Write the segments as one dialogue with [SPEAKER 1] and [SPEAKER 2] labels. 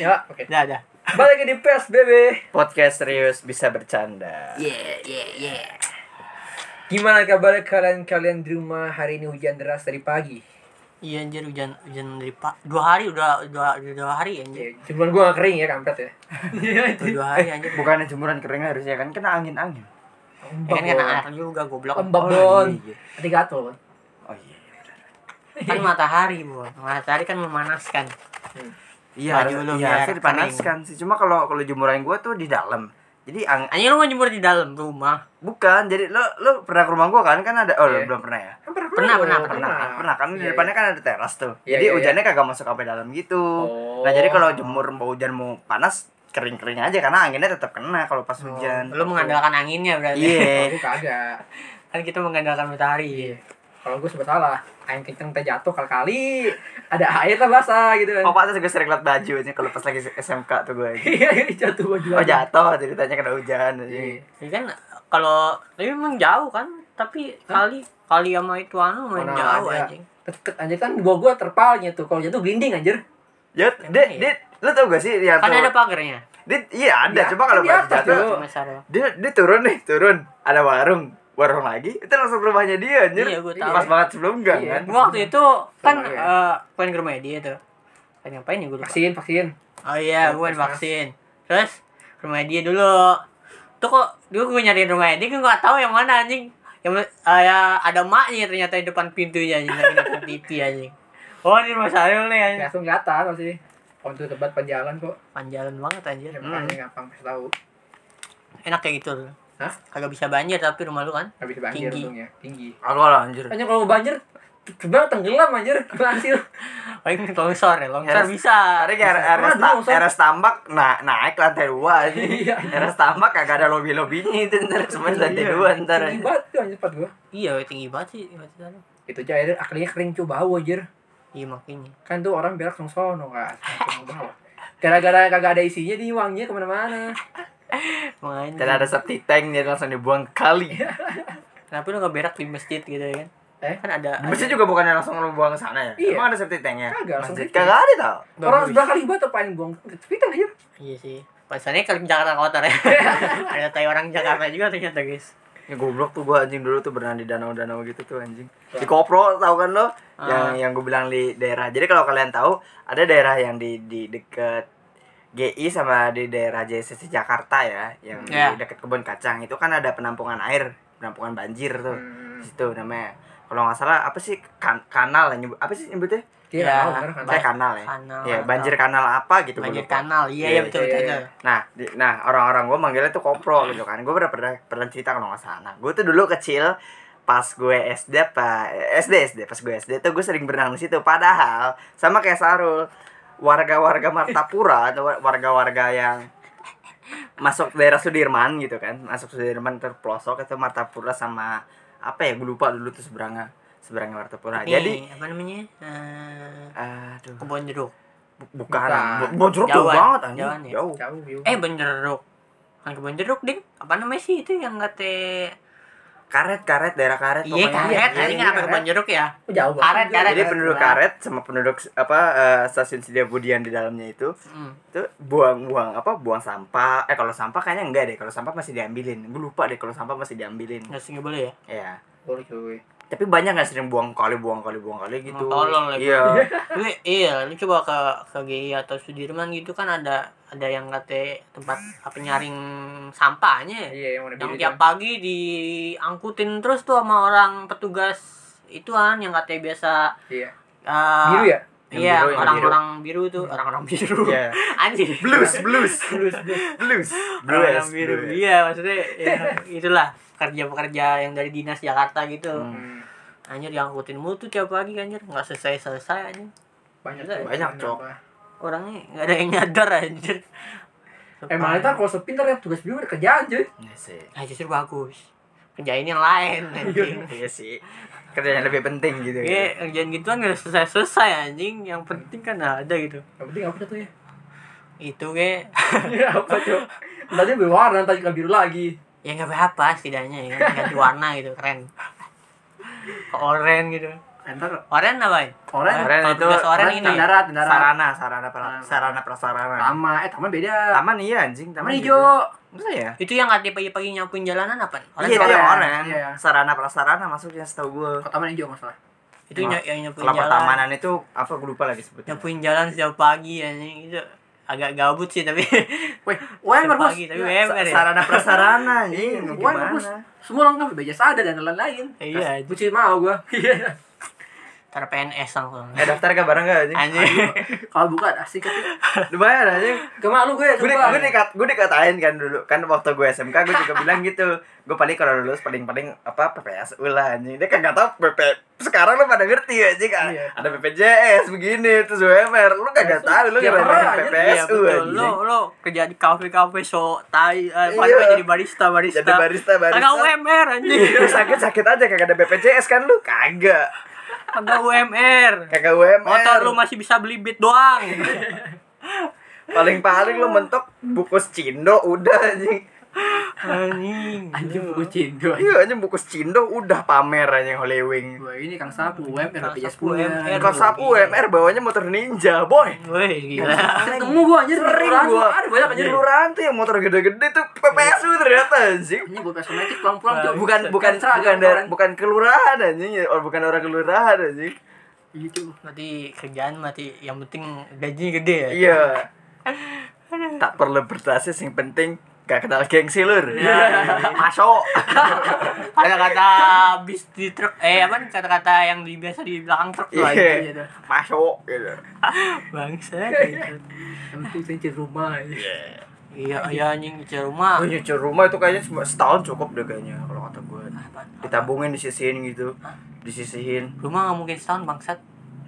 [SPEAKER 1] Ya, oke.
[SPEAKER 2] Dah, dah.
[SPEAKER 1] Balik lagi di PSBB.
[SPEAKER 3] Podcast serius bisa bercanda.
[SPEAKER 2] Yeah, yeah, yeah.
[SPEAKER 1] Gimana kabar kalian-kalian di rumah hari ini hujan deras dari pagi?
[SPEAKER 2] Iya anjir hujan hujan dari pak dua hari udah dua dua hari anjir.
[SPEAKER 1] Ya, cuman gua gak kering ya kampret ya.
[SPEAKER 3] Iya,
[SPEAKER 2] Udah dua hari anjir.
[SPEAKER 3] Bukannya jemuran kering harusnya kan kena angin-angin.
[SPEAKER 2] Ya kan kena air juga goblok.
[SPEAKER 1] Embab
[SPEAKER 3] Oh,
[SPEAKER 1] don.
[SPEAKER 3] iya.
[SPEAKER 1] Arigato, Bon.
[SPEAKER 3] Oh iya.
[SPEAKER 2] Kan matahari, Bu. Matahari kan memanaskan.
[SPEAKER 3] Iya,
[SPEAKER 2] Maju
[SPEAKER 3] harus,
[SPEAKER 2] lu
[SPEAKER 3] iya,
[SPEAKER 2] biar
[SPEAKER 3] harusnya dipanaskan sih. Cuma kalau kalau jemuran gua tuh di dalam. Jadi ang
[SPEAKER 2] Anjir lu mau jemur di dalam rumah.
[SPEAKER 3] bukan. Jadi lo lo pernah ke rumah gua kan? Kan ada oh lo
[SPEAKER 1] Iya.
[SPEAKER 3] belum pernah ya?
[SPEAKER 1] Kan pernah,
[SPEAKER 2] Pernah,
[SPEAKER 1] gua,
[SPEAKER 2] pernah,
[SPEAKER 3] Pernah kan? Pernah kan di
[SPEAKER 1] Iya,
[SPEAKER 3] depannya
[SPEAKER 1] iya.
[SPEAKER 3] kan ada teras tuh.
[SPEAKER 1] Iya,
[SPEAKER 3] jadi
[SPEAKER 1] iya, iya.
[SPEAKER 3] hujannya kagak masuk sampai dalam gitu. Nah, jadi kalau jemur mau hujan mau panas kering-kering aja karena anginnya tetap kena kalau pas hujan.
[SPEAKER 2] Lu mengandalkan anginnya berarti.
[SPEAKER 1] Kalau
[SPEAKER 3] Iya.
[SPEAKER 1] gua kagak.
[SPEAKER 2] Kan kita mengandalkan matahari.
[SPEAKER 1] Kalau gua sebut salah, angin kenceng teh jatuh kali-kali ada air lah basah gitu kan.
[SPEAKER 3] Bapak tuh juga sering liat baju aja kalau pas lagi SMK tuh gue.
[SPEAKER 1] Iya, jatuh baju.
[SPEAKER 3] Oh
[SPEAKER 1] lagi.
[SPEAKER 3] jatuh ceritanya kena hujan.
[SPEAKER 1] Iya.
[SPEAKER 2] Ya kan kalau tapi emang jauh kan, tapi kali kali sama itu anu main
[SPEAKER 1] Mana
[SPEAKER 2] jauh
[SPEAKER 1] ada.
[SPEAKER 2] anjing.
[SPEAKER 1] Deket anjir kan gua gua terpalnya tuh. Kalau jatuh gelinding anjir.
[SPEAKER 3] Ya, dit, dit, lu tau gak sih yang
[SPEAKER 2] Kan
[SPEAKER 3] tuh?
[SPEAKER 2] ada pagernya.
[SPEAKER 3] Dit, iya ada.
[SPEAKER 1] Di
[SPEAKER 3] Coba kalau
[SPEAKER 1] atas, di
[SPEAKER 3] pas
[SPEAKER 1] atas
[SPEAKER 3] jatuh,
[SPEAKER 1] dulu.
[SPEAKER 2] Cuma sarwa.
[SPEAKER 3] dia dia turun nih, turun. Ada warung, warung lagi. Itu langsung ke rumahnya dia, anjir.
[SPEAKER 2] Iya, gua tahu.
[SPEAKER 3] Pas banget sebelum gang
[SPEAKER 1] Iya.
[SPEAKER 3] kan.
[SPEAKER 2] Gua waktu itu kan
[SPEAKER 1] Sama, ya.
[SPEAKER 2] eh pengen ke rumah dia tuh. Pengen ngapain ya gue lupa.
[SPEAKER 1] Vaksin, vaksin.
[SPEAKER 2] Oh iya,
[SPEAKER 1] Terus,
[SPEAKER 2] gue
[SPEAKER 1] terus.
[SPEAKER 2] vaksin. Terus ke rumah dia dulu. Tuh kok dulu gue nyariin rumah dia, gue gak tahu yang mana anjing. Yang eh, ya, ada maknya ternyata di depan pintunya anjing lagi nonton TV anjing. Oh, ini rumah Sarul nih anjing.
[SPEAKER 1] Langsung kelihatan pasti. Kalau itu tebat penjalan kok.
[SPEAKER 2] Panjalan banget anjir.
[SPEAKER 1] Ya, makanya gampang kasih tahu.
[SPEAKER 2] Enak kayak gitu. loh.
[SPEAKER 1] Hah?
[SPEAKER 2] Kagak bisa banjir tapi rumah lu kan.
[SPEAKER 1] Habis banjir
[SPEAKER 2] Tinggi.
[SPEAKER 1] untungnya, tinggi.
[SPEAKER 3] Aku lah anjir.
[SPEAKER 1] Hanya kalau mau banjir sebenarnya tenggelam anjir gimana sih lu?
[SPEAKER 2] Paling longsor ya, longsor
[SPEAKER 3] Yes.
[SPEAKER 2] bisa.
[SPEAKER 3] Hari ini
[SPEAKER 1] Ah, Bisa.
[SPEAKER 3] RS,
[SPEAKER 1] Pernah dulu,
[SPEAKER 3] ta- RS tambak nah, naik lantai dua aja.
[SPEAKER 1] Iya.
[SPEAKER 3] RS tambak kagak ada lobby lobbynya itu ntar cuma lantai
[SPEAKER 2] Iya.
[SPEAKER 3] dua ntar.
[SPEAKER 1] Tinggi banget tuh anjir tempat gua.
[SPEAKER 2] Iya, tinggi banget sih. tinggi banget sih.
[SPEAKER 1] Itu aja akhirnya akhirnya kering cuy bau anjir.
[SPEAKER 2] Iya makanya.
[SPEAKER 1] Kan tuh orang berak songsono kan. langsung bau. Gara-gara kagak ada isinya nih wanginya kemana-mana
[SPEAKER 2] Makanya.
[SPEAKER 3] Dan ada septic tank jadi langsung dibuang ke kali.
[SPEAKER 1] Iya.
[SPEAKER 2] Kenapa lu gak berak di masjid gitu ya kan?
[SPEAKER 1] Eh?
[SPEAKER 2] Kan ada.
[SPEAKER 3] Di Masjid juga bukannya langsung lu buang ke sana ya?
[SPEAKER 1] Iya.
[SPEAKER 3] Emang ada septic tanknya?
[SPEAKER 1] Kagak, langsung
[SPEAKER 3] Masjid
[SPEAKER 1] gitu.
[SPEAKER 3] kagak ada tau
[SPEAKER 1] Orang
[SPEAKER 3] Bagus.
[SPEAKER 1] sebelah kali banget tuh paling buang Kepitan anjir
[SPEAKER 2] Iya sih. Pasannya kalau Jakarta kotor ya. ada tai orang Jakarta juga ternyata guys.
[SPEAKER 3] Ya goblok tuh gua anjing dulu tuh berenang di danau-danau gitu tuh anjing. Di Kopro tau kan lo? Yang
[SPEAKER 2] Iya. Ah.
[SPEAKER 3] yang gue bilang di daerah. Jadi kalau kalian tahu ada daerah yang di di dekat GI sama di daerah JCC Jakarta ya, yang
[SPEAKER 2] Ya.
[SPEAKER 3] di dekat kebun kacang itu kan ada penampungan air, penampungan banjir tuh.
[SPEAKER 2] Hmm.
[SPEAKER 3] Di situ namanya. Kalau nggak salah apa sih kan, kanal ya nyebut apa sih nyebutnya?
[SPEAKER 1] Iya,
[SPEAKER 2] Ya.
[SPEAKER 1] tahu, bener kan?
[SPEAKER 3] Saya kanal ya.
[SPEAKER 2] Kanal.
[SPEAKER 3] Ya, banjir kanal apa gitu gua
[SPEAKER 2] Banjir
[SPEAKER 3] lupa.
[SPEAKER 2] kanal. Iya
[SPEAKER 3] Iya,
[SPEAKER 2] iya betul
[SPEAKER 1] iya,
[SPEAKER 2] betul.
[SPEAKER 1] iya.
[SPEAKER 2] betul.
[SPEAKER 3] Nah, di, nah orang-orang gue manggilnya tuh kopro gitu kan. Gue pernah pernah pernah cerita kalau nggak salah. Gue tuh dulu kecil pas gue SD apa eh, SD SD pas gue SD tuh gue sering berenang di situ. Padahal sama kayak Sarul, warga-warga Martapura atau wa- warga-warga yang masuk daerah Sudirman gitu kan, masuk Sudirman terpelosok itu Martapura sama apa ya? Gue lupa dulu tuh seberangnya seberangnya Martapura.
[SPEAKER 2] Ini,
[SPEAKER 3] Nah, Jadi
[SPEAKER 2] apa namanya? Eh,
[SPEAKER 3] aduh
[SPEAKER 2] kebun jeruk.
[SPEAKER 3] bu- bukan,
[SPEAKER 1] Bukan.
[SPEAKER 3] bukan. Bojrok jauh
[SPEAKER 2] Jauhan.
[SPEAKER 3] banget anjing.
[SPEAKER 2] Jauhan ya?
[SPEAKER 3] Jauh.
[SPEAKER 1] Jauh, jauh.
[SPEAKER 2] Eh kebun jeruk. Kan kebun jeruk ding. Apa namanya sih itu yang kate?
[SPEAKER 3] Karet-karet daerah karet
[SPEAKER 2] Iya
[SPEAKER 3] pokoknya.
[SPEAKER 2] karet.
[SPEAKER 1] iya,
[SPEAKER 2] Tadi
[SPEAKER 1] iya,
[SPEAKER 2] kenapa
[SPEAKER 1] karet.
[SPEAKER 2] kebun jeruk ya?
[SPEAKER 1] jauh banget.
[SPEAKER 2] Karet, karet.
[SPEAKER 3] Jadi penduduk karet sama penduduk apa eh, stasiun Setiabudian di dalamnya itu
[SPEAKER 2] Hmm.
[SPEAKER 3] itu buang-buang apa buang sampah. Eh kalau sampah kayaknya enggak deh. Kalau sampah masih diambilin. Gue lupa deh kalau sampah masih diambilin.
[SPEAKER 2] Nggak sih nggak boleh ya?
[SPEAKER 3] Ya.
[SPEAKER 1] Boleh, cuy.
[SPEAKER 3] Tapi banyak nggak sering buang kali buang kali buang kali gitu.
[SPEAKER 2] Emang tolol lagi.
[SPEAKER 3] Iya.
[SPEAKER 2] lu iya lu coba ke ke GI atau Sudirman gitu kan ada ada yang kate tempat apa nyaring sampahnya ya.
[SPEAKER 1] Iya, yang mana
[SPEAKER 2] yang
[SPEAKER 1] biru
[SPEAKER 2] tiap pagi diangkutin terus tuh sama orang petugas ituan yang kate biasa
[SPEAKER 1] itu. Iya.
[SPEAKER 2] eh,
[SPEAKER 1] Biru ya?
[SPEAKER 3] Yang
[SPEAKER 2] iya
[SPEAKER 3] biru, yang
[SPEAKER 2] orang-orang biru. tuh orang-orang biru
[SPEAKER 3] Iya.
[SPEAKER 2] anjir
[SPEAKER 3] Blues, blues, blues, blues,
[SPEAKER 2] orang-orang
[SPEAKER 3] blues,
[SPEAKER 2] biru
[SPEAKER 3] blues.
[SPEAKER 2] iya maksudnya ya, itulah kerja-pekerja yang dari dinas Jakarta gitu
[SPEAKER 3] Hmm.
[SPEAKER 1] Hmm.
[SPEAKER 2] anjir diangkutin mulu tuh tiap pagi anjir nggak selesai-selesai anjir
[SPEAKER 1] Banyak,
[SPEAKER 2] Banyak,
[SPEAKER 1] tuh.
[SPEAKER 3] banyak, Cok.
[SPEAKER 2] orangnya nggak ada yang nyadar anjir
[SPEAKER 1] Emang itu kalau sepi ntar yang tugas biru ada kerjaan cuy
[SPEAKER 3] Iya sih.
[SPEAKER 2] Nah, justru bagus. Kerjain yang lain anjing.
[SPEAKER 3] Iya sih. Kerjaan yang lebih penting gitu.
[SPEAKER 2] Iya, kerjaan gituan gak selesai-selesai anjing. Yang penting kan ada gitu.
[SPEAKER 1] Yang penting apa tuh ya?
[SPEAKER 2] Itu ge
[SPEAKER 1] Ya apa cuy? Tadi berwarna, tadi kan biru lagi
[SPEAKER 2] ya nggak apa-apa setidaknya ya kan ganti warna gitu keren. Ke oranye gitu.
[SPEAKER 1] Enter
[SPEAKER 2] Oren apa?
[SPEAKER 1] Oren
[SPEAKER 3] Oren
[SPEAKER 2] Kalau
[SPEAKER 3] itu
[SPEAKER 2] tugas Oren
[SPEAKER 1] oren
[SPEAKER 2] ini.
[SPEAKER 1] tandara, tandara.
[SPEAKER 3] sarana sarana pra,
[SPEAKER 1] Sarana.
[SPEAKER 3] sarana prasarana.
[SPEAKER 1] Tama, eh taman beda.
[SPEAKER 3] Taman iya anjing,
[SPEAKER 1] Taman
[SPEAKER 3] taman gitu.
[SPEAKER 1] hijau.
[SPEAKER 3] Masa ya?
[SPEAKER 2] Itu yang nggak pagi-pagi nyapuin jalanan apa? Oren
[SPEAKER 3] iya,
[SPEAKER 1] itu
[SPEAKER 3] itu yang
[SPEAKER 1] Oren.
[SPEAKER 3] oren.
[SPEAKER 1] Iya.
[SPEAKER 3] Sarana prasarana masuknya setahu gue.
[SPEAKER 1] Kok taman hijau masalah.
[SPEAKER 2] itu ny- yang nyapuin jalan.
[SPEAKER 3] Kelapa tamanan itu apa gue lupa lagi sebutnya.
[SPEAKER 2] Nyapuin jalan sejak pagi anjing itu agak gabut sih tapi
[SPEAKER 1] Weh, Wemer
[SPEAKER 2] Setiap
[SPEAKER 1] bos.
[SPEAKER 2] pagi, tapi
[SPEAKER 1] Iya.
[SPEAKER 2] Wemer.
[SPEAKER 3] Sa- sarana prasarana anjing
[SPEAKER 1] Iya, gua
[SPEAKER 3] gimana?
[SPEAKER 1] bagus. Semua lengkap beja sada dan lain-lain.
[SPEAKER 2] Iya,
[SPEAKER 1] Buci mau gua. Iya.
[SPEAKER 2] tar PNS langsung.
[SPEAKER 3] Eh daftar ke bareng gak anjing?
[SPEAKER 2] Anjing.
[SPEAKER 1] Kalau bukan asik ketik.
[SPEAKER 3] Lumayan anjing.
[SPEAKER 1] Kemalu gue
[SPEAKER 3] gue
[SPEAKER 1] sumpah.
[SPEAKER 3] gue dikat gue dikatain kan dulu kan waktu gue SMK gue juga bilang gitu gue paling kalau lulus paling paling apa PPS lah anjing dia kan nggak tahu PP sekarang lu pada ngerti ya anjing kan?
[SPEAKER 1] Iya.
[SPEAKER 3] ada PPJS begini terus UMR lu kagak
[SPEAKER 1] Terus,
[SPEAKER 3] tahu lu
[SPEAKER 1] ya
[SPEAKER 3] nggak
[SPEAKER 1] orang, anjing.
[SPEAKER 3] PPS
[SPEAKER 2] Iya betul.
[SPEAKER 3] anjing.
[SPEAKER 2] Lo lo kerja di kafe-kafe so tai eh,
[SPEAKER 3] Iya.
[SPEAKER 2] padahal jadi barista barista.
[SPEAKER 3] jadi barista barista
[SPEAKER 2] Kagak UMR anjing.
[SPEAKER 3] Lu sakit sakit aja kagak ada BPJS kan lu kagak
[SPEAKER 2] Kagak UMR.
[SPEAKER 3] kagak UMR
[SPEAKER 2] Motor lu masih bisa beli beat doang.
[SPEAKER 3] paling paling lu mentok bukus cindo udah anjing
[SPEAKER 2] Anjing.
[SPEAKER 1] Anjing buku cindo.
[SPEAKER 3] iya anjing bukus cindo udah pamer anjing holewing
[SPEAKER 1] Gue ini Kang Sapu, Wemer
[SPEAKER 2] Kang
[SPEAKER 1] beja
[SPEAKER 2] Sapu,
[SPEAKER 1] 10.
[SPEAKER 2] Wemer.
[SPEAKER 3] kalau Iya, sapu
[SPEAKER 1] iya.
[SPEAKER 3] UMR bawanya motor ninja boy
[SPEAKER 2] Woi, gila.
[SPEAKER 1] Ketemu gua anjir
[SPEAKER 3] sering
[SPEAKER 1] kelurahan
[SPEAKER 3] gua Iya.
[SPEAKER 1] tuh, Ada banyak
[SPEAKER 3] di
[SPEAKER 1] anjir lu.
[SPEAKER 3] kelurahan tuh yang motor gede-gede tuh PPS lu ternyata anjing
[SPEAKER 1] Ini buat kosmetik pulang-pulang tuh.
[SPEAKER 3] bukan bukan bukan daerah bukan kelurahan anjing ya orang- bukan orang kelurahan anjing
[SPEAKER 1] Gitu.
[SPEAKER 2] Berarti kerjaan mati yang penting gaji gede ya.
[SPEAKER 3] iya tak perlu berbasis yang penting gak kenal gengsi lur
[SPEAKER 1] Iya.
[SPEAKER 3] masuk
[SPEAKER 2] Kata-kata bis di truk eh apa nih kata-kata yang di, biasa di belakang truk tuh
[SPEAKER 3] Iya.
[SPEAKER 2] anjing.
[SPEAKER 1] Iya dah.
[SPEAKER 3] masuk gitu
[SPEAKER 2] Bangsa.
[SPEAKER 1] Yang penting saya cari rumah.
[SPEAKER 2] Iya, iya anjing di rumah.
[SPEAKER 3] Gua nyucur rumah itu kayaknya cuma setahun cukup deh kayaknya kalau kata gue
[SPEAKER 2] Apa-
[SPEAKER 3] ditabungin disisihin gitu disisihin
[SPEAKER 2] Rumah nggak mungkin setahun bangsat.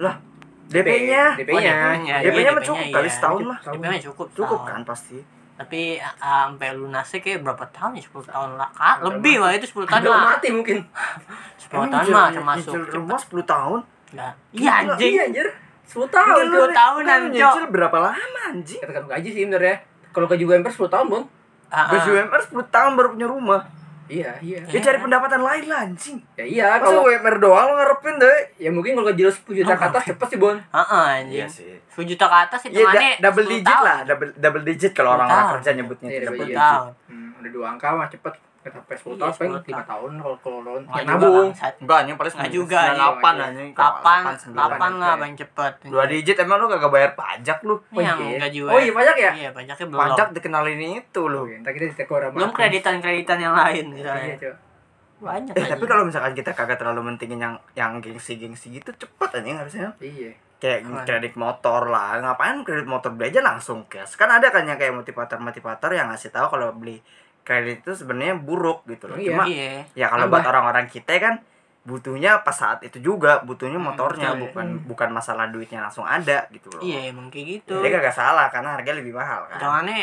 [SPEAKER 3] lah DP-nya
[SPEAKER 1] DP.
[SPEAKER 2] DP-nya.
[SPEAKER 3] DP-nya
[SPEAKER 2] Iya,
[SPEAKER 3] DP-nya mah
[SPEAKER 2] DP-nya,
[SPEAKER 3] cukup
[SPEAKER 2] iya.
[SPEAKER 3] kali setahun lah
[SPEAKER 2] Tapi memang cukup.
[SPEAKER 3] cukup
[SPEAKER 2] setahun.
[SPEAKER 3] kan pasti
[SPEAKER 2] Tapi ah, sampai lunasnya kayak berapa tahun ya? 10 tahun lah. Ah,
[SPEAKER 3] Iya,
[SPEAKER 2] lebih lah itu 10 tahun
[SPEAKER 1] Ada
[SPEAKER 2] lah.
[SPEAKER 1] mati mungkin.
[SPEAKER 2] 10 tahun
[SPEAKER 3] Emang
[SPEAKER 2] mah
[SPEAKER 3] nyicil-
[SPEAKER 2] termasuk.
[SPEAKER 3] nyicil rumah 10 tahun
[SPEAKER 2] Nah, Iya anjing.
[SPEAKER 1] Iya anjir. 10 tahun.
[SPEAKER 2] Iya, lu- 10 tahunan,
[SPEAKER 3] kan lu
[SPEAKER 2] Cok.
[SPEAKER 3] nyicil berapa lama anjing
[SPEAKER 1] Katakan gaji sih bener ya. Kalau gaji gue 10 tahun, Bun.
[SPEAKER 2] Ah,
[SPEAKER 3] Gaji
[SPEAKER 2] ah.
[SPEAKER 3] UMR 10 tahun baru punya rumah
[SPEAKER 1] Iya, iya.
[SPEAKER 3] Ya cari pendapatan lain lah anjing
[SPEAKER 1] Ya iya,
[SPEAKER 3] Masa
[SPEAKER 1] kalau
[SPEAKER 3] UMR doang lo
[SPEAKER 2] Iya
[SPEAKER 3] ngarepin deh
[SPEAKER 1] ya mungkin kalau gaji lu 10 juta ke atas cepet sih, Bon.
[SPEAKER 2] Ah, ah, anjing.
[SPEAKER 3] Iya sih
[SPEAKER 2] 10 juta ke atas itu
[SPEAKER 3] Ya da-
[SPEAKER 2] mana?
[SPEAKER 3] double digit lah double, double digit
[SPEAKER 2] 10
[SPEAKER 3] kalau orang-orang
[SPEAKER 2] tahun.
[SPEAKER 3] kerja nyebutnya
[SPEAKER 1] Iya,
[SPEAKER 3] itu double
[SPEAKER 1] double
[SPEAKER 3] digit
[SPEAKER 2] Tahun.
[SPEAKER 1] Hmm, udah dua angka mah cepet. Kita sampai 10 tahun,
[SPEAKER 2] Iya,
[SPEAKER 1] paling
[SPEAKER 2] 10
[SPEAKER 1] 5 tahun kalau kalau lo
[SPEAKER 2] Nggak
[SPEAKER 1] yang
[SPEAKER 2] juga,
[SPEAKER 1] nabung.
[SPEAKER 2] bangsat.
[SPEAKER 3] Enggak anjing paling
[SPEAKER 2] Nggak
[SPEAKER 3] 9,
[SPEAKER 2] juga, anjing.
[SPEAKER 3] 98 anjing Kalau
[SPEAKER 2] Kapan?
[SPEAKER 3] 8,
[SPEAKER 2] Kapan
[SPEAKER 1] 9,
[SPEAKER 2] lah
[SPEAKER 1] iya.
[SPEAKER 2] paling cepet.
[SPEAKER 3] 9. Dua digit emang lu kagak bayar pajak lu
[SPEAKER 2] Yang
[SPEAKER 1] iya.
[SPEAKER 2] gaji
[SPEAKER 1] Oh iya, banyak ya?
[SPEAKER 2] Iya, pajaknya belum.
[SPEAKER 3] Pajak dikenalin itu lu
[SPEAKER 1] Oke, entar Iya. kita ditekor sama.
[SPEAKER 2] Belum kreditan-kreditan yang lain
[SPEAKER 1] Iya,
[SPEAKER 2] misalnya.
[SPEAKER 1] Cok.
[SPEAKER 2] Banyak.
[SPEAKER 3] Eh, tapi
[SPEAKER 2] anjing.
[SPEAKER 3] kalau misalkan kita kagak terlalu mentingin yang yang gengsi-gengsi gitu cepet anjing harusnya
[SPEAKER 1] Iya.
[SPEAKER 3] kayak
[SPEAKER 2] Apaan?
[SPEAKER 3] kredit motor lah ngapain kredit motor beli aja langsung cash kan ada kan yang kayak motivator motivator yang ngasih tahu kalau beli kredit itu sebenarnya buruk gitu loh
[SPEAKER 1] Iya.
[SPEAKER 3] cuma
[SPEAKER 2] Iya.
[SPEAKER 3] ya kalau buat orang-orang kita kan butuhnya pas saat itu juga butuhnya
[SPEAKER 2] Hmm,
[SPEAKER 3] motornya
[SPEAKER 2] betul.
[SPEAKER 3] bukan bukan masalah duitnya langsung ada gitu loh
[SPEAKER 2] Iya, emang kayak gitu.
[SPEAKER 3] dia kagak salah karena harganya lebih mahal kan iya,
[SPEAKER 2] Jangannya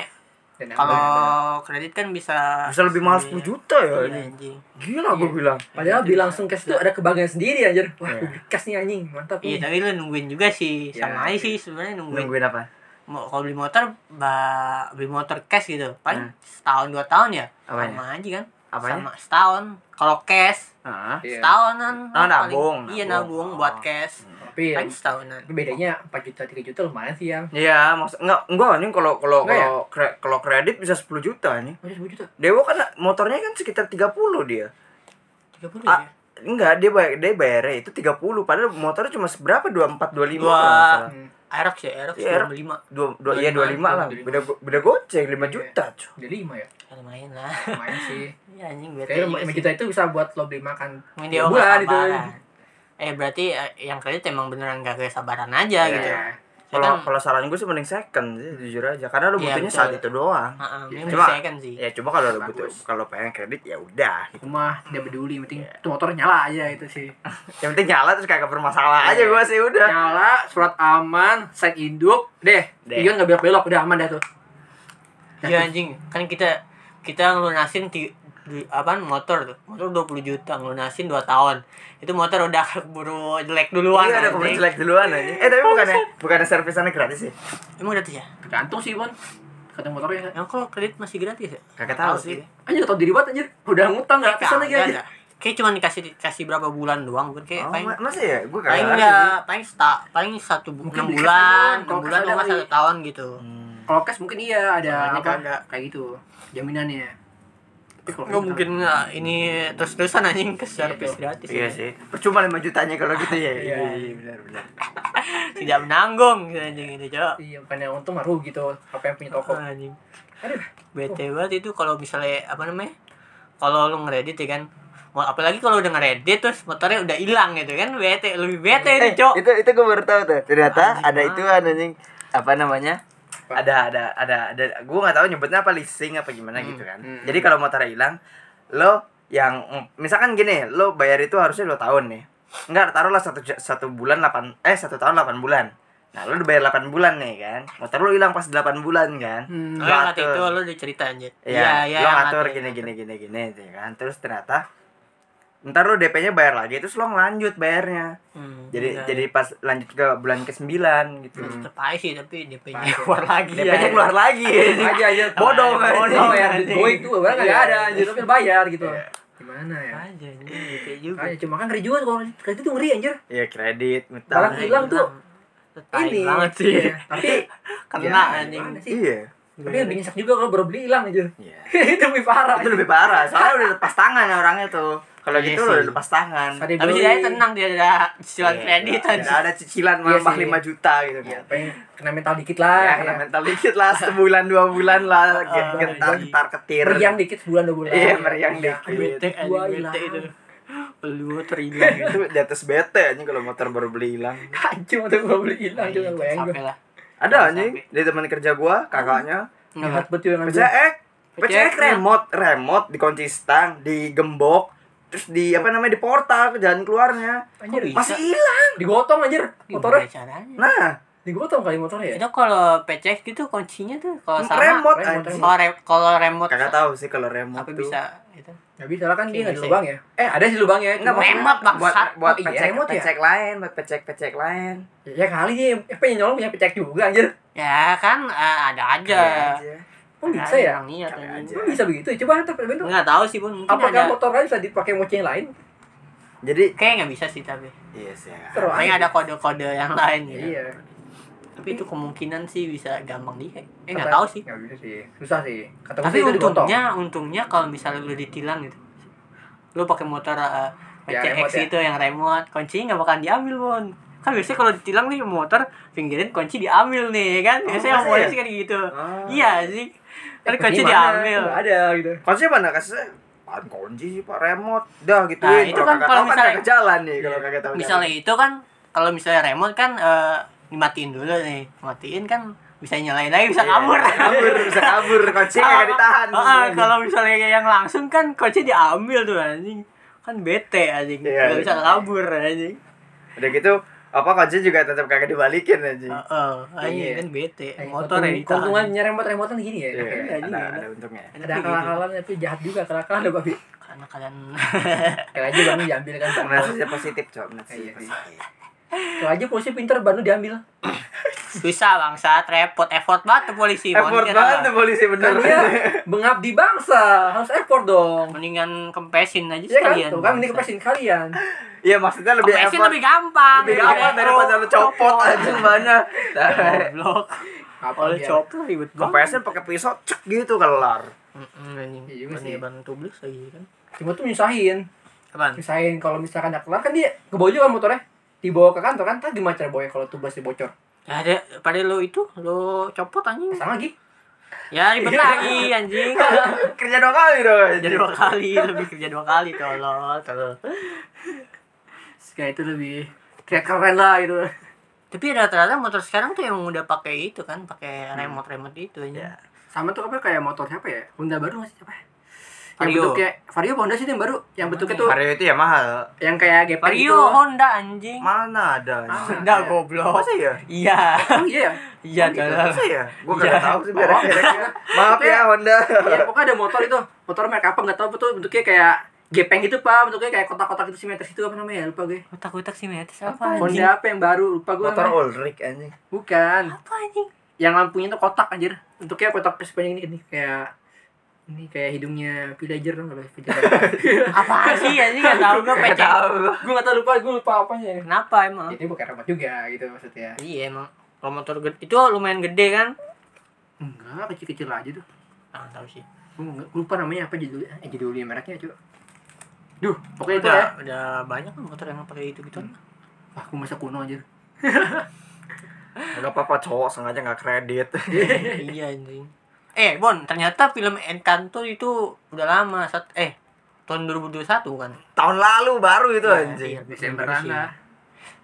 [SPEAKER 1] Dan yang lain-lain.
[SPEAKER 2] kalau kredit kan bisa
[SPEAKER 3] bisa lebih mahal 10 juta ya
[SPEAKER 2] Iya,
[SPEAKER 3] ini
[SPEAKER 2] anjing.
[SPEAKER 3] gila gue
[SPEAKER 1] Iya. Nah.
[SPEAKER 3] bilang
[SPEAKER 1] Padahal beli langsung cash tuh ada kebanggaan sendiri anjir. Wah,
[SPEAKER 3] Iya.
[SPEAKER 1] gue beli cash nih anjing, mantap
[SPEAKER 2] Iya,
[SPEAKER 1] nih.
[SPEAKER 2] tapi lu nungguin juga sih.
[SPEAKER 1] Ya,
[SPEAKER 2] Sama aja sih sebenarnya nungguin.
[SPEAKER 3] iya. nungguin apa
[SPEAKER 2] Mau kalau beli motor, ba- beli motor cash gitu. Paling
[SPEAKER 3] Hmm.
[SPEAKER 2] setahun dua tahun ya.
[SPEAKER 3] Apanya?
[SPEAKER 2] Sama aja kan.
[SPEAKER 3] Apanya?
[SPEAKER 2] Sama setahun. Kalau cash
[SPEAKER 3] Heeh.
[SPEAKER 1] Iya.
[SPEAKER 2] setahunan.
[SPEAKER 3] Oh,
[SPEAKER 2] paling-
[SPEAKER 3] nabung,
[SPEAKER 2] Iya,
[SPEAKER 3] nabung.
[SPEAKER 2] nabung buat
[SPEAKER 3] Oh.
[SPEAKER 2] cash.
[SPEAKER 1] Tapi ya,
[SPEAKER 2] Paling Kan setahunan.
[SPEAKER 1] tapi bedanya 4 juta 3 juta lumayan sih ya. yang.
[SPEAKER 3] Iya, maksud enggak enggak anjing kalau kalau
[SPEAKER 1] Enggak ya?
[SPEAKER 3] kalau kre- kalau kredit bisa 10 juta anjing.
[SPEAKER 1] Udah 10 Oh, iya, juta.
[SPEAKER 3] Dewo kan motornya kan sekitar 30 dia.
[SPEAKER 2] 30
[SPEAKER 3] Ah,
[SPEAKER 2] ya.
[SPEAKER 3] Enggak, dia bayar dia bayarnya itu 30 padahal motornya cuma seberapa 24 25
[SPEAKER 2] Dua.
[SPEAKER 3] kalau nggak salah.
[SPEAKER 1] Hmm.
[SPEAKER 2] Aerox ya, Aerox
[SPEAKER 3] Iya, Aerox.
[SPEAKER 2] 25.
[SPEAKER 3] Dua, dua, iya 25 lah.
[SPEAKER 1] 25.
[SPEAKER 3] Beda beda goceng 5
[SPEAKER 1] Iya.
[SPEAKER 3] juta, cuy.
[SPEAKER 1] Udah 5 ya.
[SPEAKER 2] Ya, lumayan lah.
[SPEAKER 1] Lumayan sih.
[SPEAKER 2] Iya, anjing bete
[SPEAKER 1] Kayaknya
[SPEAKER 2] juga
[SPEAKER 1] lima
[SPEAKER 2] sih.
[SPEAKER 1] juta itu bisa buat lo beli makan
[SPEAKER 2] Mungkin dia
[SPEAKER 1] tiga
[SPEAKER 2] nggak
[SPEAKER 3] gitu.
[SPEAKER 1] bulan gitu. itu.
[SPEAKER 2] sabaran. Eh berarti eh, yang kredit emang beneran gak kesabaran aja
[SPEAKER 3] Iya.
[SPEAKER 2] gitu.
[SPEAKER 3] Kalau
[SPEAKER 2] Sedang-
[SPEAKER 3] kalau saran gue sih mending second sih, jujur aja. Karena lu
[SPEAKER 2] Iya,
[SPEAKER 3] butuhnya
[SPEAKER 2] betul.
[SPEAKER 3] saat itu doang.
[SPEAKER 2] Heeh, ini
[SPEAKER 3] Cuma-
[SPEAKER 2] masih ah, second sih.
[SPEAKER 3] Ya cuma kalau lu butuh
[SPEAKER 1] Bagus.
[SPEAKER 3] kalau pengen kredit ya udah.
[SPEAKER 1] rumah tidak peduli yang
[SPEAKER 2] Iya.
[SPEAKER 1] penting itu motor nyala aja itu sih
[SPEAKER 3] Yang penting nyala terus kagak bermasalah aja
[SPEAKER 1] Iya.
[SPEAKER 3] gue sih udah.
[SPEAKER 1] nyala surat aman set induk deh
[SPEAKER 3] Deh.
[SPEAKER 1] Ion nggak belok belok udah aman dah tuh
[SPEAKER 2] Iya anjing, kan kita kita ngelunasin ti, di, apaan, motor tuh. Motor 20 juta ngelunasin 2 tahun. Itu motor udah keburu jelek duluan.
[SPEAKER 3] Iya, ada
[SPEAKER 2] anjing.
[SPEAKER 3] keburu jelek duluan aja. Eh, tapi bukannya bukannya servisannya gratis sih?
[SPEAKER 2] Emang gratis ya?
[SPEAKER 1] tergantung sih bon kata motornya
[SPEAKER 2] Emang kalau kredit masih gratis ya?
[SPEAKER 3] Kagak
[SPEAKER 2] Nggak
[SPEAKER 3] tahu sih. ya,
[SPEAKER 1] anjir nggak tau diri banget anjir udah ngutang nggak
[SPEAKER 2] Nggak
[SPEAKER 1] pesan lagi
[SPEAKER 2] Iya, ada.
[SPEAKER 1] aja
[SPEAKER 2] kayak cuma dikasih dikasih berapa bulan doang bukan kayak
[SPEAKER 3] Oh,
[SPEAKER 2] paling
[SPEAKER 3] ma- masih ya? Gue
[SPEAKER 2] paling
[SPEAKER 3] kagak ngerti.
[SPEAKER 2] udah paling sta, paling satu bu-
[SPEAKER 1] Mungkin
[SPEAKER 2] enam
[SPEAKER 1] dikasih doang,
[SPEAKER 2] bulan enam
[SPEAKER 1] kalau kesana
[SPEAKER 2] bulan atau nggak
[SPEAKER 1] kali.
[SPEAKER 2] satu tahun gitu
[SPEAKER 3] Hmm.
[SPEAKER 1] Kalau cash mungkin iya ada
[SPEAKER 2] Soalnya
[SPEAKER 1] apa
[SPEAKER 2] kagak.
[SPEAKER 1] kayak gitu jaminannya. Tapi kalau
[SPEAKER 2] nggak
[SPEAKER 1] kita-
[SPEAKER 2] mungkin nggak ini terus terusan anjing ke servis gratis
[SPEAKER 3] Iya
[SPEAKER 2] ya.
[SPEAKER 3] sih. Percuma 5 jutanya kalau gitu ya.
[SPEAKER 1] Iya.
[SPEAKER 3] benar benar.
[SPEAKER 2] tidak menanggung gitu, anjing ini cok
[SPEAKER 1] Iya, bukan yang untung baru gitu apa yang punya toko.
[SPEAKER 2] Oh, anjing
[SPEAKER 1] Aduh.
[SPEAKER 2] bete banget itu kalau misalnya apa namanya kalau lu ngeredit ya kan Mau- apalagi kalau udah ngeredit terus motornya udah hilang gitu kan bete lebih bete
[SPEAKER 3] Eh,
[SPEAKER 2] itu cok
[SPEAKER 3] itu itu gue baru tahu tuh. Ternyata
[SPEAKER 2] Anjing
[SPEAKER 3] ada
[SPEAKER 2] banget.
[SPEAKER 3] itu anjing apa namanya? Ada ada ada ada gue nggak tahu nyebutnya apa leasing apa gimana gitu kan.
[SPEAKER 1] hmm,
[SPEAKER 3] Jadi kalau motor hilang lo yang mm, misalkan gini, lo bayar itu harusnya 2 tahun nih. Enggak, taruhlah satu ju- satu bulan 8 eh satu tahun 8 bulan. Nah, lo udah bayar 8 bulan nih kan. Motor lo hilang pas 8 bulan kan.
[SPEAKER 1] Hmm.
[SPEAKER 2] Lo Oh, yang ngatur
[SPEAKER 3] ngatur.
[SPEAKER 2] itu lo udah cerita anjir
[SPEAKER 3] Iya,
[SPEAKER 2] iya,
[SPEAKER 3] lo
[SPEAKER 2] yang
[SPEAKER 3] ngatur gini gini gini gini gitu ya kan. Terus ternyata ntar lo DP-nya bayar lagi terus lo ngelanjut bayarnya.
[SPEAKER 2] Hmm,
[SPEAKER 3] Jadi
[SPEAKER 2] iya. Hmm.
[SPEAKER 3] jadi pas lanjut ke bulan ke-9 gitu.
[SPEAKER 2] tetep aja sih tapi DP-nya
[SPEAKER 1] Pahit.
[SPEAKER 2] keluar lagi ya.
[SPEAKER 3] DP-nya keluar lagi.
[SPEAKER 1] Aja aja
[SPEAKER 3] Bodoh,
[SPEAKER 1] Aja,
[SPEAKER 3] bodoh.
[SPEAKER 1] bodoh ya. Gue itu barang enggak ada, jadi tapi bayar gitu.
[SPEAKER 3] Iya.
[SPEAKER 1] Gimana ya?
[SPEAKER 2] aja ini DP juga
[SPEAKER 1] Makanya cuma kan ngeri juga kalau kredit tuh ngeri anjir.
[SPEAKER 3] Iya, kredit,
[SPEAKER 1] Barang
[SPEAKER 3] utang.
[SPEAKER 1] hilang tuh
[SPEAKER 2] ini
[SPEAKER 1] ini.
[SPEAKER 2] banget sih
[SPEAKER 1] Iya, Tapi
[SPEAKER 2] kena
[SPEAKER 3] Iya,
[SPEAKER 2] anjing
[SPEAKER 1] gimana sih?
[SPEAKER 3] Iya.
[SPEAKER 1] Tapi lebih nyesek juga kalau baru beli hilang aja.
[SPEAKER 3] Iya.
[SPEAKER 1] itu lebih parah.
[SPEAKER 3] Itu lebih parah, soalnya udah lepas tangan orangnya tuh. Kalau
[SPEAKER 2] Iya
[SPEAKER 3] gitu
[SPEAKER 2] sih.
[SPEAKER 3] udah lepas tangan.
[SPEAKER 1] Tadi
[SPEAKER 2] tapi
[SPEAKER 1] beli,
[SPEAKER 2] dia tenang dia ada cicilan
[SPEAKER 3] Iya,
[SPEAKER 2] kredit
[SPEAKER 3] udah-
[SPEAKER 2] anjing Iya.
[SPEAKER 3] udah ada cicilan
[SPEAKER 1] Iya
[SPEAKER 3] mambah
[SPEAKER 1] sih.
[SPEAKER 3] 5 juta gitu
[SPEAKER 1] Ya,
[SPEAKER 3] kan.
[SPEAKER 1] pengen kena mental dikit lah.
[SPEAKER 3] Ya, kena mental dikit lah sebulan dua bulan lah
[SPEAKER 2] Ah,
[SPEAKER 3] gentar
[SPEAKER 2] Iya. iya.
[SPEAKER 3] gentar ketir.
[SPEAKER 1] Meriang dikit sebulan dua bulan.
[SPEAKER 3] Iya, meriang
[SPEAKER 1] Iya.
[SPEAKER 3] dikit.
[SPEAKER 2] bete
[SPEAKER 1] Gua
[SPEAKER 2] anjing bete
[SPEAKER 1] hilang.
[SPEAKER 2] itu lu terhilang gitu.
[SPEAKER 3] itu di atas bete anjing kalau motor baru beli hilang
[SPEAKER 1] Kacau tuh gua beli hilang Iya.
[SPEAKER 2] Nah,
[SPEAKER 1] juga
[SPEAKER 2] itu
[SPEAKER 1] gue.
[SPEAKER 2] sampai lah
[SPEAKER 3] ada anjing dari teman kerja gua kakaknya
[SPEAKER 1] Jahat
[SPEAKER 2] Enggak,
[SPEAKER 1] betul yang ngambil.
[SPEAKER 3] PCX PCX
[SPEAKER 2] PCX.
[SPEAKER 3] remote remote dikunci stang digembok terus di apa namanya di portal ke jalan keluarnya
[SPEAKER 1] Anjir,
[SPEAKER 2] Kok bisa?
[SPEAKER 3] masih hilang
[SPEAKER 1] digotong anjir motornya.
[SPEAKER 2] gimana caranya
[SPEAKER 3] nah
[SPEAKER 1] Digotong kali motornya ya.
[SPEAKER 2] itu kalau PCX gitu kuncinya tuh kalau sama
[SPEAKER 3] remote
[SPEAKER 1] remote,
[SPEAKER 3] anjing
[SPEAKER 2] kalau re- kalau remote
[SPEAKER 3] kakak tahu sih kalau remote
[SPEAKER 2] apa
[SPEAKER 3] tuh
[SPEAKER 2] bisa gitu. itu
[SPEAKER 1] Enggak bisa lah kan dia enggak ada
[SPEAKER 2] Bisa.
[SPEAKER 1] lubang ya. Eh, ada sih lubangnya.
[SPEAKER 3] Nggak,
[SPEAKER 1] cuma-
[SPEAKER 3] maksudnya
[SPEAKER 2] Remote, bangsat.
[SPEAKER 3] buat buat
[SPEAKER 1] Oh, iya,
[SPEAKER 3] pecek
[SPEAKER 1] remote ya?
[SPEAKER 3] pecek lain buat pecek pecek lain
[SPEAKER 1] Ya kali dia eh, pengen nyolong punya pecek juga anjir.
[SPEAKER 2] ya kan eh, ada aja
[SPEAKER 3] Iya Aja.
[SPEAKER 1] Kok bisa ya?
[SPEAKER 2] Orang niat
[SPEAKER 3] Kali
[SPEAKER 2] anjing.
[SPEAKER 3] aja.
[SPEAKER 1] Kok bisa begitu? Coba hantar bentuk.
[SPEAKER 2] nggak tahu sih bun mungkin
[SPEAKER 1] Apakah
[SPEAKER 2] ada
[SPEAKER 1] motor lain bisa dipakai mochi yang lain?
[SPEAKER 3] jadi
[SPEAKER 2] kayak nggak bisa sih tapi
[SPEAKER 3] iya sih
[SPEAKER 1] Terus.
[SPEAKER 2] Paling ada kode-kode yang lain gitu.
[SPEAKER 1] Iya.
[SPEAKER 2] Tapi itu kemungkinan sih bisa gampang dihack. Eh nggak
[SPEAKER 1] Kata-
[SPEAKER 2] tahu sih.
[SPEAKER 1] Nggak bisa sih. Susah sih. Kata gua
[SPEAKER 2] Tapi
[SPEAKER 1] sih itu digotong.
[SPEAKER 2] untungnya untungnya kalau misalnya lu ditilang gitu. Lu pakai motor uh,
[SPEAKER 1] Ya, remote ya.
[SPEAKER 2] PCX itu yang remote, kuncinya nggak bakal diambil, Bon. Kan biasanya kalau ditilang nih motor pinggirin kunci diambil nih kan.
[SPEAKER 3] Oh,
[SPEAKER 2] Biasanya yang
[SPEAKER 3] masa ya?
[SPEAKER 2] polisi kan gitu.
[SPEAKER 3] Ah.
[SPEAKER 2] Iya sih. Kan
[SPEAKER 1] Eh,
[SPEAKER 2] kunci
[SPEAKER 1] gimana?
[SPEAKER 2] diambil. Eh,
[SPEAKER 1] Nggak ada gitu.
[SPEAKER 3] Konsepnya mana kasusnya? Apaan "Ah, kunci sih pak remote Dah gituin
[SPEAKER 2] Nah, itu kan kalau
[SPEAKER 3] kagak tahu kan
[SPEAKER 2] misalnya- Iya.
[SPEAKER 3] kagak jalan nih Kalau kagak tahu
[SPEAKER 2] Misalnya itu kan kalau misalnya remote kan eh, dimatiin dulu nih. Matiin kan bisa nyalain lagi bisa
[SPEAKER 3] Iya,
[SPEAKER 2] kabur.
[SPEAKER 3] bisa kabur bisa kabur kunci
[SPEAKER 2] Ah,
[SPEAKER 3] kagak ditahan
[SPEAKER 2] ah, ah, kalau misalnya yang langsung kan coachnya diambil tuh anjing kan bete anjing
[SPEAKER 3] Iya,
[SPEAKER 2] nggak bisa
[SPEAKER 3] iya.
[SPEAKER 2] kabur anjing
[SPEAKER 3] udah gitu apa kunci juga tetap kagak dibalikin aja
[SPEAKER 2] Heeh, anjing
[SPEAKER 1] Iya.
[SPEAKER 2] kan bete
[SPEAKER 1] Eh,
[SPEAKER 2] motor ya
[SPEAKER 1] untung-
[SPEAKER 2] ditahan.
[SPEAKER 1] Keuntungannya remote-remote kan gini ya.
[SPEAKER 3] Iya,
[SPEAKER 2] iya,
[SPEAKER 3] ada,
[SPEAKER 2] iya.
[SPEAKER 3] ada untungnya
[SPEAKER 1] Ada
[SPEAKER 2] Tapi gitu,
[SPEAKER 1] akal-akalan tapi jahat juga akal-akalan ada babi.
[SPEAKER 2] karena kalian
[SPEAKER 1] Kayak aja Banu diambil kan.
[SPEAKER 3] Benar sih positif cok, benar sih
[SPEAKER 1] Iya,
[SPEAKER 3] positif.
[SPEAKER 1] Kalau aja polisi pinter Banu diambil.
[SPEAKER 2] susah bangsa repot effort banget tuh polisi
[SPEAKER 3] Effort
[SPEAKER 2] mendingan
[SPEAKER 3] banget
[SPEAKER 2] apa?
[SPEAKER 3] tuh polisi bener.
[SPEAKER 1] Kan dia mengabdi bangsa, harus effort dong.
[SPEAKER 2] mendingan kempesin aja
[SPEAKER 1] Iya kan?
[SPEAKER 2] sekalian
[SPEAKER 1] Tuh kan ini
[SPEAKER 2] bangsa.
[SPEAKER 1] kepasin kalian.
[SPEAKER 3] Iya maksudnya lebih
[SPEAKER 2] Kempesin
[SPEAKER 3] effort.
[SPEAKER 2] lebih gampang Iya.
[SPEAKER 3] Lebih gampang daripada lu copot aja banyak. Nah,
[SPEAKER 2] Oh. goblok
[SPEAKER 1] Apa
[SPEAKER 2] oleh copot ribet banget
[SPEAKER 3] Kepesin pakai pisau cek gitu kelar.
[SPEAKER 2] Mm-mm, anjing.
[SPEAKER 1] Iya juga sih.
[SPEAKER 2] Mending bantu beli lagi kan
[SPEAKER 1] Cuma tuh nyusahin.
[SPEAKER 2] apaan
[SPEAKER 1] Nyusahin kalau misalkan nggak kelar kan dia kebojol kan motornya. Dibawa ke kantor kan, tak gimana cara bawa kalau tuh basi bocor.
[SPEAKER 2] Ya, ada pada lo itu lo copot anjing.
[SPEAKER 1] Pasang lagi.
[SPEAKER 2] Ya ribet lagi anjing.
[SPEAKER 3] Kerja dua kali Iya dong.
[SPEAKER 2] Kerja dua kali, lebih kerja dua kali tolol, tolol.
[SPEAKER 1] Kayak itu lebih kayak keren lah gitu.
[SPEAKER 2] Tapi rata-rata motor sekarang tuh yang udah pakai itu kan, pakai remote-remote itu
[SPEAKER 3] Ya.
[SPEAKER 2] aja.
[SPEAKER 1] Sama tuh apa kayak motor siapa ya? Honda baru masih siapa? Yang
[SPEAKER 2] Vario.
[SPEAKER 1] bentuk kayak Vario apa Honda sih itu yang baru, yang bentuknya tuh
[SPEAKER 3] Vario itu ya mahal.
[SPEAKER 1] yang kayak GP
[SPEAKER 2] Vario
[SPEAKER 1] gitu.
[SPEAKER 2] Honda anjing.
[SPEAKER 3] Mana ada? anjing?
[SPEAKER 2] Honda goblok.
[SPEAKER 3] Masa ya?
[SPEAKER 2] Iya.
[SPEAKER 1] Oh iya ya.
[SPEAKER 2] Ah. Iya
[SPEAKER 1] Oh, gitu.
[SPEAKER 2] tolol.
[SPEAKER 3] Masa ya? Gue
[SPEAKER 2] Iya.
[SPEAKER 3] kagak tahu sih merek-mereknya.
[SPEAKER 1] Oh.
[SPEAKER 3] Maaf ya Honda.
[SPEAKER 1] Iya, pokoknya ada motor itu. Motor merek apa nggak tahu betul bentuknya kayak gepeng gitu, Pak. Bentuknya kayak kotak-kotak gitu simetris itu apa namanya ya? Lupa gue.
[SPEAKER 2] Otak-otak sih metis apa anjing?
[SPEAKER 1] Honda apa yang baru? Lupa gue.
[SPEAKER 3] Motor
[SPEAKER 1] namanya.
[SPEAKER 3] Ulrich anjing.
[SPEAKER 1] Bukan.
[SPEAKER 2] Apa anjing?
[SPEAKER 1] Yang lampunya tuh kotak anjir. Bentuknya kotak sepanjang ini gini kayak ini kayak hidungnya villager dong kalau villager
[SPEAKER 2] Apaan sih anjing nggak tahu gue
[SPEAKER 3] Gak
[SPEAKER 2] pecah.
[SPEAKER 3] tau gua.
[SPEAKER 1] gue gak tau lupa gue lupa apanya
[SPEAKER 2] Kenapa emang?
[SPEAKER 1] ini bukan robot juga gitu maksudnya
[SPEAKER 2] Iya emang. Kalau motor gede itu lumayan gede kan?
[SPEAKER 1] enggak kecil kecil aja tuh
[SPEAKER 2] Ah nggak tahu sih.
[SPEAKER 1] gue lupa namanya apa judulnya eh, judulnya mereknya coba duh pokoknya itu ya
[SPEAKER 2] Udah, udah banyak kan motor yang pakai itu gitu.
[SPEAKER 1] wah gue masa kuno aja
[SPEAKER 3] Gak apa-apa cowok sengaja gak kredit
[SPEAKER 2] iya anjing. Eh Bon, ternyata film Encanto itu udah lama saat eh tahun 2021 kan.
[SPEAKER 3] Tahun lalu baru itu
[SPEAKER 2] Nah,
[SPEAKER 3] anjing
[SPEAKER 2] iya,
[SPEAKER 1] Desemberan
[SPEAKER 2] sih.
[SPEAKER 1] lah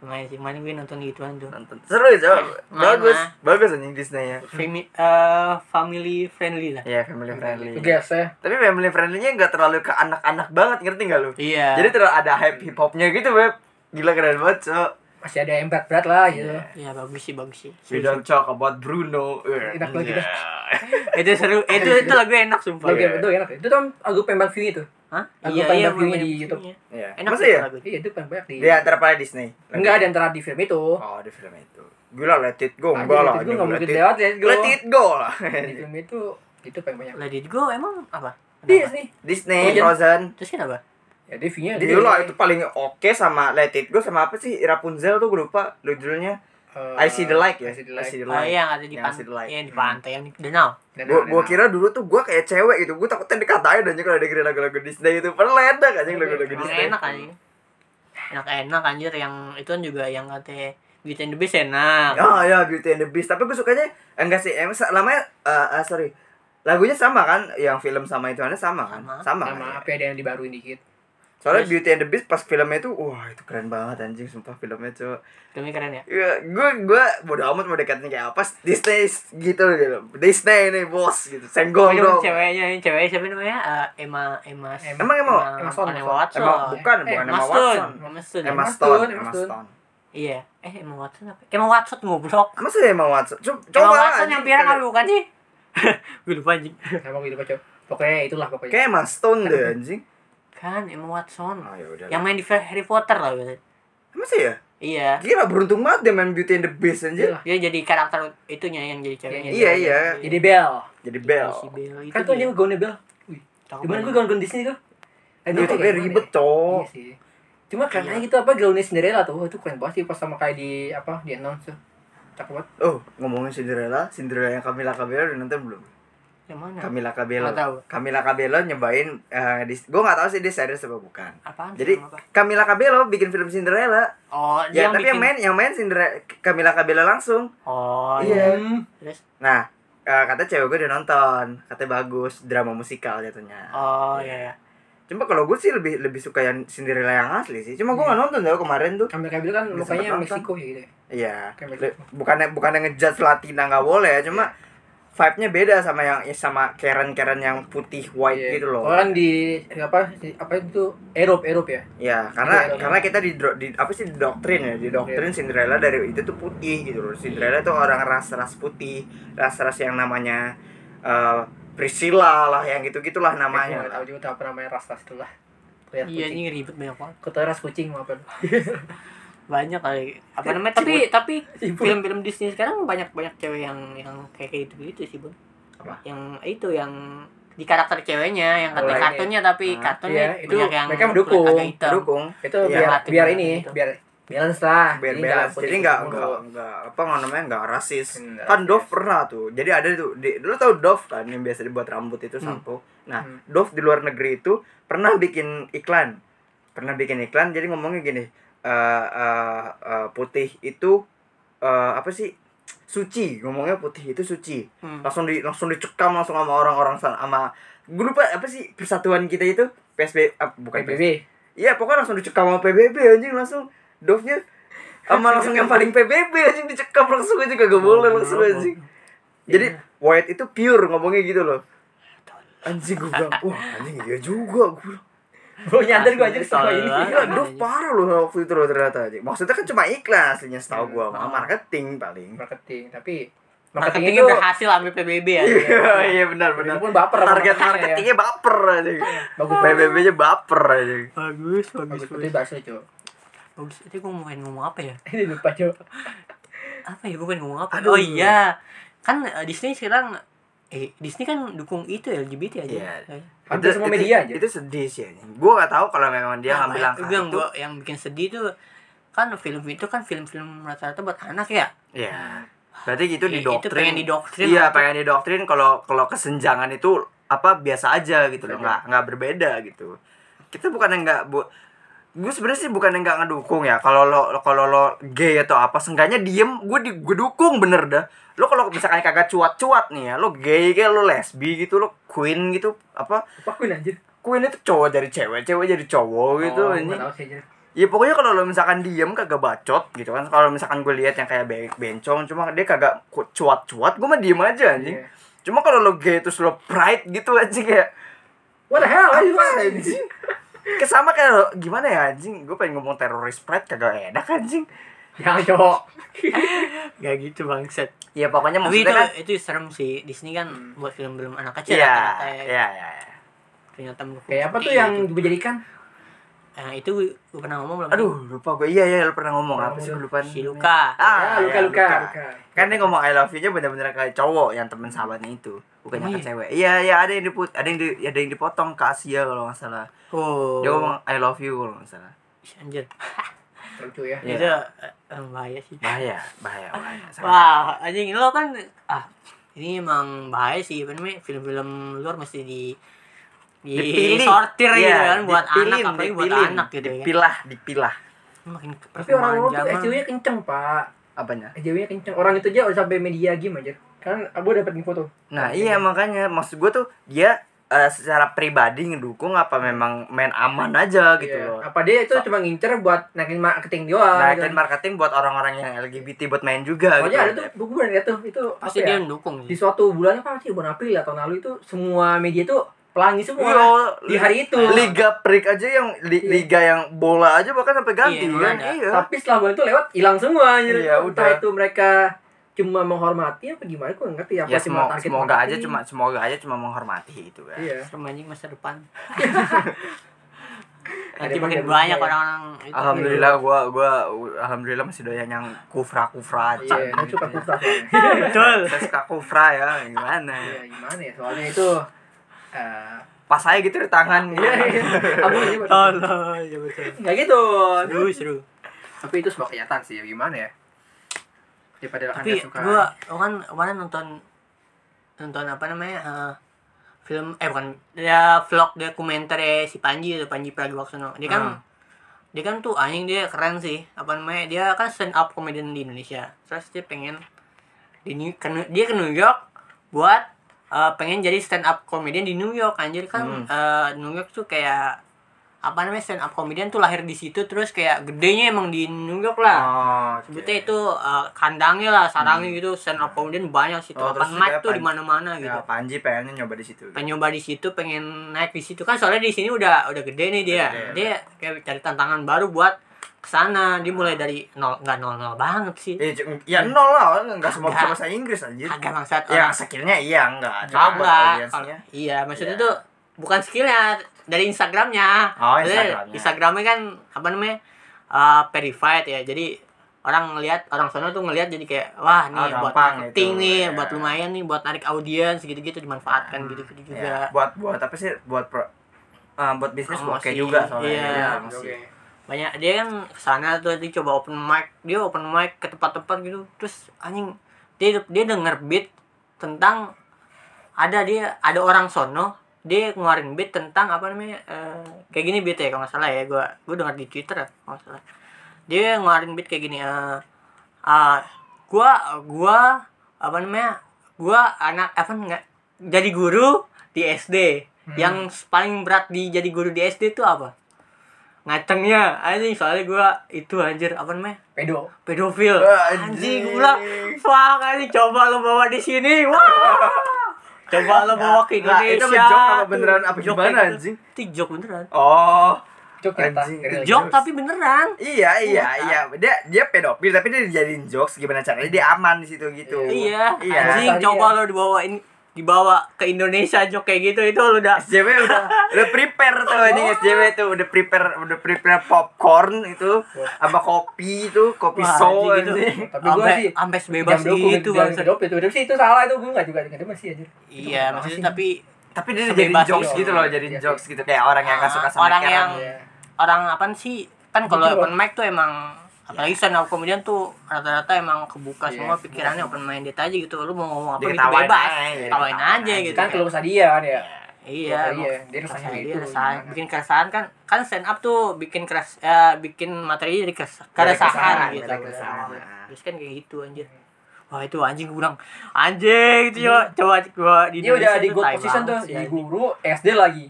[SPEAKER 2] Lumayan sih, main gue nonton gitu, gituan tuh.
[SPEAKER 3] Nonton. Seru ya cowok
[SPEAKER 2] Mana?
[SPEAKER 3] Bagus Bagus anjing Disney-nya
[SPEAKER 2] Femi, eh, family friendly lah.
[SPEAKER 3] Iya family friendly
[SPEAKER 1] gas ya
[SPEAKER 3] Tapi family friendly-nya gak terlalu ke anak-anak banget ngerti gak lu?
[SPEAKER 2] Iya.
[SPEAKER 3] Jadi terlalu ada hype hip hopnya gitu beb Gila keren banget cowok
[SPEAKER 1] masih ada yang berat berat lah gitu
[SPEAKER 2] Iya bagus sih bagus sih.
[SPEAKER 3] We don't talk about Bruno Eh,
[SPEAKER 1] Enak lagi dah.
[SPEAKER 3] yeah.
[SPEAKER 2] itu seru. itu itu lagu enak sumpah.
[SPEAKER 1] Lagu
[SPEAKER 3] Iya.
[SPEAKER 1] yang itu enak ya. Itu tuh aku pengen view itu.
[SPEAKER 2] Hah?
[SPEAKER 1] Lagu
[SPEAKER 2] Iya
[SPEAKER 1] paling
[SPEAKER 2] iya
[SPEAKER 1] bagus-nya
[SPEAKER 2] memang
[SPEAKER 1] di
[SPEAKER 2] bagus
[SPEAKER 1] YouTube.
[SPEAKER 2] nya.
[SPEAKER 3] Iya.
[SPEAKER 2] Enak
[SPEAKER 3] Masa
[SPEAKER 2] sih
[SPEAKER 3] ya?
[SPEAKER 2] lagu.
[SPEAKER 1] Iya, itu paling banyak di.
[SPEAKER 3] Di antara pada Disney
[SPEAKER 1] Enggak ada antara di film itu.
[SPEAKER 3] Oh di film itu Gila let it go
[SPEAKER 1] Ada
[SPEAKER 3] Enggak
[SPEAKER 1] Gue
[SPEAKER 3] lah
[SPEAKER 1] enggak
[SPEAKER 3] anjing,
[SPEAKER 1] mungkin
[SPEAKER 3] let it-
[SPEAKER 1] lewat ya gue.
[SPEAKER 3] Let it go lah
[SPEAKER 1] Di film itu itu paling banyak.
[SPEAKER 2] Let It Go emang apa?
[SPEAKER 1] Di
[SPEAKER 2] Kenapa?
[SPEAKER 3] Iya.
[SPEAKER 1] sih.
[SPEAKER 3] Disney,
[SPEAKER 1] Legend.
[SPEAKER 3] Frozen
[SPEAKER 2] Terus kenapa?
[SPEAKER 1] Ya di view-nya
[SPEAKER 3] Dulu lah itu paling oke sama Let It Go sama apa sih Rapunzel tuh gue lupa lu judulnya I See The Light ya
[SPEAKER 1] Eh, I See The Light.
[SPEAKER 2] Oh iya yang ada di
[SPEAKER 3] Yang
[SPEAKER 2] pantai.
[SPEAKER 3] masih di light. Hmm.
[SPEAKER 2] Iya di pantai yang di danau.
[SPEAKER 1] Dan-
[SPEAKER 3] Gua,
[SPEAKER 1] dan-
[SPEAKER 3] gua
[SPEAKER 1] dan-
[SPEAKER 3] kira dulu tuh gua kayak cewek gitu Gua takutnya dikatain aja kalau dengerin lagu-lagu Disney itu Padahal enak aja lagu-lagu
[SPEAKER 2] Emang
[SPEAKER 3] Disney
[SPEAKER 2] enak anjing. Enak-enak anjir yang itu kan juga yang katanya Beauty and the Beast enak.
[SPEAKER 3] Oh ya Beauty and the Beast Tapi gue sukanya eh, Enggak sih Emang lamanya eh, eh, Sorry Lagunya sama kan Yang film sama itu sama kan
[SPEAKER 2] Sama.
[SPEAKER 3] Sama, kan?
[SPEAKER 1] sama apa ada yang dibaruin dikit.
[SPEAKER 3] Soalnya
[SPEAKER 2] Terus-
[SPEAKER 3] Beauty and the Beast pas filmnya itu Wah itu keren banget anjing Sumpah filmnya cuy
[SPEAKER 2] Filmnya keren ya.
[SPEAKER 3] Ya, gue gue bodo amat mau dekatnya kayak apa Disney gitu gitu Disney ini bos gitu senggol
[SPEAKER 2] Ini
[SPEAKER 3] dong
[SPEAKER 2] ceweknya, ini Iya, cewek siapa namanya? Eh, Emma Emma
[SPEAKER 1] Emma-
[SPEAKER 3] emang emang
[SPEAKER 1] Emma Stone,
[SPEAKER 2] Emma
[SPEAKER 1] Emma
[SPEAKER 2] Watson.
[SPEAKER 3] emang bukan
[SPEAKER 1] Eh,
[SPEAKER 3] bukan
[SPEAKER 2] Emma
[SPEAKER 3] Emma
[SPEAKER 2] Stone.
[SPEAKER 3] Watson
[SPEAKER 2] Emma Stone.
[SPEAKER 3] Emma
[SPEAKER 1] Emma
[SPEAKER 3] Stone
[SPEAKER 1] Stone,
[SPEAKER 3] Emma
[SPEAKER 1] Emma
[SPEAKER 3] Stone
[SPEAKER 2] Iya. Eh Emma Watson apa? Emma Watson ngobrol.
[SPEAKER 3] masa ya Emma Watson Co- coba
[SPEAKER 2] Emma Watson
[SPEAKER 3] anjing.
[SPEAKER 2] yang pirang apa bukan sih? Gue lupa anjing.
[SPEAKER 1] Sama gue lupa, Cok. Pokoknya itulah pokoknya.
[SPEAKER 3] kayak Emma Stone deh anjing
[SPEAKER 2] Kan Emma Watson.
[SPEAKER 3] oh ya udah
[SPEAKER 2] Yang main di Harry Potter lah gitu.
[SPEAKER 3] masa ya
[SPEAKER 2] Iya.
[SPEAKER 3] gila beruntung banget dia main Beauty and the Beast anjir
[SPEAKER 1] Iyalah.
[SPEAKER 2] Dia jadi karakter itunya yang jadi ceweknya.
[SPEAKER 3] Iya, iya.
[SPEAKER 1] Jadi Bel.
[SPEAKER 3] jadi
[SPEAKER 2] Bel.
[SPEAKER 3] Bell
[SPEAKER 2] Si Belle itu.
[SPEAKER 1] Kan tuh
[SPEAKER 2] dia.
[SPEAKER 1] anjing gaunnya Bel. Wih,
[SPEAKER 2] Cakep
[SPEAKER 1] gimana gue
[SPEAKER 2] banget.
[SPEAKER 1] gaun-gaun Disney tuh? Anjing,
[SPEAKER 3] itu
[SPEAKER 1] kayak
[SPEAKER 3] kayak
[SPEAKER 1] gimana
[SPEAKER 3] ribet
[SPEAKER 1] ya?
[SPEAKER 3] cowok
[SPEAKER 1] Iya sih. Cuma karena
[SPEAKER 2] Iya.
[SPEAKER 1] gitu apa gaunnya Cinderella tuh. Wah, itu keren banget sih pas sama kayak di apa di announce tuh. Cakep banget.
[SPEAKER 3] oh ngomongin Cinderella Cinderella yang Camila Cabello udah nonton belum
[SPEAKER 2] Yang mana?
[SPEAKER 3] Camila Cabello
[SPEAKER 2] Nggak tahu.
[SPEAKER 3] Camila Cabello nyobain eh, dis- gue nggak tahu sih dia serius apa bukan
[SPEAKER 2] Apaan? sih,
[SPEAKER 3] jadi
[SPEAKER 2] nama apa?
[SPEAKER 3] Camila Cabello bikin film Cinderella
[SPEAKER 2] Oh, dia
[SPEAKER 3] Ya,
[SPEAKER 2] yang
[SPEAKER 3] tapi
[SPEAKER 2] bikin.
[SPEAKER 3] yang main yang main Cinderella Camila Cabello langsung.
[SPEAKER 2] Oh,
[SPEAKER 3] Iya.
[SPEAKER 1] Hmm.
[SPEAKER 2] Terus
[SPEAKER 3] Nah, eh, kata cewek gue udah nonton, katanya bagus, drama musikal jatuhnya.
[SPEAKER 2] oh iya. iya.
[SPEAKER 3] Cuma kalau gue sih lebih lebih suka yang Cinderella yang asli sih. Cuma gue
[SPEAKER 1] Iya.
[SPEAKER 3] nggak nonton tau kemarin tuh.
[SPEAKER 1] Kamil Kamil kan
[SPEAKER 3] Bisa
[SPEAKER 1] mukanya
[SPEAKER 3] nonton.
[SPEAKER 1] Meksiko ya gitu. ya.
[SPEAKER 3] Iya.
[SPEAKER 1] Kayak Iya.
[SPEAKER 3] Le-
[SPEAKER 1] Meksiko.
[SPEAKER 3] Bukannya bukannya ngejudge Latina nggak boleh ya, cuma vibe-nya beda sama yang eh, sama Karen-Karen yang putih white
[SPEAKER 1] Iya.
[SPEAKER 3] gitu loh.
[SPEAKER 1] Kalau kan di apa di, apa itu Eropa Eropa ya.
[SPEAKER 3] Ya, karena
[SPEAKER 1] Iya, iya.
[SPEAKER 3] karena kita di, di apa sih di doktrin ya, di doktrin Cinderella dari itu tuh putih gitu loh. Cinderella tuh orang ras-ras putih, ras-ras yang namanya eh, Priscilla lah yang gitu-gitulah
[SPEAKER 1] Aku
[SPEAKER 3] namanya.
[SPEAKER 1] Iya, nggak tahu juga tahu apa namanya ras ras itulah. Lihat
[SPEAKER 2] Iya,
[SPEAKER 1] kucing.
[SPEAKER 2] ini ribet banyak banget.
[SPEAKER 1] Kota ras kucing mau apa?
[SPEAKER 2] Banyak kali. Apa namanya? Tapi tapi film-film Disney sekarang banyak-banyak cewek yang yang kayak kayak gitu gitu sih, Bun.
[SPEAKER 3] Apa?
[SPEAKER 2] Yang itu yang di karakter ceweknya yang
[SPEAKER 1] Oh,
[SPEAKER 2] katanya
[SPEAKER 1] ini.
[SPEAKER 2] kartunnya tapi
[SPEAKER 3] Ah,
[SPEAKER 2] kartunnya
[SPEAKER 1] iya, itu
[SPEAKER 2] banyak yang
[SPEAKER 1] mereka mendukung.
[SPEAKER 2] agak hitam.
[SPEAKER 3] Dukung
[SPEAKER 1] Itu
[SPEAKER 3] Iya,
[SPEAKER 1] biar
[SPEAKER 2] Latin
[SPEAKER 1] biar
[SPEAKER 2] gitu.
[SPEAKER 1] ini biar balance lah.
[SPEAKER 3] biar
[SPEAKER 1] Jadi nggak
[SPEAKER 3] balance.
[SPEAKER 1] Iya, putih
[SPEAKER 3] Jadi nggak
[SPEAKER 1] mulu.
[SPEAKER 3] nggak nggak apa nggak namanya nggak rasis.
[SPEAKER 1] Hmm, nggak
[SPEAKER 3] Kan
[SPEAKER 1] rasis.
[SPEAKER 3] Dove pernah tuh. Jadi ada tuh di, dulu tau Dove kan yang biasa dibuat rambut itu sampo. Nah,
[SPEAKER 1] Hmm.
[SPEAKER 3] Dove di luar negeri itu pernah bikin iklan. Pernah bikin iklan jadi ngomongnya gini, eh eh, eh, putih itu eh, apa sih? Suci, ngomongnya putih itu suci.
[SPEAKER 2] Hmm.
[SPEAKER 3] Langsung di langsung dicekam langsung sama orang-orang sana sama gue lupa apa sih persatuan kita itu PSB ah, bukan PSB.
[SPEAKER 1] PBB.
[SPEAKER 3] Iya pokoknya langsung dicekam sama PBB anjing langsung Dove-nya sama langsung yang paling PBB anjing dicekam langsung aja kagak boleh langsung anjing Jadi
[SPEAKER 1] Iya.
[SPEAKER 3] white itu pure ngomongnya gitu loh Anjing gue bilang, wah anjing iya juga gue bilang
[SPEAKER 1] Gue nyadar gue aja sama ini. Iya,
[SPEAKER 2] Salah.
[SPEAKER 3] Gila Dove parah loh waktu itu loh ternyata anjing Maksudnya kan cuma iklan aslinya
[SPEAKER 1] Iya,
[SPEAKER 3] setahu gue sama marketing paling
[SPEAKER 1] Marketing tapi
[SPEAKER 2] Marketingnya berhasil ambil PBB ya.
[SPEAKER 3] Iya iya benar
[SPEAKER 1] Benar
[SPEAKER 3] benar
[SPEAKER 1] pun baper sama
[SPEAKER 3] Target
[SPEAKER 1] marketingnya ya. Iya.
[SPEAKER 3] marketingnya baper anjing
[SPEAKER 1] Bagus.
[SPEAKER 3] PBB-nya baper anjing
[SPEAKER 2] Bagus,
[SPEAKER 1] Bagus putih bakso cuy.
[SPEAKER 2] Bagus. Itu gue mau ngomong apa ya?
[SPEAKER 1] Ini lupa cuy.
[SPEAKER 2] apa ya gue pengen ngomong apa oh
[SPEAKER 3] Aduh.
[SPEAKER 2] iya kan eh, Disney sekarang eh Disney kan dukung itu LGBT aja.
[SPEAKER 3] Iya.
[SPEAKER 2] Eh.
[SPEAKER 1] Hampir semua media aja.
[SPEAKER 3] Itu sedih sih anjing. Gua nggak tahu kalau memang dia
[SPEAKER 2] Nah,
[SPEAKER 3] ngambil
[SPEAKER 2] makanya
[SPEAKER 3] langkah
[SPEAKER 2] gua bilang,
[SPEAKER 3] itu.
[SPEAKER 2] gua- yang bikin sedih tuh kan film itu kan film-film rata-rata buat anak ya.
[SPEAKER 3] Iya. Berarti gitu
[SPEAKER 2] Iya, itu
[SPEAKER 3] didoktrin.
[SPEAKER 2] pengen didoktrin
[SPEAKER 3] Iya,
[SPEAKER 2] atau-
[SPEAKER 3] pengen didoktrin kalau kalau kesenjangan itu apa biasa aja gitu loh,
[SPEAKER 1] Iya.
[SPEAKER 3] nggak nggak berbeda gitu. Kita bukan yang nggak bu gue sebenarnya sih bukan yang nggak ngedukung ya kalau lo kalau lo gay atau apa seenggaknya diem gue di gue dukung bener dah lo kalau misalkan kagak cuat-cuat nih ya lo gay kayak lo lesbi gitu lo queen gitu apa
[SPEAKER 1] Apa kuin anjir?
[SPEAKER 3] queen itu cowok dari cewek cewek jadi cowok gitu
[SPEAKER 1] Oh,
[SPEAKER 3] ini
[SPEAKER 1] nggak tahu sih anjir.
[SPEAKER 3] Ya pokoknya kalau lo misalkan diem kagak bacot gitu kan Kalau misalkan gue lihat yang kayak be- bencong Cuma dia kagak ku- cuat-cuat Gue mah diem aja anjing
[SPEAKER 1] Iya.
[SPEAKER 3] Cuma kalau lo gay terus lo pride gitu anjing kayak
[SPEAKER 1] What the hell?
[SPEAKER 3] Apa
[SPEAKER 1] anjir?
[SPEAKER 3] anjing? Kayak sama kayak lo, gimana ya anjing Gue pengen ngomong teroris pride kagak enak anjing
[SPEAKER 1] Jangan cowok.
[SPEAKER 2] Gak gitu bangset.
[SPEAKER 3] Ya pokoknya
[SPEAKER 2] Tapi itu
[SPEAKER 3] maksudnya kan Hmm.
[SPEAKER 2] itu serem sih. Disney kan buat film-film anak kecil
[SPEAKER 3] Iya
[SPEAKER 2] rata-rata ya.
[SPEAKER 3] Iya iya iya.
[SPEAKER 2] Ternyata mendukung
[SPEAKER 1] Kayak apa
[SPEAKER 2] seperti
[SPEAKER 1] tuh yang
[SPEAKER 2] itu.
[SPEAKER 1] dijadikan?
[SPEAKER 2] Nah, itu gue pernah ngomong belum?
[SPEAKER 3] Aduh lupa gue Iya iya lo pernah ngomong apa sih gue lupa
[SPEAKER 2] si
[SPEAKER 3] namanya.
[SPEAKER 2] Luka.
[SPEAKER 1] Ah,
[SPEAKER 3] iya,
[SPEAKER 1] luka-luka. luka.
[SPEAKER 3] kan dia ngomong I love you-nya bener-bener kayak cowok yang temen sahabatnya itu bukan yang
[SPEAKER 2] Emang
[SPEAKER 3] ke cewek iya iya ada yang diput ada yang di, ada yang dipotong ke Asia kalau nggak salah
[SPEAKER 2] Oh.
[SPEAKER 3] dia ngomong I love you kalau nggak salah
[SPEAKER 2] Ih, Anjir.
[SPEAKER 1] Lucu ya.
[SPEAKER 3] Iya.
[SPEAKER 2] Itu eh, eh, bahaya sih.
[SPEAKER 3] bahaya bahaya bahaya
[SPEAKER 2] Ah,
[SPEAKER 3] sangat.
[SPEAKER 2] Wah, anjing lo kan ah ini emang bahaya sih apa namanya film-film luar mesti di di
[SPEAKER 3] Dipilih.
[SPEAKER 2] sortir gitu
[SPEAKER 3] Iya,
[SPEAKER 2] kan buat
[SPEAKER 3] dipilih,
[SPEAKER 2] anak apalagi buat
[SPEAKER 3] dipilih,
[SPEAKER 2] anak gitu ya.
[SPEAKER 3] dipilah dipilah
[SPEAKER 2] Makin
[SPEAKER 1] Tapi orang luar tuh
[SPEAKER 2] zaman.
[SPEAKER 1] SJW-nya kenceng, Pak.
[SPEAKER 3] apanya
[SPEAKER 1] SJW-nya kenceng. Orang itu aja udah sampai media game anjir. Kan gue dapat info tuh.
[SPEAKER 3] nah iya makanya maksud gue tuh dia eh, secara pribadi ngedukung apa memang main aman aja gitu
[SPEAKER 1] Iya.
[SPEAKER 3] loh
[SPEAKER 1] Apa dia itu
[SPEAKER 3] So-
[SPEAKER 1] cuma ngincer buat naikin marketing doang.
[SPEAKER 3] naikin
[SPEAKER 1] gitu.
[SPEAKER 3] marketing buat orang-orang yang LGBT buat main juga
[SPEAKER 1] Pokoknya ada
[SPEAKER 3] gitu
[SPEAKER 1] tuh, gue pernah lihat tuh, itu apa
[SPEAKER 2] pasti
[SPEAKER 1] ya?
[SPEAKER 2] dia mendukung
[SPEAKER 1] Di
[SPEAKER 2] sih.
[SPEAKER 1] suatu bulan apa sih, bulan April ya, tahun lalu itu semua media tuh pelangi semua.
[SPEAKER 3] Yo,
[SPEAKER 1] Iya, di hari itu.
[SPEAKER 3] Liga Prik aja yang li-
[SPEAKER 1] Iya.
[SPEAKER 3] liga yang bola aja bahkan sampai ganti
[SPEAKER 2] Iya,
[SPEAKER 3] kan.
[SPEAKER 2] ada.
[SPEAKER 3] Iya.
[SPEAKER 1] Tapi setelah bulan itu lewat, hilang semua. anjir.
[SPEAKER 3] Iya,
[SPEAKER 1] Entah
[SPEAKER 3] udah.
[SPEAKER 1] itu mereka cuma menghormati apa gimana, gue nggak ngerti. Apa
[SPEAKER 3] Ya
[SPEAKER 1] cuma
[SPEAKER 3] semoga,
[SPEAKER 1] target
[SPEAKER 3] semoga aja
[SPEAKER 1] marketing.
[SPEAKER 3] cuma semoga aja cuma menghormati itu kan.
[SPEAKER 1] Iya.
[SPEAKER 2] Serem anjing masa depan.
[SPEAKER 1] Ada
[SPEAKER 2] Nanti makin
[SPEAKER 1] banyak- ya.
[SPEAKER 2] banyak
[SPEAKER 1] banyak.
[SPEAKER 2] orang-orang itu.
[SPEAKER 3] Alhamdulillah gua gua alhamdulillah masih doyan yang kufra-kufra aja.
[SPEAKER 1] Iya, gue suka
[SPEAKER 3] Gitu.
[SPEAKER 1] kufra soalnya.
[SPEAKER 2] Betul.
[SPEAKER 3] Saya suka kufra ya, gimana?
[SPEAKER 1] Iya, gimana ya, soalnya itu... eh,
[SPEAKER 3] Pas saya gitu di tangan.
[SPEAKER 1] Iya, iya. Apa sih, Pak?
[SPEAKER 2] Tolong, ya betul.
[SPEAKER 1] Nggak gitu.
[SPEAKER 2] Seru, seru.
[SPEAKER 1] Tapi itu sebuah kenyataan sih, ya gimana ya? Daripada
[SPEAKER 2] Tapi
[SPEAKER 1] Anda suka...
[SPEAKER 2] gua gua kan kemarin nonton nonton apa namanya? eh, film eh bukan ya vlog dokumenter ya, si Panji itu Panji Pragiwaksono. Dia kan
[SPEAKER 3] Hmm.
[SPEAKER 2] dia kan tuh anjing dia keren sih. Apa namanya? Dia kan stand up comedian di Indonesia. Terus dia pengen di New, ke New- dia ke New York buat eh, pengen jadi stand up comedian di New York anjir kan
[SPEAKER 3] Hmm.
[SPEAKER 2] eh, New York tuh kayak apa namanya stand up comedian tuh lahir di situ terus kayak gedenya emang di New York lah
[SPEAKER 3] Oh, oke. Hmm.
[SPEAKER 2] sebutnya itu uh, kandangnya lah sarangnya gitu stand up comedian banyak situ
[SPEAKER 3] Oh,
[SPEAKER 2] open
[SPEAKER 3] terus
[SPEAKER 2] mic
[SPEAKER 3] juga
[SPEAKER 2] tuh
[SPEAKER 3] pan-
[SPEAKER 2] di mana-mana gitu
[SPEAKER 3] Ya, Panji pengennya nyoba di situ.
[SPEAKER 2] pengen nyoba di situ pengen naik di situ kan soalnya di sini udah udah gede nih dia
[SPEAKER 3] Udah gede, ya.
[SPEAKER 2] dia kayak cari tantangan baru buat kesana
[SPEAKER 3] Ah.
[SPEAKER 2] dia mulai dari nol nggak nol nol banget sih
[SPEAKER 3] Ya, c- ya nol lah, enggak semua bisa
[SPEAKER 2] Nggak.
[SPEAKER 3] bahasa Inggris anjir.
[SPEAKER 2] agak bangsat orang
[SPEAKER 3] Ya, skillnya iya enggak. Cuma buat
[SPEAKER 2] coba
[SPEAKER 3] audiensnya.
[SPEAKER 2] iya maksudnya
[SPEAKER 3] Iya.
[SPEAKER 2] tuh bukan skillnya dari instagramnya
[SPEAKER 3] Oh,
[SPEAKER 2] Maksudnya
[SPEAKER 3] Instagramnya.
[SPEAKER 2] instagramnya kan apa namanya uh, verified ya jadi orang ngelihat orang sana tuh ngelihat jadi kayak wah nih
[SPEAKER 3] Oh,
[SPEAKER 2] buat
[SPEAKER 3] gampang
[SPEAKER 2] marketing
[SPEAKER 3] gitu,
[SPEAKER 2] nih
[SPEAKER 3] ya.
[SPEAKER 2] buat lumayan nih buat narik audiens gitu-gitu dimanfaatkan gitu-gitu
[SPEAKER 3] Iya,
[SPEAKER 2] juga
[SPEAKER 3] buat buat apa sih buat pro, eh, buat bisnis
[SPEAKER 2] Promosi,
[SPEAKER 3] oke juga soalnya
[SPEAKER 2] iya.
[SPEAKER 3] Iya,
[SPEAKER 1] Oke.
[SPEAKER 3] promosi.
[SPEAKER 2] banyak dia kan kesana tuh dia coba open mic dia open mic ke tempat-tempat gitu terus anjing dia dia denger beat tentang ada dia ada orang sono dia ngeluarin beat tentang apa namanya eh, kayak gini beat ya kalau nggak salah ya gua gua denger di twitter ya, kalau nggak salah dia ngeluarin beat kayak gini eh ah, gua gua apa namanya gua anak apa enggak jadi guru di SD yang paling berat di jadi guru di SD itu apa ngacengnya iya. anjing soalnya gua itu anjir apa namanya
[SPEAKER 1] Pedo.
[SPEAKER 2] pedofil
[SPEAKER 3] Wah,
[SPEAKER 2] anjing
[SPEAKER 3] Ah, anjing.
[SPEAKER 2] gue bilang fuck anjing coba lo bawa di sini wah coba lo bawa ke Indonesia
[SPEAKER 3] Nah, itu menjok apa
[SPEAKER 2] tuh.
[SPEAKER 3] beneran apa
[SPEAKER 2] Jok
[SPEAKER 3] gimana,
[SPEAKER 2] kayak gitu.
[SPEAKER 3] anjing?
[SPEAKER 2] itu jok beneran
[SPEAKER 3] Oh,
[SPEAKER 1] Jok nyata.
[SPEAKER 3] Anjing.
[SPEAKER 1] real
[SPEAKER 2] jok
[SPEAKER 1] jokes.
[SPEAKER 2] tapi beneran
[SPEAKER 3] iya iya
[SPEAKER 2] Iya.
[SPEAKER 3] iya. Dia dia pedofil tapi dia dijadiin jokes gimana caranya dia aman di situ gitu.
[SPEAKER 2] iya
[SPEAKER 3] Iya.
[SPEAKER 2] anjing
[SPEAKER 1] Tadi
[SPEAKER 2] coba
[SPEAKER 1] ya.
[SPEAKER 2] lo dibawain dibawa ke Indonesia jok kayak gitu itu lu udah
[SPEAKER 3] SJW udah udah prepare tuh
[SPEAKER 2] Oh.
[SPEAKER 3] anjing SJW tuh udah prepare udah prepare popcorn itu sama kopi itu kopi
[SPEAKER 2] Wah,
[SPEAKER 3] so
[SPEAKER 2] anjing, itu.
[SPEAKER 3] anjing.
[SPEAKER 1] Tapi gua
[SPEAKER 2] Ampe-
[SPEAKER 1] sih
[SPEAKER 2] ampe sebebas gitu
[SPEAKER 1] bang
[SPEAKER 2] bangsa.
[SPEAKER 1] kedop itu udah sih itu salah itu gue nggak juga nggak demen sih anjir
[SPEAKER 2] Iya, maksudnya tapi
[SPEAKER 3] Tapi dia jadi
[SPEAKER 2] Sebebas
[SPEAKER 3] jokes
[SPEAKER 1] sih.
[SPEAKER 3] gitu loh, jadi
[SPEAKER 1] Iya sih.
[SPEAKER 3] jokes gitu kayak orang yang gak suka sama
[SPEAKER 2] Orang
[SPEAKER 3] Karen.
[SPEAKER 2] yang- orang apa sih? Kan kalau
[SPEAKER 1] Betul.
[SPEAKER 2] open mic tuh emang apalagi stand up kemudian tuh rata-rata emang kebuka
[SPEAKER 1] Iya,
[SPEAKER 2] semua pikirannya open minded aja gitu. Lu mau ngomong apa gitu
[SPEAKER 3] Diketawain
[SPEAKER 2] bebas.
[SPEAKER 3] aja, jadi
[SPEAKER 2] Tawain
[SPEAKER 3] ketawain
[SPEAKER 2] aja
[SPEAKER 3] aja.
[SPEAKER 2] gitu.
[SPEAKER 1] kan keluh kesah dia kan ya
[SPEAKER 2] Iya,
[SPEAKER 1] iya dia
[SPEAKER 2] keresahan
[SPEAKER 1] rasanya
[SPEAKER 2] dia,
[SPEAKER 1] itu
[SPEAKER 2] keresahan.
[SPEAKER 1] gimana.
[SPEAKER 2] bikin keresahan kan kan stand up tuh bikin keres eh, bikin materi jadi keres, keresahan
[SPEAKER 3] keresahan,
[SPEAKER 2] gitu
[SPEAKER 3] jadi keresahan.
[SPEAKER 2] terus kan kayak gitu anjir wah itu anjing gue bilang anjing itu yo coba gua di
[SPEAKER 1] dia Iya. udah
[SPEAKER 2] Indonesia
[SPEAKER 1] di
[SPEAKER 2] tuh
[SPEAKER 1] good
[SPEAKER 2] tai
[SPEAKER 1] position tuh
[SPEAKER 2] banget sih,
[SPEAKER 1] di
[SPEAKER 2] anjing.
[SPEAKER 1] guru SD lagi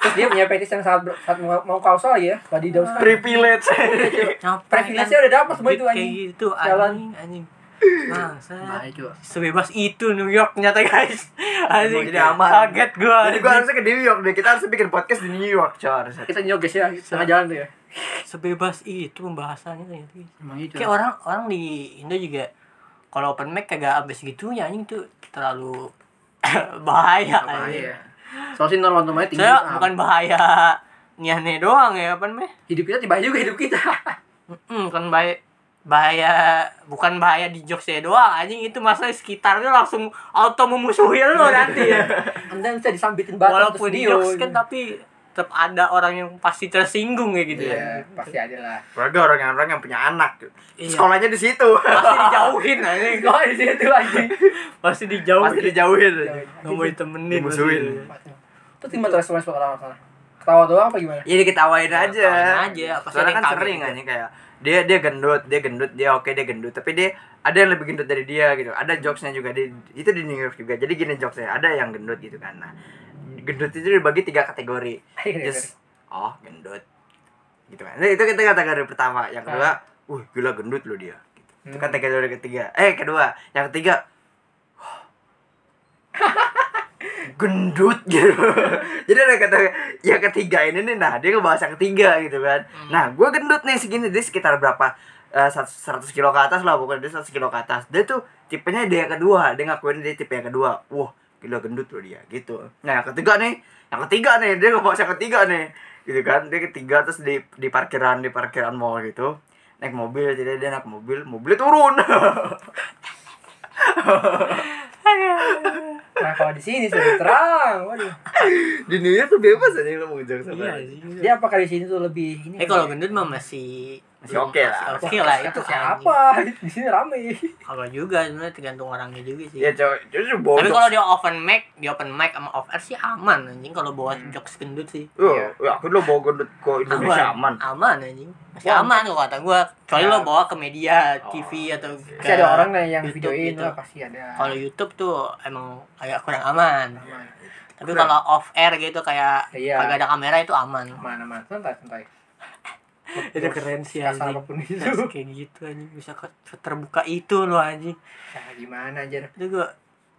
[SPEAKER 1] terus dia punya petis yang sangat, ber- sangat mau, mau kausal lagi ya tadi daun
[SPEAKER 3] Privilege.
[SPEAKER 2] Capek,
[SPEAKER 1] privilege
[SPEAKER 2] kan.
[SPEAKER 1] udah dapat semua itu
[SPEAKER 2] kayak
[SPEAKER 1] anjing
[SPEAKER 2] gitu
[SPEAKER 1] Jalan.
[SPEAKER 2] anjing anjing Bangsa.
[SPEAKER 1] Bahaya, cuy.
[SPEAKER 2] Sebebas itu New York nyata guys. Anjing.
[SPEAKER 3] Jadi aman.
[SPEAKER 2] Kaget gua.
[SPEAKER 3] Oh, Jadi gua Iya.
[SPEAKER 2] anjing.
[SPEAKER 3] harusnya ke New York deh. Kita harusnya bikin podcast di New York, coy. harusnya.
[SPEAKER 1] kita nyoges ya setengah jalan tuh ya
[SPEAKER 2] sebebas itu pembahasannya ternyata guys.
[SPEAKER 1] emang
[SPEAKER 3] Iya.
[SPEAKER 1] itu
[SPEAKER 2] Kayak orang orang di Indo juga kalau open mic kagak sampai segitunya anjing tuh terlalu bahaya. anjing.
[SPEAKER 1] bahaya soalnya ya? normal normalnya tinggi
[SPEAKER 2] Saya
[SPEAKER 1] ah.
[SPEAKER 2] bukan bahaya niane doang ya open mic.
[SPEAKER 1] hidup kita tiba juga hidup kita
[SPEAKER 2] Mm, bukan bahaya bahaya bukan bahaya di jokes saya doang anjing itu masa sekitarnya langsung auto memusuhi lo nanti ya.
[SPEAKER 1] anda bisa disambitin batu
[SPEAKER 2] Walaupun di jokes kan
[SPEAKER 1] Iya,
[SPEAKER 2] tapi tetap ada orang yang pasti tersinggung ya gitu
[SPEAKER 1] iya
[SPEAKER 2] ya.
[SPEAKER 1] pasti ada lah
[SPEAKER 3] Warga orang yang orang yang punya anak.
[SPEAKER 2] Iya.
[SPEAKER 3] Sekolahnya di situ.
[SPEAKER 2] Pasti dijauhin anjing.
[SPEAKER 1] Gak di situ anjing
[SPEAKER 2] Pasti dijauhin.
[SPEAKER 3] Pasti dijauhin.
[SPEAKER 2] Gak mau ditemenin
[SPEAKER 3] Dimusuhin.
[SPEAKER 1] Terus gimana tuh respons orang orang sana? Ketawa doang apa gimana?
[SPEAKER 3] Ya diketawain aja.
[SPEAKER 2] ketawain aja, apa sih
[SPEAKER 3] Soalnya
[SPEAKER 2] ada yang
[SPEAKER 3] kan
[SPEAKER 2] kaget
[SPEAKER 3] sering
[SPEAKER 2] gitu.
[SPEAKER 3] anjing kayak dia dia gendut, dia gendut, dia oke dia gendut, tapi dia ada yang lebih gendut dari dia gitu. Ada jokesnya juga di itu di New York juga. Jadi gini jokesnya, ada yang gendut gitu kan. Nah, gendut itu dibagi tiga kategori.
[SPEAKER 2] Iya,
[SPEAKER 1] Ayo, ayo,
[SPEAKER 3] Just oh gendut gitu kan. Nah, itu kita kategori pertama. Yang kedua,
[SPEAKER 2] Ah.
[SPEAKER 3] uh gila gendut lo dia. Gitu. Itu
[SPEAKER 1] Hmm.
[SPEAKER 3] kategori ketiga. Eh kedua, yang ketiga "Wah, gendut gitu. Jadi ada kata yang ketiga ini nih, nah dia ngebahas yang ketiga gitu kan.
[SPEAKER 2] Hmm.
[SPEAKER 3] Nah gue gendut nih segini, dia sekitar berapa? Eh, sat- 100 kilo ke atas lah, bukan dia 100 kilo ke atas. Dia tuh tipenya dia yang kedua, dia ngakuin dia tipe yang kedua. Wah, gila gendut loh dia gitu. Nah yang ketiga nih, yang ketiga nih dia ngebahas yang ketiga nih gitu kan dia ketiga terus di di parkiran di parkiran mall gitu naik mobil jadi dia naik mobil mobilnya turun
[SPEAKER 1] Nah kalau di sini sudah terang, waduh.
[SPEAKER 3] di New York tuh bebas aja lo mau jokes
[SPEAKER 2] Iya
[SPEAKER 3] apa aja.
[SPEAKER 2] sih.
[SPEAKER 1] Dia apakah di sini tuh lebih ini?
[SPEAKER 2] Eh kalau gendut mah masih
[SPEAKER 3] Masih oke lah.
[SPEAKER 2] masih Oke
[SPEAKER 1] Wah,
[SPEAKER 2] lah
[SPEAKER 1] kata
[SPEAKER 2] itu
[SPEAKER 1] siapa?
[SPEAKER 2] anjing.
[SPEAKER 1] Di sini ramai.
[SPEAKER 2] Kalau juga sebenarnya tergantung orangnya juga sih.
[SPEAKER 3] ya cowok itu
[SPEAKER 2] Tapi
[SPEAKER 3] bodoh
[SPEAKER 2] kalau dia open mic, dia open mic sama off air sih aman anjing kalau bawa jokes gendut sih.
[SPEAKER 3] Wah, ya aku lo bawa gendut ke Indonesia aman Nah.
[SPEAKER 2] Aman anjing. Masih
[SPEAKER 1] Wah,
[SPEAKER 2] aman kalau kata gua. Kecuali
[SPEAKER 1] Ya.
[SPEAKER 2] lo bawa ke media,
[SPEAKER 3] Oh,
[SPEAKER 2] TV atau ke
[SPEAKER 1] Pasti ada orang lah yang
[SPEAKER 2] YouTube
[SPEAKER 1] videoin
[SPEAKER 2] gitu.
[SPEAKER 1] lah pasti ada.
[SPEAKER 2] Kalau YouTube tuh emang agak kurang aman.
[SPEAKER 1] aman,
[SPEAKER 2] Tapi kalau off air gitu kayak
[SPEAKER 1] Iya.
[SPEAKER 2] kagak ada kamera itu aman.
[SPEAKER 1] aman, aman. Santai, santai.
[SPEAKER 2] Itu keren sih
[SPEAKER 1] Kasar
[SPEAKER 2] anjing.
[SPEAKER 1] apapun itu.
[SPEAKER 2] Terus kayak gitu anjing bisa ke- terbuka itu lo anjing.
[SPEAKER 1] Ya gimana aja.
[SPEAKER 2] itu gua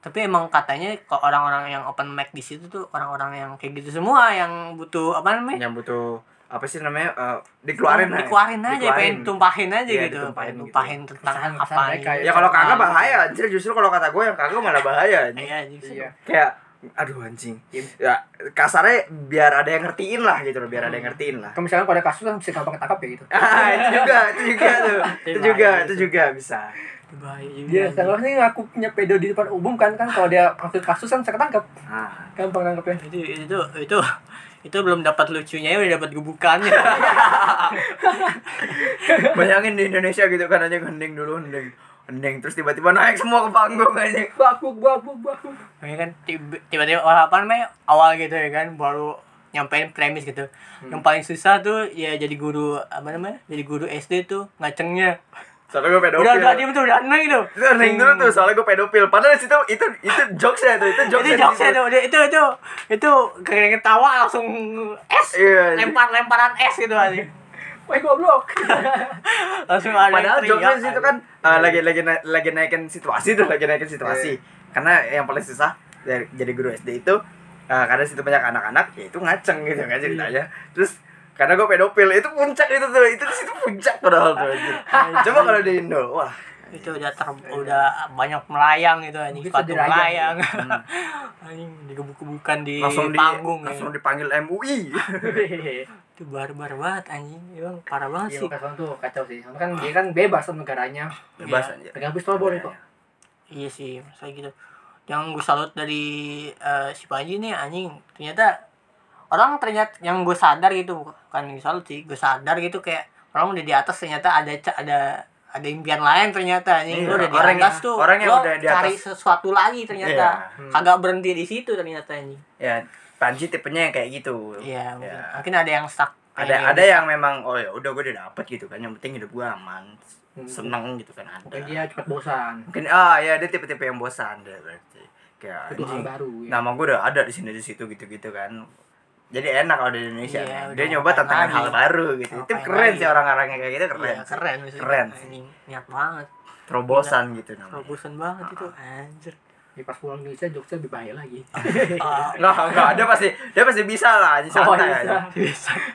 [SPEAKER 2] tapi emang katanya kok orang-orang yang open mic di situ tuh orang-orang yang kayak gitu semua yang butuh apa namanya
[SPEAKER 3] yang butuh apa sih namanya eh, Iya. dikeluarin aja.
[SPEAKER 2] dikeluarin aja
[SPEAKER 3] Dikeluarin.
[SPEAKER 2] pengen tumpahin aja
[SPEAKER 3] Iya,
[SPEAKER 2] gitu
[SPEAKER 3] ditumpahin
[SPEAKER 2] pengen tumpahin tentang
[SPEAKER 1] Keresahan-
[SPEAKER 2] apa
[SPEAKER 1] keresahan mereka
[SPEAKER 2] gitu.
[SPEAKER 3] ya kalau kagak bahaya anjir justru kalau kata gue yang kagak malah bahaya anjing.
[SPEAKER 2] iya anjing.
[SPEAKER 1] Iya.
[SPEAKER 3] kayak aduh anjing ya kasarnya biar ada yang ngertiin lah gitu loh biar ada
[SPEAKER 2] Hmm.
[SPEAKER 3] yang ngertiin lah
[SPEAKER 1] Kalau misalnya pada kasus kan bisa gampang ketangkap ya gitu.
[SPEAKER 2] Iya,
[SPEAKER 3] Ah, itu juga, itu juga tuh. Itu juga, itu juga bisa.
[SPEAKER 2] Itu bahaya juga
[SPEAKER 1] Dia
[SPEAKER 2] anjing.
[SPEAKER 1] seharusnya ngaku punya pedo di depan umum kan kan kalau dia ngaku kasus kan bisa ketangkep.
[SPEAKER 3] Ah.
[SPEAKER 1] Gampang nangkepnya.
[SPEAKER 2] itu itu itu itu belum dapat lucunya udah dapat gebukannya
[SPEAKER 3] Bayangin di Indonesia gitu kan aja gending dulu, gending. Gending terus tiba-tiba naik semua ke panggung aja.
[SPEAKER 1] Babuk, babuk, babuk.
[SPEAKER 2] ya kan tiba- tiba-tiba orang apa namanya awal gitu ya kan baru nyampein premis gitu
[SPEAKER 3] Hmm.
[SPEAKER 2] yang paling susah tuh ya jadi guru apa namanya jadi guru SD tuh ngacengnya
[SPEAKER 3] Soalnya gue pedofil.
[SPEAKER 2] udah udah diem tuh udah aneh tuh
[SPEAKER 3] Itu gending dulu tuh, soalnya gue pedofil. Padahal di situ itu itu jokesnya tuh, itu jokesnya.
[SPEAKER 2] Jadi
[SPEAKER 3] di
[SPEAKER 2] jokesnya
[SPEAKER 3] situ.
[SPEAKER 2] tuh dia- itu itu itu keren ketawa langsung es
[SPEAKER 3] Iya.
[SPEAKER 2] lempar lemparan es gitu aja
[SPEAKER 1] Wah, goblok.
[SPEAKER 2] langsung ada yang
[SPEAKER 3] Padahal
[SPEAKER 2] teriak,
[SPEAKER 3] jokesnya di situ kan
[SPEAKER 2] anjing.
[SPEAKER 3] eh, lagi lagi na- lagi naikin situasi tuh, lagi naikin situasi.
[SPEAKER 2] Iya.
[SPEAKER 3] Karena yang paling susah dari- jadi guru SD itu eh, karena situ banyak anak-anak, ya itu ngaceng gitu
[SPEAKER 2] Iya.
[SPEAKER 3] kan ceritanya. Terus karena gue pedofil, itu puncak itu tuh, itu di situ puncak padahal tuh. anjir. Coba kalau di Indo, wah
[SPEAKER 2] itu udah ter udah banyak melayang gitu anjing
[SPEAKER 1] Mungkin
[SPEAKER 2] sepatu
[SPEAKER 1] cedera aja.
[SPEAKER 2] melayang anjing digebukan di
[SPEAKER 3] Hmm. langsung di
[SPEAKER 2] panggung ya.
[SPEAKER 3] langsung dipanggil MUI
[SPEAKER 2] itu barbar banget anjing emang parah
[SPEAKER 1] Iya,
[SPEAKER 2] banget sih
[SPEAKER 1] Lukas Hang tuh kacau sih. Karena kan dia kan bebas kan negaranya.
[SPEAKER 3] bebas aja
[SPEAKER 1] Pegang pistol boleh kok.
[SPEAKER 2] iya sih saya gitu yang gue salut dari eh, si Panji nih anjing ternyata orang ternyata yang gue sadar gitu bukan yang salut sih gue sadar gitu kayak orang udah di atas ternyata ada ca- ada ada impian lain ternyata anjing
[SPEAKER 3] Iya,
[SPEAKER 2] Lu udah di
[SPEAKER 3] orang
[SPEAKER 2] atas
[SPEAKER 3] yang-
[SPEAKER 2] tuh
[SPEAKER 3] orang yang
[SPEAKER 2] lo
[SPEAKER 3] udah di
[SPEAKER 2] cari
[SPEAKER 3] atas.
[SPEAKER 2] sesuatu lagi ternyata
[SPEAKER 1] Iya. Hmm.
[SPEAKER 2] kagak berhenti di situ ternyata anjing
[SPEAKER 3] ya Panji tipenya yang kayak gitu
[SPEAKER 2] iya mungkin,
[SPEAKER 3] Iya.
[SPEAKER 2] mungkin ada yang stuck
[SPEAKER 3] ada
[SPEAKER 2] Kayak gitu.
[SPEAKER 3] ada yang memang oh ya udah gue udah dapet gitu kan yang penting hidup gue aman
[SPEAKER 1] Hmm.
[SPEAKER 3] seneng gitu kan ada
[SPEAKER 1] Mungkin dia cepat bosan.
[SPEAKER 3] mungkin ah ya dia tipe-tipe yang bosan deh berarti kayak
[SPEAKER 1] Butuh hal
[SPEAKER 3] anjing,
[SPEAKER 1] baru. ya.
[SPEAKER 3] nama gue udah ada di sini di situ gitu gitu kan jadi enak kalau di Indonesia
[SPEAKER 2] Iya,
[SPEAKER 3] kan.
[SPEAKER 2] udah
[SPEAKER 3] dia nyoba
[SPEAKER 2] ngapain
[SPEAKER 3] tantangan
[SPEAKER 2] lagi.
[SPEAKER 3] hal baru gitu itu
[SPEAKER 2] Ngapain
[SPEAKER 3] keren
[SPEAKER 2] lagi.
[SPEAKER 3] sih orang-orangnya kayak gitu keren
[SPEAKER 2] Iya,
[SPEAKER 3] sih.
[SPEAKER 2] keren sih.
[SPEAKER 3] Keren sih.
[SPEAKER 2] anjing niat banget
[SPEAKER 3] terobosan gitu namanya
[SPEAKER 2] robusan banget itu anjir
[SPEAKER 1] Di Ya, pas pulang Indonesia Jogja lebih bahaya lagi.
[SPEAKER 2] Ah,
[SPEAKER 3] nggak nggak ada pasti dia pasti bisa lah anjing,
[SPEAKER 1] Oh,
[SPEAKER 3] santai
[SPEAKER 1] bisa.
[SPEAKER 3] aja.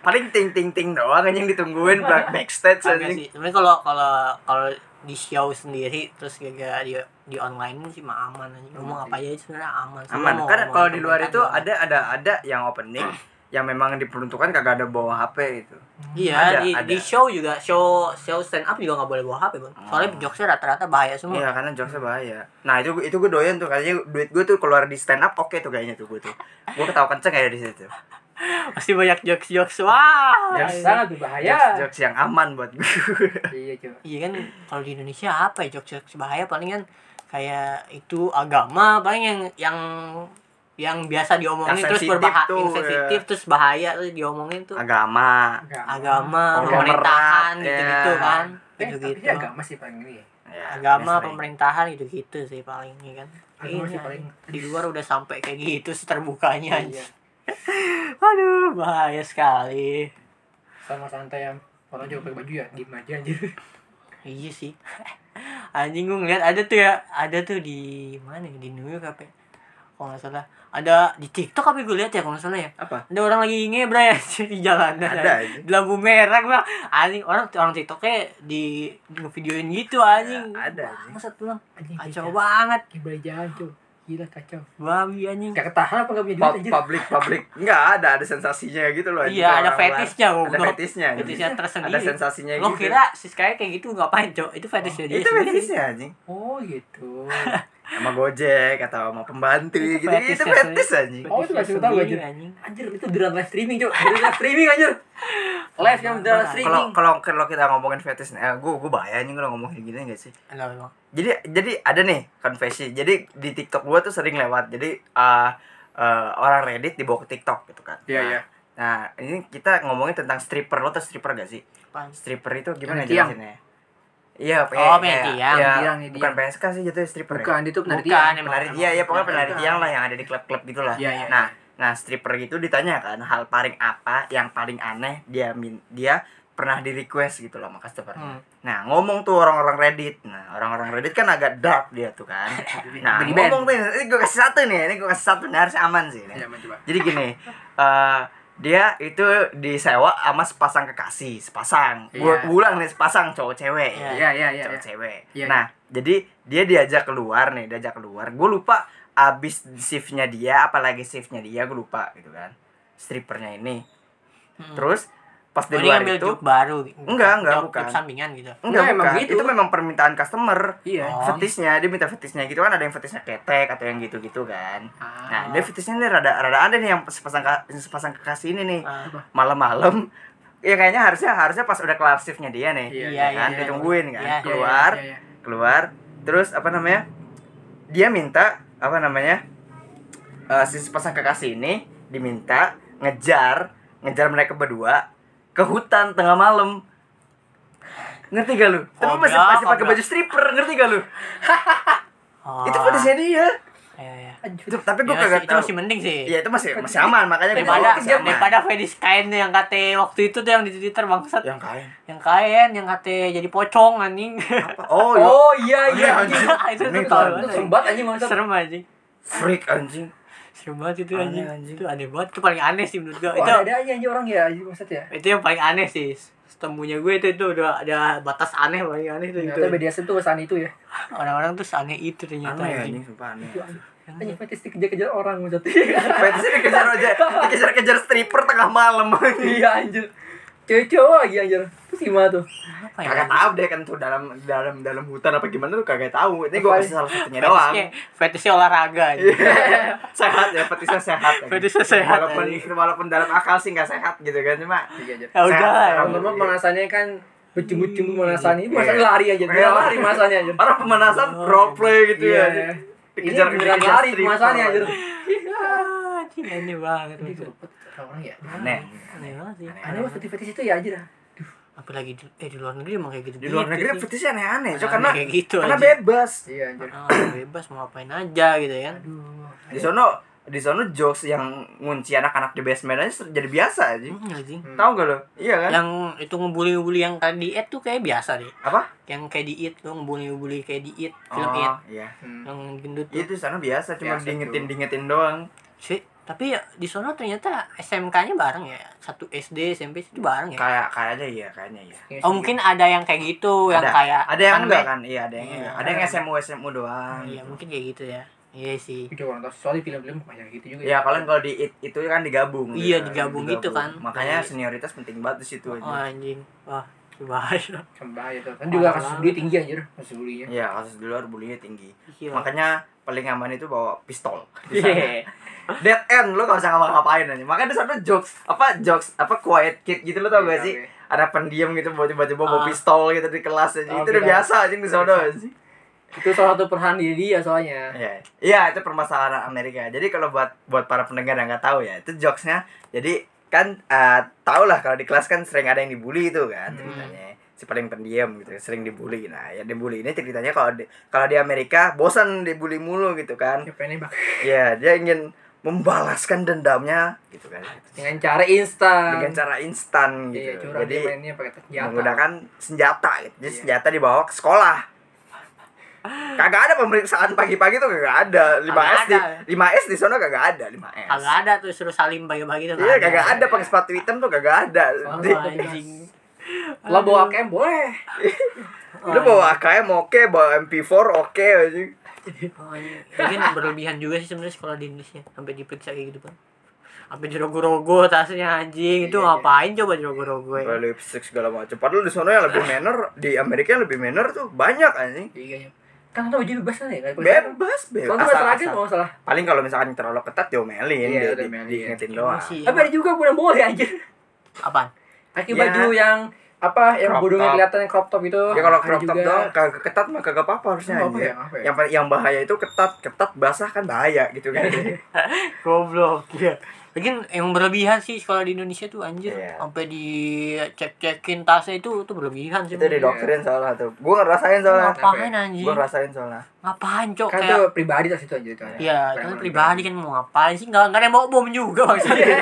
[SPEAKER 3] paling ting ting ting doang anjing ditungguin back- backstage
[SPEAKER 2] Kagak sih.
[SPEAKER 3] anjing
[SPEAKER 2] Tapi kalau kalau kalau di show sendiri terus gak di di online sih mah aman aja. Ngomong apa aja sebenarnya aman. Semua
[SPEAKER 3] Hmm. aman
[SPEAKER 2] mau
[SPEAKER 3] kan
[SPEAKER 2] ngomong
[SPEAKER 3] kalau di luar itu
[SPEAKER 2] pemerintahan
[SPEAKER 3] ada ada ada yang opening yang memang diperuntukkan kagak ada bawa gitu. HP itu
[SPEAKER 2] doang. Iya,
[SPEAKER 3] ada,
[SPEAKER 2] di,
[SPEAKER 3] ada.
[SPEAKER 2] di show juga show show stand up juga nggak boleh bawa HP, Bang. Soalnya jokesnya rata-rata bahaya semua.
[SPEAKER 3] Oh. Iya karena jokesnya bahaya. Nah itu itu gue doyan tuh kayaknya duit gue tuh keluar di stand up oke tuh kayaknya tuh gue tuh. Gue ketawa kenceng kayak di situ.
[SPEAKER 2] Pasti banyak jokes-jokes. Wah.
[SPEAKER 1] Yang sangat berbahaya.
[SPEAKER 2] Ya.
[SPEAKER 3] Jokes, jokes yang aman buat gue.
[SPEAKER 1] Iya coba.
[SPEAKER 2] Iya kan kalau di Indonesia apa ya jokes-jokes bahaya paling kan kayak itu agama paling yang yang yang biasa diomongin
[SPEAKER 3] Yang
[SPEAKER 2] terus
[SPEAKER 3] sensitif
[SPEAKER 2] berbahaya
[SPEAKER 3] tuh, iya.
[SPEAKER 2] yang sensitif terus bahaya terus diomongin tuh
[SPEAKER 3] Agama.
[SPEAKER 2] agama,
[SPEAKER 3] Konglomerat,
[SPEAKER 2] pemerintahan
[SPEAKER 3] ya.
[SPEAKER 2] gitu-gitu kan.
[SPEAKER 1] Eh,
[SPEAKER 2] Gitu
[SPEAKER 1] tapi
[SPEAKER 2] gitu.
[SPEAKER 1] dia agama sih paling ini. ya.
[SPEAKER 3] Ya,
[SPEAKER 2] Agama,
[SPEAKER 3] sering.
[SPEAKER 2] pemerintahan gitu-gitu sih paling ya kan.
[SPEAKER 1] Agama sih
[SPEAKER 2] Iya,
[SPEAKER 1] paling.
[SPEAKER 2] Di luar udah sampai kayak gitu terbukanya.
[SPEAKER 1] Iya.
[SPEAKER 2] Aduh, bahaya sekali.
[SPEAKER 1] Sama santai yang orang juga pakai baju ya, diem aja anjir.
[SPEAKER 2] Iya sih. Anjing gue ngeliat ada tuh ya, ada tuh di mana ya? di New York apa ya? Kalau nggak salah, ada di TikTok apa gue lihat ya kalau nggak salah ya.
[SPEAKER 3] Apa?
[SPEAKER 2] Ada orang lagi ngebra ya di jalanan.
[SPEAKER 3] Ada,
[SPEAKER 2] anjing. Di lampu merah gua. Anjing orang orang TikToknya di ngevideoin gitu
[SPEAKER 1] Iya,
[SPEAKER 2] anjing.
[SPEAKER 3] Ya, ada, anjing.
[SPEAKER 2] Maksud pulang.
[SPEAKER 1] Anjing,
[SPEAKER 2] Kacau
[SPEAKER 1] gila.
[SPEAKER 2] banget.
[SPEAKER 1] Gila jalan cuy. Gila kacau.
[SPEAKER 2] Babi anjing.
[SPEAKER 1] Gak ketahan apa gak punya duit
[SPEAKER 3] Pub-
[SPEAKER 1] anjir.
[SPEAKER 3] public public enggak ada ada sensasinya gitu loh anjing,
[SPEAKER 2] Iya,
[SPEAKER 3] kalau
[SPEAKER 2] ada
[SPEAKER 3] orang luar.
[SPEAKER 2] fetishnya,
[SPEAKER 3] ada
[SPEAKER 2] goblok.
[SPEAKER 3] fetishnya anjing.
[SPEAKER 2] Fetishnya tersendiri.
[SPEAKER 3] ada sensasinya
[SPEAKER 2] Lo
[SPEAKER 3] gitu
[SPEAKER 2] kira si Sky kayak gitu ngapain, Cok? Oh, Itu fetishnya dia
[SPEAKER 3] itu
[SPEAKER 2] sendiri.
[SPEAKER 3] fetishnya anjing
[SPEAKER 1] Oh gitu.
[SPEAKER 3] sama gojek atau sama pembantu
[SPEAKER 2] Itu
[SPEAKER 3] gitu
[SPEAKER 2] fetish
[SPEAKER 3] itu
[SPEAKER 2] ya,
[SPEAKER 3] fetish anjing
[SPEAKER 1] Oh, itu
[SPEAKER 2] Fetishnya
[SPEAKER 1] gak sih, tahu gak,
[SPEAKER 2] sendiri,
[SPEAKER 1] Jun?
[SPEAKER 2] anjing.
[SPEAKER 1] Anjir itu beneran live streaming cuy. Beneran live streaming anjir. Live yang beneran
[SPEAKER 2] Kalau-
[SPEAKER 1] streaming.
[SPEAKER 3] kalau kalau kalau kita ngomongin fetish eh gue gue bahaya anjing kalau ngomongin gini gak sih
[SPEAKER 2] Enggak memang.
[SPEAKER 3] jadi jadi ada nih konfesi jadi di TikTok gua tuh sering lewat jadi eh, eh, orang Reddit dibawa ke TikTok gitu kan
[SPEAKER 1] Iya, iya.
[SPEAKER 3] nah ini kita ngomongin tentang stripper lo tau stripper gak sih
[SPEAKER 2] Apaan?
[SPEAKER 3] stripper itu gimana
[SPEAKER 1] Yang tiang.
[SPEAKER 3] jelasinnya
[SPEAKER 2] Oh,
[SPEAKER 3] Iya, kayak-
[SPEAKER 2] penari
[SPEAKER 3] kayak-
[SPEAKER 2] tiang.
[SPEAKER 3] ya,
[SPEAKER 1] Tiang, ini
[SPEAKER 3] bukan PSK sih jatuhnya stripper. ya?
[SPEAKER 1] Bukan itu penari
[SPEAKER 2] Bukan,
[SPEAKER 1] tiang.
[SPEAKER 2] emang.
[SPEAKER 3] Penari,
[SPEAKER 2] emang.
[SPEAKER 3] iya, iya, pokoknya penari
[SPEAKER 1] Bukan.
[SPEAKER 3] tiang lah yang ada di klub-klub gitulah.
[SPEAKER 1] Iya, iya.
[SPEAKER 3] Nah, nah stripper gitu ditanya kan hal paling apa yang paling aneh dia min dia pernah di request gitu loh sama customer.
[SPEAKER 2] Hmm.
[SPEAKER 3] Nah, ngomong tuh orang-orang Reddit. Nah, orang-orang Reddit kan agak dark dia tuh kan. Nah,
[SPEAKER 1] Benny Band.
[SPEAKER 3] ngomong tuh ini gue kasih satu nih, ini gue kasih satu nih harus aman sih. ini.
[SPEAKER 1] Iya, emang, coba.
[SPEAKER 3] Jadi gini, eh dia itu disewa sama sepasang kekasih, sepasang. Gua
[SPEAKER 1] Iya.
[SPEAKER 3] ulang nih sepasang cowok cewek.
[SPEAKER 1] Iya,
[SPEAKER 2] Iya.
[SPEAKER 1] iya, iya.
[SPEAKER 3] Cowok
[SPEAKER 1] iya.
[SPEAKER 3] cewek.
[SPEAKER 1] Iya,
[SPEAKER 3] Nah, jadi dia diajak keluar nih, diajak keluar. Gue lupa abis shiftnya dia, apalagi shiftnya dia, gue lupa gitu kan. Strippernya ini.
[SPEAKER 1] Hmm.
[SPEAKER 2] Mm-mm.
[SPEAKER 3] Terus pas
[SPEAKER 2] Oh,
[SPEAKER 3] di
[SPEAKER 2] dia
[SPEAKER 3] luar
[SPEAKER 2] ngambil
[SPEAKER 3] itu,
[SPEAKER 2] job baru.
[SPEAKER 3] Enggak, enggak,
[SPEAKER 2] Job-
[SPEAKER 3] bukan.
[SPEAKER 2] job sampingan gitu.
[SPEAKER 1] Enggak,
[SPEAKER 3] enggak,
[SPEAKER 1] emang
[SPEAKER 3] bukan.
[SPEAKER 1] gitu.
[SPEAKER 3] Itu memang permintaan customer.
[SPEAKER 1] Iya.
[SPEAKER 2] Oh.
[SPEAKER 3] Fetishnya, dia minta fetishnya gitu kan ada yang fetishnya ketek atau yang gitu-gitu kan.
[SPEAKER 1] Ah,
[SPEAKER 3] Nah, dia fetishnya nih rada rada ada nih yang sepasang ka- sepasang kekasih ini nih.
[SPEAKER 2] Ah.
[SPEAKER 3] Malam-malam ya kayaknya harusnya harusnya pas udah kelar shiftnya dia nih.
[SPEAKER 1] Iya,
[SPEAKER 2] iya,
[SPEAKER 3] kan
[SPEAKER 2] iya.
[SPEAKER 3] ditungguin kan.
[SPEAKER 2] Iya, iya,
[SPEAKER 3] keluar,
[SPEAKER 1] Iya, iya, iya.
[SPEAKER 3] keluar. Terus apa namanya? Dia minta apa namanya? Eh si sepasang kekasih ini diminta ngejar ngejar mereka berdua ke hutan tengah malam. Ngerti gak lu? Tapi masih
[SPEAKER 2] Kobra,
[SPEAKER 3] masih pakai
[SPEAKER 2] kobra.
[SPEAKER 3] baju stripper, ngerti gak lu?
[SPEAKER 2] Oh.
[SPEAKER 3] Itu fetishnya dia.
[SPEAKER 2] Iya, iya.
[SPEAKER 1] Anjir.
[SPEAKER 3] Itu, tapi gue
[SPEAKER 2] Iya sih,
[SPEAKER 3] kagak
[SPEAKER 2] Itu
[SPEAKER 3] tahu.
[SPEAKER 2] masih mending sih.
[SPEAKER 3] Iya itu masih masih aman makanya kita
[SPEAKER 2] daripada
[SPEAKER 3] mungkin dia aman.
[SPEAKER 2] daripada Fedis kain yang kate waktu itu tuh yang di Twitter bangsat
[SPEAKER 3] yang kain
[SPEAKER 2] yang kain yang kate jadi pocong anjing
[SPEAKER 3] apa oh, iya.
[SPEAKER 1] Oh iya iya.
[SPEAKER 3] Iya,
[SPEAKER 1] anjir.
[SPEAKER 2] itu tuh
[SPEAKER 3] Ini
[SPEAKER 2] tolol
[SPEAKER 1] Itu
[SPEAKER 2] anjing.
[SPEAKER 1] sembat anjing mantap.
[SPEAKER 2] serem anjing
[SPEAKER 3] freak anjing
[SPEAKER 2] serem banget itu
[SPEAKER 3] Aneh,
[SPEAKER 2] anjing.
[SPEAKER 3] anjing.
[SPEAKER 2] itu aneh banget itu paling aneh sih menurut gua
[SPEAKER 1] Kok
[SPEAKER 2] itu
[SPEAKER 1] ada aja anjing orang ya anjing maksud ya
[SPEAKER 2] itu yang paling aneh sih temunya gue itu itu udah ada batas aneh paling aneh tuh itu
[SPEAKER 1] ternyata BDSM tuh kesan itu ya
[SPEAKER 2] orang-orang tuh aneh itu ternyata
[SPEAKER 3] Aneh
[SPEAKER 2] Iya, anjing.
[SPEAKER 3] anjing, sumpah aneh.
[SPEAKER 1] anjing fetistik kejar-kejar orang maksudnya
[SPEAKER 3] Fetisnya dikejar aja, dikejar-kejar stripper tengah malam.
[SPEAKER 1] iya anjir cewek-cewek lagi anjir terus gimana tuh
[SPEAKER 2] apa ya
[SPEAKER 3] Kagak tahu deh kan tuh dalam dalam dalam hutan apa gimana tuh kagak tahu. Ini gua kasih salah satunya doang. Iya.
[SPEAKER 2] fetisnya, fetisnya olahraga aja.
[SPEAKER 3] sehat ya, fetisnya sehat. ya.
[SPEAKER 2] Fetisnya sehat,
[SPEAKER 3] Walaupun
[SPEAKER 2] anjing.
[SPEAKER 3] walaupun dalam akal sih nggak sehat gitu kan cuma.
[SPEAKER 2] ya udah
[SPEAKER 3] Sehat,
[SPEAKER 1] lama-lama pemanasannya kan bercumbu-cumbu pemanasan ini
[SPEAKER 3] Iya.
[SPEAKER 1] masa lari aja dia
[SPEAKER 3] Iya.
[SPEAKER 1] lari pemanasannya anjir
[SPEAKER 3] Orang pemanasan
[SPEAKER 2] Oh,
[SPEAKER 3] pro play gitu
[SPEAKER 1] Iya,
[SPEAKER 3] ya.
[SPEAKER 1] iya. ini
[SPEAKER 3] Dikejar-
[SPEAKER 1] beneran
[SPEAKER 3] dikejar
[SPEAKER 1] lari
[SPEAKER 3] stripper.
[SPEAKER 1] pemanasannya anjir
[SPEAKER 2] Ah, anjing aneh banget itu
[SPEAKER 1] orang ya
[SPEAKER 3] gitu. Aneh.
[SPEAKER 2] aneh banget sih
[SPEAKER 1] aneh banget fetis-fetis itu ya anjir
[SPEAKER 2] apalagi di, eh di luar negeri emang kayak gitu
[SPEAKER 3] Di luar negeri fetisnya aneh-aneh, so,
[SPEAKER 2] Aneh-aneh
[SPEAKER 3] karena
[SPEAKER 2] kayak gitu
[SPEAKER 3] karena
[SPEAKER 2] aja.
[SPEAKER 3] bebas.
[SPEAKER 1] iya anjir
[SPEAKER 2] Ah, bebas mau ngapain aja gitu kan
[SPEAKER 1] aduh
[SPEAKER 3] Di sono di sono jokes yang ngunci anak-anak di basement aja jadi biasa aja.
[SPEAKER 2] Hmm, anjing.
[SPEAKER 1] Hmm.
[SPEAKER 3] Tahu gak lo? Iya kan?
[SPEAKER 2] yang itu ngebully-ngebully yang kayak diet tuh kayak biasa deh
[SPEAKER 3] Apa?
[SPEAKER 2] yang kayak diet tuh ngebully-ngebully kayak diet film
[SPEAKER 3] oh,
[SPEAKER 2] it
[SPEAKER 3] iya.
[SPEAKER 1] Hmm.
[SPEAKER 2] yang gendut tuh
[SPEAKER 3] Itu sana biasa cuma
[SPEAKER 1] Biasa
[SPEAKER 3] diingetin
[SPEAKER 1] tuh.
[SPEAKER 3] diingetin doang.
[SPEAKER 2] sih tapi ya di sono ternyata SMK-nya bareng ya satu SD SMP itu bareng ya
[SPEAKER 3] Kayak kayaknya iya, kayaknya iya.
[SPEAKER 2] oh mungkin ada yang kayak gitu yang kayak
[SPEAKER 3] ada yang
[SPEAKER 2] aneh.
[SPEAKER 3] enggak kan? Iya, ada yang
[SPEAKER 2] Iya.
[SPEAKER 3] enggak. Ada yang SMU SMU doang.
[SPEAKER 2] iya mungkin kayak gitu ya iya sih
[SPEAKER 3] Gitu
[SPEAKER 1] Tapi orang tahu soalnya film-film banyak gitu juga
[SPEAKER 3] Ya kalian kalau di it- itu kan digabung.
[SPEAKER 2] Iya,
[SPEAKER 3] gitu.
[SPEAKER 2] digabung gitu kan.
[SPEAKER 3] Makanya
[SPEAKER 2] Jadi-
[SPEAKER 3] senioritas penting banget di
[SPEAKER 2] oh
[SPEAKER 3] situ aja.
[SPEAKER 2] anjing wah bahaya
[SPEAKER 1] Kembali itu kan juga kasus duit tinggi anjir kasus bulinya
[SPEAKER 3] Iya, kasus di luar bulinya tinggi.
[SPEAKER 2] Gila.
[SPEAKER 3] Makanya paling aman itu bawa pistol. Di sana.
[SPEAKER 1] Iya.
[SPEAKER 3] Dead end lu gak usah ngapa-ngapain aja. Makanya di sana jokes apa jokes apa quiet kid gitu lo tau gak
[SPEAKER 1] Iya,
[SPEAKER 3] sih?
[SPEAKER 1] oke.
[SPEAKER 3] Ada pendiam gitu tiba-tiba bawa
[SPEAKER 2] Ah. Oh, iya.
[SPEAKER 3] pistol gitu di kelas aja.
[SPEAKER 1] Tau
[SPEAKER 3] itu udah
[SPEAKER 1] kita.
[SPEAKER 3] biasa aja di sana sih.
[SPEAKER 1] itu salah satu perhan diri dia soalnya
[SPEAKER 3] Iya, iya itu permasalahan Amerika. Jadi kalau buat buat para pendengar yang nggak tahu ya, itu jokesnya. Jadi kan eh, tau lah kalau di kelas kan sering ada yang dibully itu kan
[SPEAKER 1] Hmm.
[SPEAKER 3] ceritanya. Si paling pendiam gitu, sering dibully. Nah, ya dibully ini ceritanya kalau di, kalau di Amerika bosan dibully mulu gitu kan.
[SPEAKER 1] siapa yang nembak
[SPEAKER 3] Iya, dia ingin membalaskan dendamnya gitu kan.
[SPEAKER 1] dengan cara instan
[SPEAKER 3] Dengan cara instan
[SPEAKER 1] Ah,
[SPEAKER 3] gitu.
[SPEAKER 1] iya curang dia
[SPEAKER 3] Jadi
[SPEAKER 1] mainnya pakai senjata
[SPEAKER 3] menggunakan senjata gitu. Jadi
[SPEAKER 1] Iya.
[SPEAKER 3] senjata dibawa ke sekolah. Kagak ada pemeriksaan pagi-pagi tuh kagak ada. 5
[SPEAKER 2] Kagak
[SPEAKER 3] S di
[SPEAKER 2] ada.
[SPEAKER 3] 5 S di sana kagak ada 5 S.
[SPEAKER 2] kagak ada tuh suruh salim bagi-bagi tuh
[SPEAKER 3] Iya kagak ada pakai sepatu hitam tuh kagak ada.
[SPEAKER 1] Oh,
[SPEAKER 3] Di-
[SPEAKER 2] Oh, anjing
[SPEAKER 1] lo bawa kem boleh
[SPEAKER 3] Lu bawa AKM oke, bawa MP4 oke anjing.
[SPEAKER 2] Oh, iya. Mungkin berlebihan juga sih sebenarnya sekolah di Indonesia sampai diperiksa kayak gitu kan. Sampai dirogo-rogo tasnya anjing itu
[SPEAKER 1] Iya, iya.
[SPEAKER 2] ngapain coba dirogo-rogo ya?
[SPEAKER 3] Bawa lipstick segala macam. Padahal di sana yang lebih manner, di Amerika yang lebih manner tuh banyak anjing.
[SPEAKER 1] iya kan lo baju bebas kan ya nggak diperiksa.
[SPEAKER 3] Bebas, bebas.
[SPEAKER 1] Soalnya
[SPEAKER 3] Asal-
[SPEAKER 1] masyarakat
[SPEAKER 3] asal-
[SPEAKER 1] mau salah
[SPEAKER 3] Paling kalau misalkan terlalu ketat
[SPEAKER 1] Iya,
[SPEAKER 3] diomelin, di,
[SPEAKER 1] udah
[SPEAKER 3] di,
[SPEAKER 1] diomelin.
[SPEAKER 3] diingetin
[SPEAKER 2] Emang
[SPEAKER 3] doang.
[SPEAKER 2] Iya sih,
[SPEAKER 1] tapi ada juga boleh boleh anjir
[SPEAKER 2] apaan?
[SPEAKER 1] pakai
[SPEAKER 3] Ya.
[SPEAKER 1] baju yang apa yang
[SPEAKER 3] Crop
[SPEAKER 1] bodongnya
[SPEAKER 3] top.
[SPEAKER 1] kelihatan yang crop top itu
[SPEAKER 3] Ya kalau
[SPEAKER 1] ada
[SPEAKER 3] crop top
[SPEAKER 1] juga.
[SPEAKER 3] doang kagak ketat mah kagak apa-apa harusnya
[SPEAKER 1] Nggak apa-apa
[SPEAKER 3] aja.
[SPEAKER 1] ya, nggak apa ya.
[SPEAKER 3] Yang pa- yang bahaya itu ketat, ketat basah kan bahaya gitu kan.
[SPEAKER 2] Goblok ya. Lagian yang berlebihan sih sekolah di Indonesia tuh anjir
[SPEAKER 3] Iya.
[SPEAKER 2] sampai dicek-cekin tasnya itu itu berlebihan sih.
[SPEAKER 3] itu didoktrin soalnya tuh. Gua ngerasain soalnya.
[SPEAKER 2] Ngapain anjing?
[SPEAKER 3] Gua ngerasain soalnya.
[SPEAKER 2] Ngapain cok
[SPEAKER 1] kan
[SPEAKER 2] kayak
[SPEAKER 1] tuh pribadi tas itu anjir itu anjir.
[SPEAKER 2] Iya,
[SPEAKER 1] Preman
[SPEAKER 2] kan pribadi kan mau ngapain sih? Enggak enggak ada yang bawa bom juga maksudnya.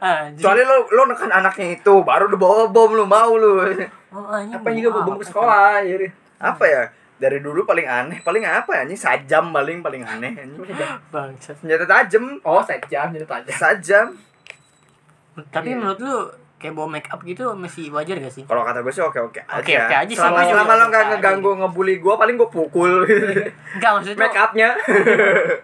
[SPEAKER 2] anjing.
[SPEAKER 3] Soalnya lo lo nekan anaknya itu baru dibawa bom lu mau lu.
[SPEAKER 2] Oh, anjing.
[SPEAKER 1] apa juga
[SPEAKER 2] bawa
[SPEAKER 1] bobong ke
[SPEAKER 2] apa?
[SPEAKER 1] sekolah anjir
[SPEAKER 3] Apa ya? Dari dulu paling aneh, paling apa ya? Ini sajam paling paling aneh. anjing.
[SPEAKER 2] Bangsat.
[SPEAKER 3] Senjata tajam,
[SPEAKER 1] oh set jam itu tajam
[SPEAKER 3] sajam.
[SPEAKER 1] Iya.
[SPEAKER 2] Tapi menurut lu kayak bawa make up gitu masih wajar gak sih?
[SPEAKER 3] Kalau kata gue sih oke-oke aja.
[SPEAKER 2] Oke-oke aja sih, gue
[SPEAKER 3] Selama,
[SPEAKER 2] juga
[SPEAKER 3] selama lo nggak
[SPEAKER 2] oke-oke aja.
[SPEAKER 3] ngeganggu ngebully gue, paling gue pukul.
[SPEAKER 2] Enggak maksudnya
[SPEAKER 3] Make upnya.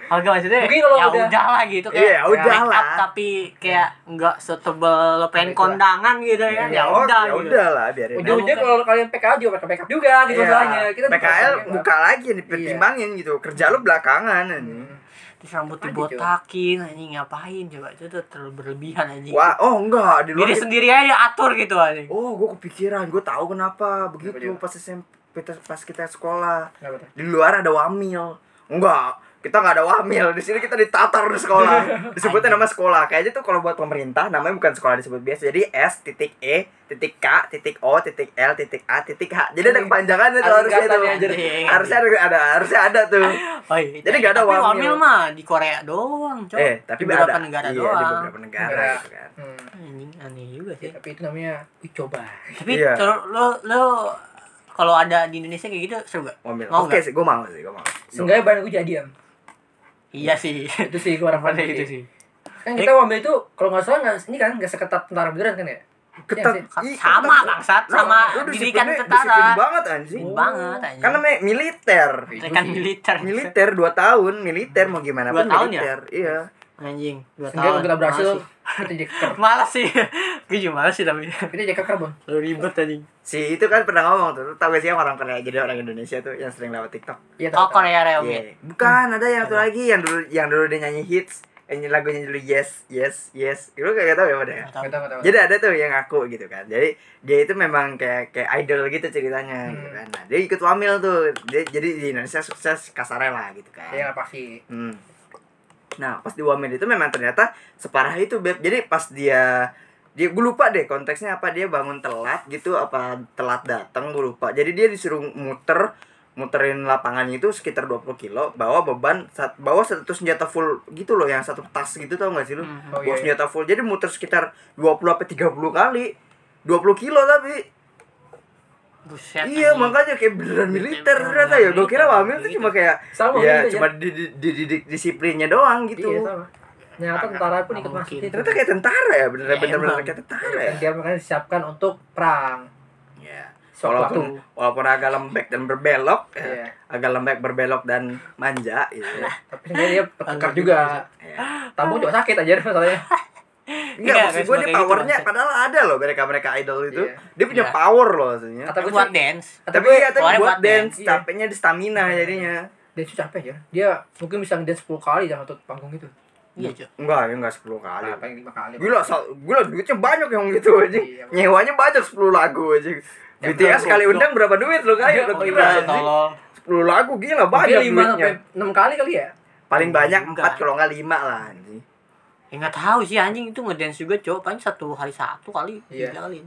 [SPEAKER 2] Oh, enggak maksudnya
[SPEAKER 1] Mungkin kalau
[SPEAKER 2] ya
[SPEAKER 1] udah-
[SPEAKER 2] udah lah gitu kayak
[SPEAKER 3] Iya, udah
[SPEAKER 2] make up,
[SPEAKER 3] lah.
[SPEAKER 2] tapi kayak enggak setebal lo pengen kondangan gitu kan ya, udah
[SPEAKER 3] ya
[SPEAKER 2] gitu.
[SPEAKER 3] udah lah biarin. aja.
[SPEAKER 1] ujung-ujungnya kalau kalian PKL juga pakai makeup juga gitu
[SPEAKER 3] Iya.
[SPEAKER 1] masalahnya kita
[SPEAKER 3] PKL
[SPEAKER 1] bukan-
[SPEAKER 3] buka lagi nih pertimbangin gitu kerja lu belakangan ini
[SPEAKER 2] Terus rambut
[SPEAKER 1] Apaan
[SPEAKER 3] gitu?
[SPEAKER 2] dibotakin anjing ngapain coba itu tuh terlalu berlebihan anjing.
[SPEAKER 3] wah oh enggak di luar
[SPEAKER 2] Diri sendiri aja diatur gitu anjing.
[SPEAKER 3] oh gue kepikiran gue tahu kenapa begitu
[SPEAKER 1] Kenapa dia?
[SPEAKER 3] pas SMP kita- pas kita sekolah
[SPEAKER 1] Kenapa tuh?
[SPEAKER 3] di luar ada wamil enggak kita nggak ada wamil di sini kita ditatar di sekolah disebutnya nama sekolah kayaknya tuh kalau buat pemerintah namanya bukan sekolah disebut biasa jadi S titik E titik K titik O titik L titik A titik H jadi
[SPEAKER 2] Iya.
[SPEAKER 3] ada kepanjangannya tuh
[SPEAKER 1] Ada
[SPEAKER 3] harusnya tuh
[SPEAKER 1] singkatannya, anjir.
[SPEAKER 3] harusnya ada, ada harusnya ada tuh
[SPEAKER 2] Oh, iya.
[SPEAKER 3] Jadi nggak ada
[SPEAKER 2] Tapi
[SPEAKER 3] wamil.
[SPEAKER 2] mah di Korea doang, coba.
[SPEAKER 3] eh tapi
[SPEAKER 2] di beberapa
[SPEAKER 3] ada
[SPEAKER 2] negara
[SPEAKER 3] iya,
[SPEAKER 2] doang.
[SPEAKER 3] di beberapa negara
[SPEAKER 1] Negara.
[SPEAKER 3] gitu kan
[SPEAKER 1] Hmm.
[SPEAKER 2] Anjing aneh juga
[SPEAKER 1] Ya,
[SPEAKER 2] sih.
[SPEAKER 1] tapi itu namanya uji coba
[SPEAKER 2] Tapi
[SPEAKER 3] Iya.
[SPEAKER 2] ter- lo lo kalau ada di Indonesia kayak gitu seru gak?
[SPEAKER 3] Wamil.
[SPEAKER 2] Mau
[SPEAKER 3] Oke
[SPEAKER 2] nggak?
[SPEAKER 3] sih, gue mau sih, gue mau.
[SPEAKER 1] seenggaknya badan gue jadi am
[SPEAKER 2] Iya sih.
[SPEAKER 1] itu sih gua
[SPEAKER 2] Pada
[SPEAKER 1] harapan
[SPEAKER 2] Iya, itu sih.
[SPEAKER 1] kan kita ambil itu kalau nggak salah nggak ini kan nggak seketat tentara beneran kan ya
[SPEAKER 3] Ketat.
[SPEAKER 1] Iya
[SPEAKER 2] Sa-
[SPEAKER 3] Ih,
[SPEAKER 2] sama
[SPEAKER 3] ketat.
[SPEAKER 2] bangsat
[SPEAKER 3] Nah,
[SPEAKER 2] sama
[SPEAKER 3] lu disiplinnya-
[SPEAKER 2] didikan
[SPEAKER 3] Disiplin
[SPEAKER 2] tentara. Iya.
[SPEAKER 3] banget anjing.
[SPEAKER 2] Disiplin banget anjing.
[SPEAKER 3] Karena me- militer.
[SPEAKER 2] pendidikan militer.
[SPEAKER 3] Militer 2 tahun, militer mau gimana
[SPEAKER 2] Dua
[SPEAKER 3] pun
[SPEAKER 2] tahun ya?
[SPEAKER 3] militer. Iya.
[SPEAKER 2] Anjing, dua
[SPEAKER 1] sehingga
[SPEAKER 2] tahun.
[SPEAKER 1] kita berhasil
[SPEAKER 2] Malas sih.
[SPEAKER 1] kita jadi keker
[SPEAKER 2] Malas sih. Gue juga malas sih tapi.
[SPEAKER 1] kita jadi keker bang
[SPEAKER 2] Lu ribet anjing.
[SPEAKER 3] Si itu kan pernah ngomong tuh, lu tau gak sih yang orang Korea jadi orang Indonesia tuh yang sering lewat TikTok.
[SPEAKER 1] iya tahu,
[SPEAKER 2] Oh,
[SPEAKER 1] tahu.
[SPEAKER 2] Korea Reomit.
[SPEAKER 3] Iya. Bukan,
[SPEAKER 2] Hmm.
[SPEAKER 3] ada yang satu lagi yang dulu yang dulu dia nyanyi hits, yang lagunya dulu yes, yes, yes. Lu kagak tau ya pada ya?
[SPEAKER 1] Nggak tahu, nggak tahu.
[SPEAKER 3] Jadi ada tuh yang aku gitu kan. Jadi dia itu memang kayak kayak idol gitu ceritanya gitu
[SPEAKER 1] Hmm.
[SPEAKER 3] kan. Nah, dia ikut wamil tuh. Dia, jadi di Indonesia sukses kasarnya lah gitu kan.
[SPEAKER 1] iya lah, pasti
[SPEAKER 3] Hmm. Nah, pas di wamil itu memang ternyata separah itu beb. Jadi pas dia dia gue lupa deh konteksnya apa dia bangun telat gitu apa telat datang gue lupa. Jadi dia disuruh muter muterin lapangan itu sekitar 20 kilo bawa beban sat- bawa satu senjata full gitu loh yang satu tas gitu tau gak sih lu?
[SPEAKER 2] Hmm.
[SPEAKER 1] oh iya,
[SPEAKER 3] bawa
[SPEAKER 1] iya.
[SPEAKER 3] senjata full jadi muter sekitar 20 sampai 30 kali 20 kilo tapi
[SPEAKER 2] Buset.
[SPEAKER 3] iya
[SPEAKER 2] anjing.
[SPEAKER 3] makanya kayak beneran militer
[SPEAKER 2] Beneran
[SPEAKER 3] ternyata ya gue kira
[SPEAKER 2] militer,
[SPEAKER 3] wamil tuh
[SPEAKER 2] militer.
[SPEAKER 3] cuma kayak
[SPEAKER 1] sama
[SPEAKER 3] ya
[SPEAKER 1] gitu,
[SPEAKER 3] cuma di, di- dididik disiplinnya doang
[SPEAKER 1] gitu iya
[SPEAKER 3] gitu
[SPEAKER 1] sama nyata tentara pun ikut
[SPEAKER 2] Nggak
[SPEAKER 1] masuk
[SPEAKER 2] mungkin.
[SPEAKER 1] itu
[SPEAKER 3] ternyata kayak tentara ya beneran
[SPEAKER 1] Iya,
[SPEAKER 2] Ya,
[SPEAKER 3] bener bener
[SPEAKER 2] emang.
[SPEAKER 3] kayak tentara ya
[SPEAKER 1] dan dia makanya disiapkan untuk perang
[SPEAKER 3] Iya.
[SPEAKER 1] suatu
[SPEAKER 3] walaupun walaupun agak lembek dan berbelok ya,
[SPEAKER 1] Iya. Nah,
[SPEAKER 3] agak lembek berbelok dan manja gitu ya.
[SPEAKER 1] tapi sebenarnya dia kekar
[SPEAKER 2] Agak
[SPEAKER 1] juga
[SPEAKER 3] Iya.
[SPEAKER 1] tabung juga sakit aja masalahnya
[SPEAKER 3] Enggak,
[SPEAKER 2] Iya,
[SPEAKER 3] maksud
[SPEAKER 2] guys,
[SPEAKER 3] gue dia
[SPEAKER 2] sebagai gitu,
[SPEAKER 3] powernya
[SPEAKER 2] maksud.
[SPEAKER 3] padahal ada loh mereka-mereka idol itu.
[SPEAKER 1] Iya.
[SPEAKER 3] Dia punya
[SPEAKER 2] Iya.
[SPEAKER 3] power loh maksudnya.
[SPEAKER 1] Kata gue
[SPEAKER 2] buat
[SPEAKER 1] sih-
[SPEAKER 2] dance.
[SPEAKER 1] kata
[SPEAKER 3] Tapi
[SPEAKER 1] gue
[SPEAKER 3] ya, tapi
[SPEAKER 2] powernya
[SPEAKER 3] buat
[SPEAKER 2] buat
[SPEAKER 3] dance,
[SPEAKER 1] dance, iya.
[SPEAKER 3] capeknya di stamina jadinya.
[SPEAKER 1] dia itu capek ya dia mungkin bisa ngedance 10 kali dalam satu panggung itu
[SPEAKER 2] Iya, cuy.
[SPEAKER 3] Enggak, ya enggak 10 kali.
[SPEAKER 1] apa yang 5 kali
[SPEAKER 3] Gila, sal- gila duitnya banyak yang gitu aja.
[SPEAKER 1] Iya, Bang.
[SPEAKER 3] Nyewanya banyak 10 lagu aja.
[SPEAKER 1] Ya,
[SPEAKER 3] BTS
[SPEAKER 1] bener,
[SPEAKER 3] sekali
[SPEAKER 2] goblok.
[SPEAKER 3] undang berapa duit lo kayak
[SPEAKER 1] Iya,
[SPEAKER 3] lo
[SPEAKER 1] oh,
[SPEAKER 3] kira
[SPEAKER 1] iya,
[SPEAKER 3] anjing.
[SPEAKER 2] Tolong.
[SPEAKER 3] 10 lagu gila banyak
[SPEAKER 1] banyak lima
[SPEAKER 3] duitnya.
[SPEAKER 1] sampai enam kali kali ya
[SPEAKER 3] Paling banyak
[SPEAKER 2] Enggak.
[SPEAKER 3] 4 kalau enggak 5 lah anjing.
[SPEAKER 2] Ya nggak tahu sih anjing itu ngedance juga cowok paling satu hari satu kali
[SPEAKER 1] Iya.
[SPEAKER 2] tiga kali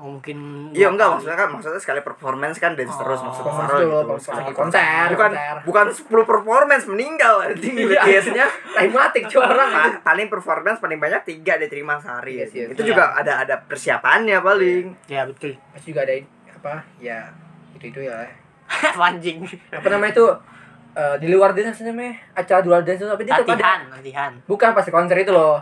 [SPEAKER 2] Oh, mungkin
[SPEAKER 3] Iya
[SPEAKER 2] dua
[SPEAKER 3] enggak
[SPEAKER 2] kali.
[SPEAKER 3] maksudnya kan maksudnya sekali performance kan dance terus
[SPEAKER 2] Oh.
[SPEAKER 3] maksudnya
[SPEAKER 1] Performance
[SPEAKER 3] Sarul
[SPEAKER 1] dulu,
[SPEAKER 3] gitu.
[SPEAKER 1] performance
[SPEAKER 3] Sekali
[SPEAKER 1] lagi konser,
[SPEAKER 3] Bukan
[SPEAKER 1] konser.
[SPEAKER 3] bukan 10 performance meninggal anjing
[SPEAKER 1] Iya.
[SPEAKER 3] BTS-nya.
[SPEAKER 1] Rematik cuma orang
[SPEAKER 3] Pa- paling performance paling banyak 3 diterima sehari.
[SPEAKER 1] Iya,
[SPEAKER 3] anjing.
[SPEAKER 1] iya,
[SPEAKER 3] Itu
[SPEAKER 2] iya.
[SPEAKER 3] juga ada ada persiapannya paling.
[SPEAKER 2] ya betul
[SPEAKER 1] pasti juga ada apa ya itu itu ya
[SPEAKER 2] anjing
[SPEAKER 1] apa namanya itu eh, di luar dance namanya acara di luar dance itu tapi dia tetap ada
[SPEAKER 2] latihan latihan
[SPEAKER 1] bukan pas konser itu loh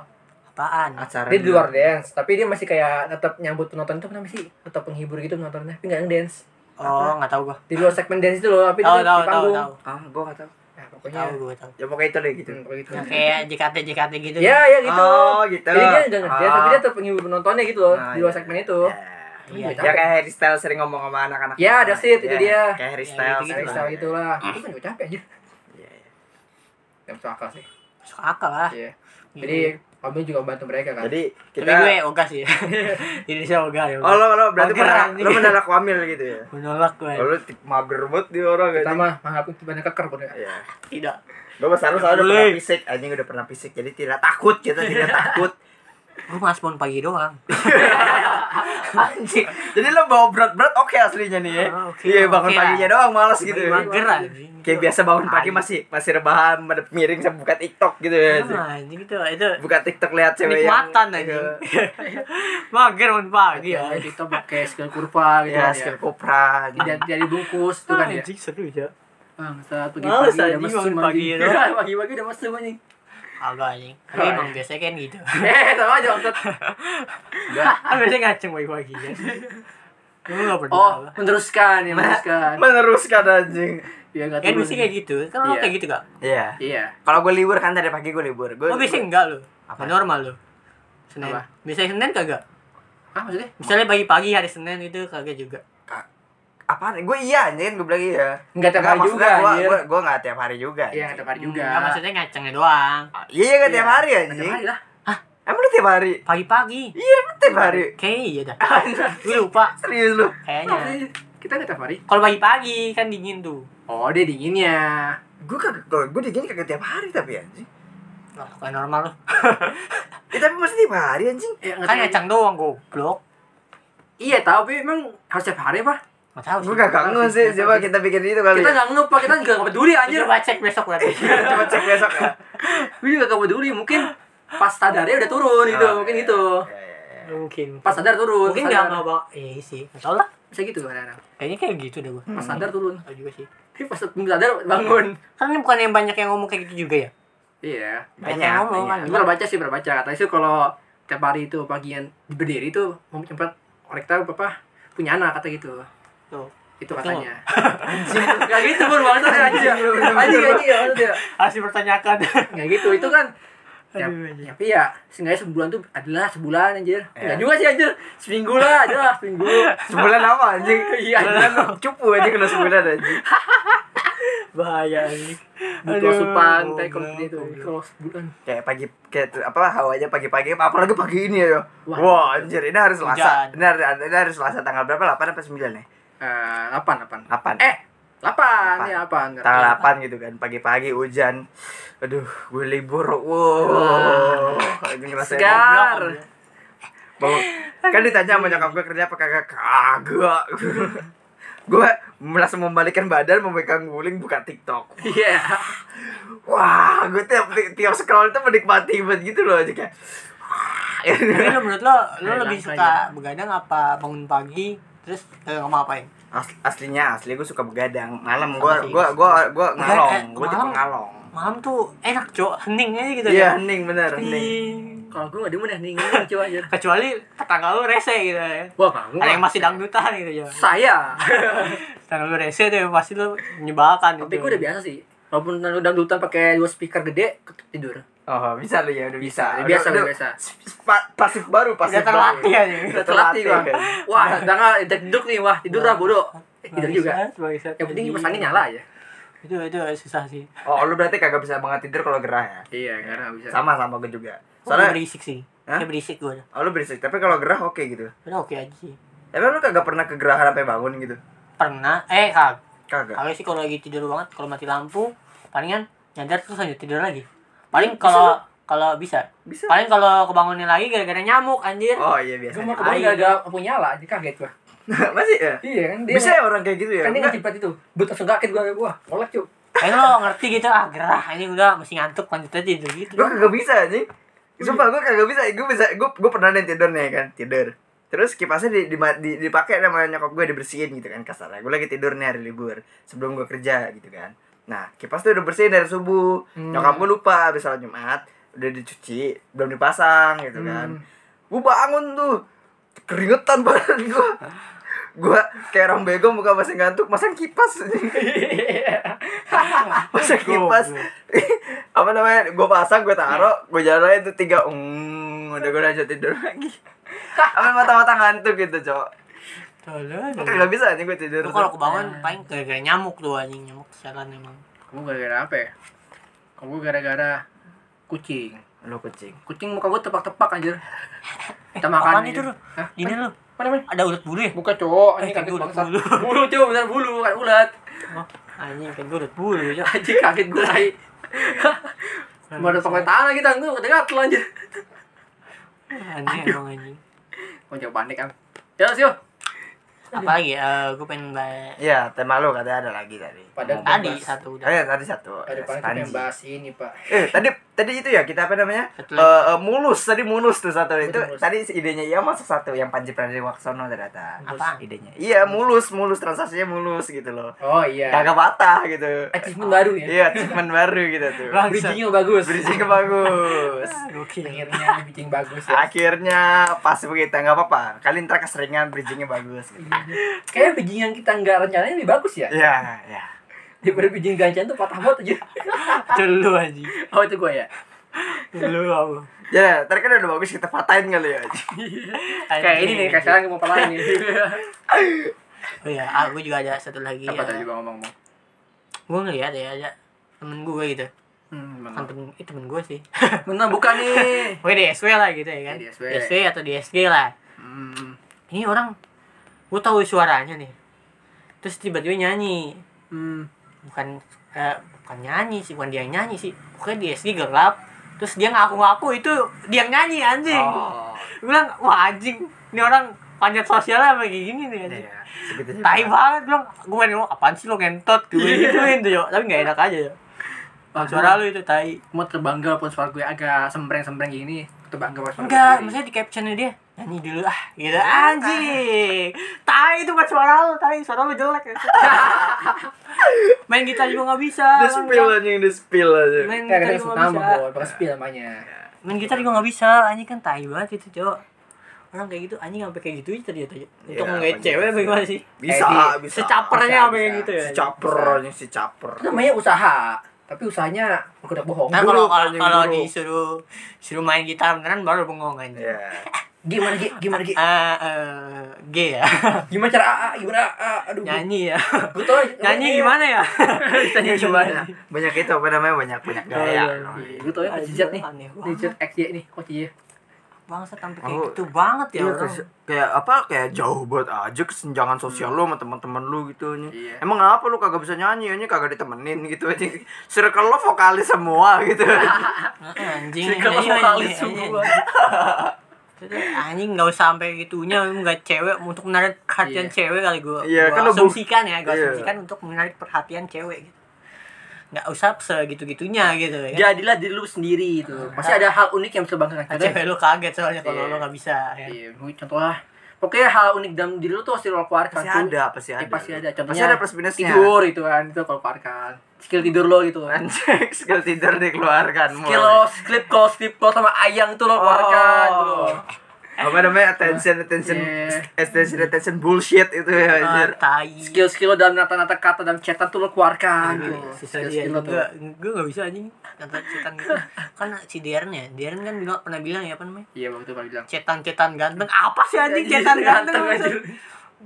[SPEAKER 2] apaan
[SPEAKER 3] Acara
[SPEAKER 1] dia Iya. di luar dance tapi dia masih kayak tetap nyambut penonton itu apa namanya sih tetap penghibur gitu penontonnya tapi nggak yang dance
[SPEAKER 2] oh nggak tahu gua
[SPEAKER 1] di luar segmen dance itu loh tapi
[SPEAKER 2] tahu
[SPEAKER 1] dia di
[SPEAKER 2] tahu tahu
[SPEAKER 1] panggung
[SPEAKER 2] tahu
[SPEAKER 3] Ah, gua enggak tahu.
[SPEAKER 1] nah pokoknya
[SPEAKER 2] tahu gua tahu
[SPEAKER 3] Ya pokoknya itu deh gitu.
[SPEAKER 1] hmm, pokoknya gitu
[SPEAKER 2] yang Nah, kayak JKT JKT gitu
[SPEAKER 1] ya ya gitu
[SPEAKER 3] Oh, gitu.
[SPEAKER 1] jadi dia udah ngerti
[SPEAKER 3] Ah.
[SPEAKER 1] tapi dia tetap penghibur penontonnya gitu loh di
[SPEAKER 3] Nah,
[SPEAKER 1] luar
[SPEAKER 3] iya.
[SPEAKER 1] segmen itu
[SPEAKER 3] Ya.
[SPEAKER 2] Iya,
[SPEAKER 3] Ya kayak Harry Styles sering ngomong sama anak-anak.
[SPEAKER 1] Ya,
[SPEAKER 3] ada
[SPEAKER 1] that's it, itu dia.
[SPEAKER 3] Kayak Harry
[SPEAKER 2] Ya,
[SPEAKER 3] Styles.
[SPEAKER 2] gitu-gitu
[SPEAKER 1] Kayak
[SPEAKER 2] lah.
[SPEAKER 1] style gitu lah. Itu kan juga capek aja.
[SPEAKER 3] Iya, iya.
[SPEAKER 1] Gak masuk akal sih.
[SPEAKER 2] masuk akal lah
[SPEAKER 1] Iya.
[SPEAKER 2] Gitu.
[SPEAKER 1] Jadi kami juga bantu mereka kan.
[SPEAKER 3] Jadi
[SPEAKER 2] tapi ya, gue
[SPEAKER 3] kita
[SPEAKER 2] ogah sih Indonesia ogah ya
[SPEAKER 3] Oh, lo, lo berarti
[SPEAKER 2] Mager
[SPEAKER 3] menolak,
[SPEAKER 2] anjing.
[SPEAKER 3] lo menolak wamil gitu ya?
[SPEAKER 2] menolak gue
[SPEAKER 3] Oh, lo ti- mager banget dia orang
[SPEAKER 1] kita
[SPEAKER 3] anjing.
[SPEAKER 1] mah menghadapi banyak keker pun ya.
[SPEAKER 3] Iya.
[SPEAKER 2] tidak
[SPEAKER 3] Gue besar besar udah
[SPEAKER 2] Boleh.
[SPEAKER 3] pernah fisik, anjing udah pernah fisik, jadi tidak takut kita tidak takut.
[SPEAKER 2] gue mas bangun pagi doang
[SPEAKER 1] Anjing.
[SPEAKER 3] Jadi lo bawa berat-berat oke aslinya nih ya.
[SPEAKER 2] Oh, oke,
[SPEAKER 3] Iya bangun
[SPEAKER 2] oke lah.
[SPEAKER 3] paginya doang malas gitu. ya.
[SPEAKER 2] mager anjing
[SPEAKER 3] Kayak biasa bangun pagi masih masih rebahan, madep miring sama buka TikTok gitu ya. anjing.
[SPEAKER 2] Ah, anjing itu itu
[SPEAKER 3] Buka TikTok lihat cewek yang ya, gitu.
[SPEAKER 2] nikmatan anjing mager bangun pagi
[SPEAKER 1] Iya,
[SPEAKER 2] ya
[SPEAKER 1] kita pakai skill kurva
[SPEAKER 2] Iya,
[SPEAKER 1] gitu
[SPEAKER 3] Ya,
[SPEAKER 1] kan.
[SPEAKER 3] skill
[SPEAKER 1] ya.
[SPEAKER 3] kopra. gitu.
[SPEAKER 1] Tidak tidak dibungkus tuh kan ya.
[SPEAKER 2] Ah, Anjing seru ya.
[SPEAKER 1] Bangsat pagi-pagi
[SPEAKER 2] Males,
[SPEAKER 1] udah
[SPEAKER 2] anjing,
[SPEAKER 1] mesum
[SPEAKER 2] bangun pagi
[SPEAKER 1] anjing.
[SPEAKER 2] ya, doang.
[SPEAKER 1] Pagi-pagi udah mesum anjing.
[SPEAKER 2] Agak anjing. Tapi
[SPEAKER 1] Alright.
[SPEAKER 2] emang biasanya kan gitu.
[SPEAKER 1] Eh, sama aja maksud.
[SPEAKER 2] Ah, biasanya ngaceng pagi-pagi ya. Lu gak pernah.
[SPEAKER 1] Oh,
[SPEAKER 2] apa?
[SPEAKER 1] meneruskan ya, meneruskan.
[SPEAKER 3] Meneruskan anjing.
[SPEAKER 1] Iya, enggak
[SPEAKER 2] Kan biasanya kayak gitu. Kan lu
[SPEAKER 1] Iya.
[SPEAKER 2] kayak gitu gak?
[SPEAKER 3] Iya.
[SPEAKER 1] Iya.
[SPEAKER 3] Kalau gue libur kan tadi pagi gue libur.
[SPEAKER 2] Oh,
[SPEAKER 3] Gue
[SPEAKER 2] biasanya enggak lu. Apa
[SPEAKER 3] Apa?
[SPEAKER 2] normal lu? Senin.
[SPEAKER 1] Apa?
[SPEAKER 2] Biasanya Senin kagak?
[SPEAKER 1] Ah, maksudnya?
[SPEAKER 2] Misalnya pagi-pagi hari Senin itu kagak juga.
[SPEAKER 3] apa? Gue iya anjing kan gue bilang iya.
[SPEAKER 1] Enggak tiap hari juga,
[SPEAKER 3] Gue
[SPEAKER 1] anjir.
[SPEAKER 3] gue gue nggak tiap hari
[SPEAKER 1] Iya,
[SPEAKER 3] juga. anjing.
[SPEAKER 1] enggak tiap hari juga.
[SPEAKER 2] Enggak, Hmm, maksudnya ngacengnya doang.
[SPEAKER 3] Ah, Iya iya nggak tiap
[SPEAKER 1] Iya,
[SPEAKER 3] hari
[SPEAKER 1] Tiap
[SPEAKER 3] anjing.
[SPEAKER 1] hari lah.
[SPEAKER 3] Emang lu tiap hari?
[SPEAKER 2] Pagi-pagi.
[SPEAKER 3] Iya emang tiap hari.
[SPEAKER 2] Kayaknya iya dah. Gue lupa.
[SPEAKER 3] Serius lu?
[SPEAKER 2] Kayaknya.
[SPEAKER 1] Kita enggak tiap hari.
[SPEAKER 2] Kalau pagi-pagi kan dingin tuh.
[SPEAKER 1] Oh, dia dinginnya.
[SPEAKER 3] Gue kagak kalau gue digini kagak tiap hari tapi anjing.
[SPEAKER 2] Wah, kayak normal lu.
[SPEAKER 3] Eh tapi masih tiap hari anjing.
[SPEAKER 1] Eh, nggak
[SPEAKER 2] Kan
[SPEAKER 1] tahu.
[SPEAKER 2] ngaceng doang goblok.
[SPEAKER 1] Iya, tapi emang harus tiap hari, Pak.
[SPEAKER 2] Gak tau sih.
[SPEAKER 3] Gue gak kangen sih. Coba kita bikin itu kali.
[SPEAKER 1] Kita
[SPEAKER 3] ya.
[SPEAKER 1] nggak nge Pak. Kita juga nggak peduli anjir.
[SPEAKER 2] Coba cek besok berarti.
[SPEAKER 3] Coba cek besok ya.
[SPEAKER 1] Gue juga nggak peduli. Mungkin pas tadarnya udah turun gitu.
[SPEAKER 3] Oh,
[SPEAKER 1] Mungkin
[SPEAKER 3] iya.
[SPEAKER 1] gitu.
[SPEAKER 3] Iya, iya, iya.
[SPEAKER 2] mungkin
[SPEAKER 1] Pas sadar turun.
[SPEAKER 2] mungkin nggak
[SPEAKER 1] sadar.
[SPEAKER 2] nggak bang iya sih nggak tau lah
[SPEAKER 1] Bisa gitu kadang-kadang.
[SPEAKER 2] kayaknya kayak gitu deh gue
[SPEAKER 1] Pas sadar turun.
[SPEAKER 2] tau juga sih
[SPEAKER 1] Tapi pas belum sadar bangun.
[SPEAKER 2] kan ini bukan yang banyak yang ngomong kayak gitu juga ya
[SPEAKER 1] Iya.
[SPEAKER 3] Banyak.
[SPEAKER 2] yang ngomong kan
[SPEAKER 1] Gue pernah baca sih pernah baca katanya sih kalau tiap hari itu pagian berdiri itu mau cepat orang tahu apa punya anak kata gitu.
[SPEAKER 2] tuh
[SPEAKER 1] Itu
[SPEAKER 2] Betul.
[SPEAKER 1] katanya. Anjing. Gak gitu pun banget anjing. Anjing anjing ya maksudnya.
[SPEAKER 2] harus dipertanyakan
[SPEAKER 1] Nggak gitu itu kan Ya,
[SPEAKER 2] Aduh, Ya. anjing.
[SPEAKER 1] tapi ya seenggaknya sebulan tuh adalah sebulan anjir
[SPEAKER 3] Iya.
[SPEAKER 1] Enggak juga sih anjir seminggu lah aja lah seminggu
[SPEAKER 3] Sebulan apa anjing?
[SPEAKER 1] Iya.
[SPEAKER 3] Sebulan cupu anjing kena sebulan anjing.
[SPEAKER 2] bahaya anjing
[SPEAKER 1] butuh asupan kayak kalau
[SPEAKER 2] goblok,
[SPEAKER 1] seperti itu
[SPEAKER 2] goblok.
[SPEAKER 1] kalau sebulan
[SPEAKER 3] Kayak pagi kayak tuh, apa hawanya pagi-pagi apalagi pagi ini ya.
[SPEAKER 1] Wah.
[SPEAKER 3] Wah, anjir ini harus Selasa.
[SPEAKER 2] Hujan.
[SPEAKER 3] Ini hari ini hari Selasa tanggal berapa? 8 apa ya? 9 nih?
[SPEAKER 1] eh delapan delapan
[SPEAKER 3] 8.
[SPEAKER 1] eh delapan
[SPEAKER 3] Delapan.
[SPEAKER 1] ya delapan
[SPEAKER 3] tanggal
[SPEAKER 2] Iya.
[SPEAKER 3] 8 gitu kan pagi-pagi hujan aduh gue libur wow ini ngerasain
[SPEAKER 1] Segar.
[SPEAKER 3] Bangun. kan ditanya sama nyokap gue kerja apa kagak kagak gue langsung membalikan badan memegang guling buka tiktok
[SPEAKER 1] iya
[SPEAKER 3] wah gue tiap tiap scroll itu menikmati banget gitu loh aja kayak
[SPEAKER 2] Tapi lu menurut lo, lo
[SPEAKER 1] Kayak
[SPEAKER 2] lebih
[SPEAKER 1] langka
[SPEAKER 2] suka begadang apa bangun pagi terus eh, mau ngapain?
[SPEAKER 3] As- aslinya asli gue suka begadang malam
[SPEAKER 2] Sama
[SPEAKER 3] gue
[SPEAKER 2] sih,
[SPEAKER 3] gue gue gue
[SPEAKER 2] Eh, eh,
[SPEAKER 3] ngalong gue tipe
[SPEAKER 2] malam.
[SPEAKER 3] ngalong
[SPEAKER 2] Malam tuh enak cok, hening aja gitu
[SPEAKER 3] iya
[SPEAKER 2] kan?
[SPEAKER 3] hening bener hening
[SPEAKER 2] Iya.
[SPEAKER 1] kalau gue nggak demen ya nih ngomong coba anjir
[SPEAKER 2] Kecuali tetangga lu rese gitu ya.
[SPEAKER 1] wah kamu
[SPEAKER 2] Ada yang masih dangdutan gitu ya.
[SPEAKER 1] saya
[SPEAKER 2] Tetangga lu rese tuh yang pasti lu menyebalkan
[SPEAKER 1] tapi
[SPEAKER 2] gitu.
[SPEAKER 1] gue udah biasa sih walaupun lu dangdutan pakai dua speaker gede ket- tidur
[SPEAKER 3] Oh, bisa lu ya, udah bisa.
[SPEAKER 1] Udah biasa, udah
[SPEAKER 3] Udah- udah-
[SPEAKER 1] biasa.
[SPEAKER 3] Pa- pasif baru, pasif
[SPEAKER 2] Udah terlatih
[SPEAKER 3] baru.
[SPEAKER 2] aja.
[SPEAKER 1] udah terlatih gua
[SPEAKER 3] kan.
[SPEAKER 1] wah tanggal udah tidur nih wah tidur lah bodoh Eh, tidur juga yang penting kipas angin nyala ya. Iya, aja
[SPEAKER 2] Iya. Itu itu susah sih.
[SPEAKER 3] Oh, lu berarti kagak bisa banget tidur kalau gerah ya?
[SPEAKER 1] iya Oh, karena nggak bisa
[SPEAKER 3] Sama sama gue juga.
[SPEAKER 2] Soalnya
[SPEAKER 3] Soalnya
[SPEAKER 2] berisik sih.
[SPEAKER 3] Hah?
[SPEAKER 2] Ya berisik gue.
[SPEAKER 3] oh, lu berisik, tapi kalau gerah oke gitu.
[SPEAKER 2] Udah oke aja sih.
[SPEAKER 3] Emang lu kagak pernah kegerahan sampai bangun gitu?
[SPEAKER 2] Pernah eh kag
[SPEAKER 3] Kagak.
[SPEAKER 2] Kalau sih kalau lagi tidur banget, kalau mati lampu, palingan nyadar terus lanjut tidur lagi.
[SPEAKER 1] Iya,
[SPEAKER 2] Paling kalau kalau bisa.
[SPEAKER 3] Bisa.
[SPEAKER 2] Paling kalau kebangunnya lagi gara-gara nyamuk anjir.
[SPEAKER 3] Oh, iya
[SPEAKER 1] gue
[SPEAKER 3] biasa.
[SPEAKER 1] mau
[SPEAKER 2] Air.
[SPEAKER 1] kemarin gak ada lampu nyala jadi kaget gua
[SPEAKER 3] Masih ya?
[SPEAKER 1] iya kan dia
[SPEAKER 3] Bisa ya orang kayak gitu ya?
[SPEAKER 1] kan dia
[SPEAKER 3] Enggak.
[SPEAKER 1] ngecipat itu butuh langsung kaget gua gua oleh cuy
[SPEAKER 2] Kayak lo ngerti gitu ah gerah ini udah mesti ngantuk lanjut aja tidur gitu.
[SPEAKER 3] Gue kagak bisa anjing. Sumpah gue kagak bisa. Gue bisa gue gue pernah nih tidur nih kan, tidur. Terus kipasnya di, di, di, dipakai sama nyokap gue dibersihin gitu kan kasarnya. Gue lagi tidur nih hari libur sebelum gue kerja gitu kan. Nah, kipas tuh udah bersihin dari subuh.
[SPEAKER 1] Hmm.
[SPEAKER 3] Nyokap gue lupa habis sholat Jumat udah dicuci, belum dipasang gitu kan. Gue bangun tuh keringetan badan gue. Gue kayak orang bego muka masih ngantuk, masang kipas. masang kipas apa namanya gue pasang gue taruh gue jalan itu tiga mm, udah gue lanjut tidur lagi apa mata-mata ngantuk gitu cok
[SPEAKER 2] Tuh, lo- lo.
[SPEAKER 3] kagak bisa nih gue tidur
[SPEAKER 2] Lo Iya. kalau
[SPEAKER 1] Nah.
[SPEAKER 2] kebangun paling gara-gara nyamuk tuh anjing nyamuk sialan emang.
[SPEAKER 1] kamu gara-gara apa ya kamu gara-gara kucing
[SPEAKER 3] lu kucing
[SPEAKER 1] kucing muka gue tepak-tepak anjir
[SPEAKER 2] Eh,
[SPEAKER 1] kita makan
[SPEAKER 2] apaan itu lo?
[SPEAKER 1] Hah?
[SPEAKER 2] Ini lo
[SPEAKER 1] mana mana
[SPEAKER 2] ada ulat bulu ya?
[SPEAKER 1] bukan cowok ini
[SPEAKER 2] Eh,
[SPEAKER 1] kaget
[SPEAKER 2] bulu,
[SPEAKER 1] banget
[SPEAKER 2] bulu.
[SPEAKER 1] bulu cuy bener bulu bukan ulat
[SPEAKER 2] Oh, anjing kan gue ulat bulu ya.
[SPEAKER 1] aji kaget gue tai mau ada tongkat tangan lagi tanggung kedengat lu anjir
[SPEAKER 2] Anjing emang anjing.
[SPEAKER 1] mau coba panik kan ya sih
[SPEAKER 2] Apalagi ya? gue pengen bahas
[SPEAKER 3] ya tema lu katanya ada lagi tadi
[SPEAKER 1] Padahal-
[SPEAKER 3] Ngomong-
[SPEAKER 2] tadi
[SPEAKER 1] bahas.
[SPEAKER 2] satu
[SPEAKER 3] oh,
[SPEAKER 2] udah.
[SPEAKER 3] ya, tadi satu
[SPEAKER 1] ada
[SPEAKER 3] Ya,
[SPEAKER 1] panik
[SPEAKER 3] Panji.
[SPEAKER 1] yang bahas ini pak
[SPEAKER 3] eh tadi tadi itu ya kita apa namanya
[SPEAKER 2] Satu
[SPEAKER 3] Eh
[SPEAKER 2] lagi.
[SPEAKER 3] eh, mulus tadi mulus tuh satu itu
[SPEAKER 1] Mulus.
[SPEAKER 3] tadi idenya iya masuk satu yang Panji Pragiwaksono ternyata
[SPEAKER 2] Apaan?
[SPEAKER 3] idenya iya mulus mulus transaksinya mulus gitu loh
[SPEAKER 1] oh iya
[SPEAKER 3] kagak patah gitu
[SPEAKER 1] achievement baru ya
[SPEAKER 3] iya treatment baru gitu tuh
[SPEAKER 2] Bang,
[SPEAKER 1] bridgingnya bagus
[SPEAKER 3] Bridging bagus.
[SPEAKER 2] Gokil.
[SPEAKER 1] akhirnya ada bridging bagus ya
[SPEAKER 3] Akhirnya pas begitu nggak apa-apa. Kalian ntar keseringan bridgingnya bagus.
[SPEAKER 1] Iya.
[SPEAKER 3] Gitu.
[SPEAKER 1] Kayaknya bridging yang kita nggak rencanain lebih bagus ya
[SPEAKER 3] Ya, ya.
[SPEAKER 1] daripada bridging gancan tuh patah banget aja
[SPEAKER 2] Itu lu anjing.
[SPEAKER 1] oh itu gue ya
[SPEAKER 2] Lu apa?
[SPEAKER 3] Ya, ntar kan udah bagus kita patahin kali ya.
[SPEAKER 1] kayak ini nih kayak sekarang gue mau palain nih
[SPEAKER 2] Oh iya, aku juga ada satu lagi.
[SPEAKER 1] apa tadi
[SPEAKER 2] ya.
[SPEAKER 1] juga ngomong-ngomong
[SPEAKER 2] Gue ngeliat ya ada temen gue gitu.
[SPEAKER 1] hmm,
[SPEAKER 2] Kan
[SPEAKER 1] mana
[SPEAKER 2] temen, eh, temen gue sih.
[SPEAKER 1] mana bukan nih
[SPEAKER 2] Oke di SW lah gitu ya kan.
[SPEAKER 1] Iya, di SW.
[SPEAKER 2] Di atau di SG lah.
[SPEAKER 1] hmm,
[SPEAKER 2] Ini orang gue tahu suaranya nih. Terus tiba-tiba nyanyi.
[SPEAKER 1] hmm.
[SPEAKER 2] Bukan eh, bukan nyanyi sih, bukan dia yang nyanyi sih. Pokoknya di SG gelap. Terus dia ngaku-ngaku itu dia yang nyanyi anjing.
[SPEAKER 1] oh
[SPEAKER 2] Gue bilang, wah anjing, ini orang panjat sosialnya apa kayak gini nih
[SPEAKER 1] iya.
[SPEAKER 2] anjing.
[SPEAKER 3] Ya, segitu aja.
[SPEAKER 2] Tai banget bilang, gue main apaan sih lo ngentot gue gituin tuh "Gitu, yo. Tapi gak enak aja yo.
[SPEAKER 1] Wah,
[SPEAKER 2] Suara lu itu tai.
[SPEAKER 1] Iya. mau terbangga pun suara gue agak sembreng-sembreng gini terbangga pas suara
[SPEAKER 2] Enggak,
[SPEAKER 1] gue sendiri.
[SPEAKER 2] maksudnya di captionnya dia nyanyi dulu ah gitu anjing tai itu buat suara lu tai suara lu jelek ya. main gitar juga nggak bisa
[SPEAKER 3] Di
[SPEAKER 2] kan,
[SPEAKER 3] spill aja yang di spill aja.
[SPEAKER 2] main
[SPEAKER 1] Kayak
[SPEAKER 2] gitar
[SPEAKER 1] kita
[SPEAKER 2] juga
[SPEAKER 1] sebut
[SPEAKER 2] nggak
[SPEAKER 1] nama,
[SPEAKER 2] bisa
[SPEAKER 1] Bol. Pakai spill namanya.
[SPEAKER 2] main gitar juga nggak bisa anjing kan tai banget itu cowok orang kayak gitu anjing sampai kayak gitu aja ternyata untuk
[SPEAKER 3] Iya,
[SPEAKER 2] menggait
[SPEAKER 3] anjing.
[SPEAKER 2] cewek bagaimana sih
[SPEAKER 3] Bisa,
[SPEAKER 1] Eh,
[SPEAKER 3] bisa.
[SPEAKER 2] secapernya
[SPEAKER 1] bisa,
[SPEAKER 2] sampai kayak
[SPEAKER 1] bisa.
[SPEAKER 2] gitu ya
[SPEAKER 3] Si caper anjing, si caper.
[SPEAKER 1] Itu namanya usaha. Tapi usahanya berkedok bohong.
[SPEAKER 2] Nah,
[SPEAKER 3] Buruk,
[SPEAKER 2] kalau kalau,
[SPEAKER 3] anjing,
[SPEAKER 2] kalau
[SPEAKER 3] buruk.
[SPEAKER 2] disuruh suruh main gitar beneran baru bengong anjing.
[SPEAKER 3] Iya.
[SPEAKER 1] Gimana Gi? Gimana Gi?
[SPEAKER 2] Eh, eh, G ya.
[SPEAKER 1] Gimana cara AA? Gimana AA? Aduh.
[SPEAKER 2] nyanyi ya.
[SPEAKER 1] Gue tau
[SPEAKER 3] Iya.
[SPEAKER 2] nyanyi gimana ya? Tanya gimana?
[SPEAKER 3] Banyak, banyak itu apa namanya banyak banyak gaya.
[SPEAKER 2] Oh,
[SPEAKER 1] Gue tau ya Coach Jizat nih.
[SPEAKER 2] Aneh banget.
[SPEAKER 1] Coach XY nih, Coach Y.
[SPEAKER 2] Bangsa tampil kayak
[SPEAKER 3] Oh.
[SPEAKER 2] gitu banget ya
[SPEAKER 3] Iya,
[SPEAKER 2] orang.
[SPEAKER 3] kayak- kayak apa kayak jauh banget aja kesenjangan sosial lu sama teman-teman lu gitu anjing.
[SPEAKER 1] Hmm. Iya.
[SPEAKER 3] Emang apa lu kagak bisa nyanyi anjing kagak ditemenin gitu anjing. Circle lu vokalis semua gitu.
[SPEAKER 2] Heeh, Anjing. Iya,
[SPEAKER 3] Circle
[SPEAKER 2] nyanyi, nyanyi,
[SPEAKER 3] vokalis
[SPEAKER 2] nyanyi.
[SPEAKER 3] semua.
[SPEAKER 2] Terus, Anjing nggak usah sampai gitunya nggak cewek untuk menarik perhatian
[SPEAKER 1] Iya.
[SPEAKER 2] cewek kali gue.
[SPEAKER 3] Iya, kan lu bu-
[SPEAKER 2] asumsikan ya, gue
[SPEAKER 3] Iya.
[SPEAKER 2] asumsikan untuk menarik perhatian cewek gitu. Nggak usah segitu-gitunya gitu ya.
[SPEAKER 3] Iya,
[SPEAKER 1] Jadilah diri lu sendiri itu. Pasti ada hal unik yang bisa banggakan.
[SPEAKER 2] Nah,
[SPEAKER 1] Contohnya-
[SPEAKER 2] cewek lu kaget soalnya kalau
[SPEAKER 1] Iya.
[SPEAKER 2] lu nggak bisa ya.
[SPEAKER 1] Iya, gue contoh lah. Pokoknya hal unik dalam diri lu tuh pasti lo keluarkan.
[SPEAKER 3] Pasti
[SPEAKER 1] Tuh,
[SPEAKER 3] ada, pasti
[SPEAKER 1] iya,
[SPEAKER 3] ada.
[SPEAKER 1] pasti ada.
[SPEAKER 3] Pasti
[SPEAKER 1] Contohnya
[SPEAKER 3] ada plus minusnya.
[SPEAKER 1] tidur gitu kan, itu kalau keluarkan. Skill tidur lo gitu kan.
[SPEAKER 3] Anjing, skill tidur dikeluarkan
[SPEAKER 1] Skill lo, skill call, skill call sama ayang itu lo keluarkan. gitu loh.
[SPEAKER 3] apa namanya attention attention
[SPEAKER 1] Iya.
[SPEAKER 3] attention attention bullshit itu ya anjir.
[SPEAKER 2] Ah, tai.
[SPEAKER 1] Skill-skill lo dalam nata-nata kata dalam chatan tuh lo keluarkan.
[SPEAKER 2] Aduh,
[SPEAKER 1] gitu.
[SPEAKER 2] Iya, sisa dia
[SPEAKER 1] Skill-skill lo tuh.
[SPEAKER 2] juga gue gak bisa anjing kata cetan gitu kan si Deren ya Deren kan bilang pernah bilang ya apa namanya
[SPEAKER 1] Iya, waktu itu pernah bilang.
[SPEAKER 2] cetan-cetan ganteng apa sih anjing cetan ganteng
[SPEAKER 1] anjir.
[SPEAKER 2] maksud-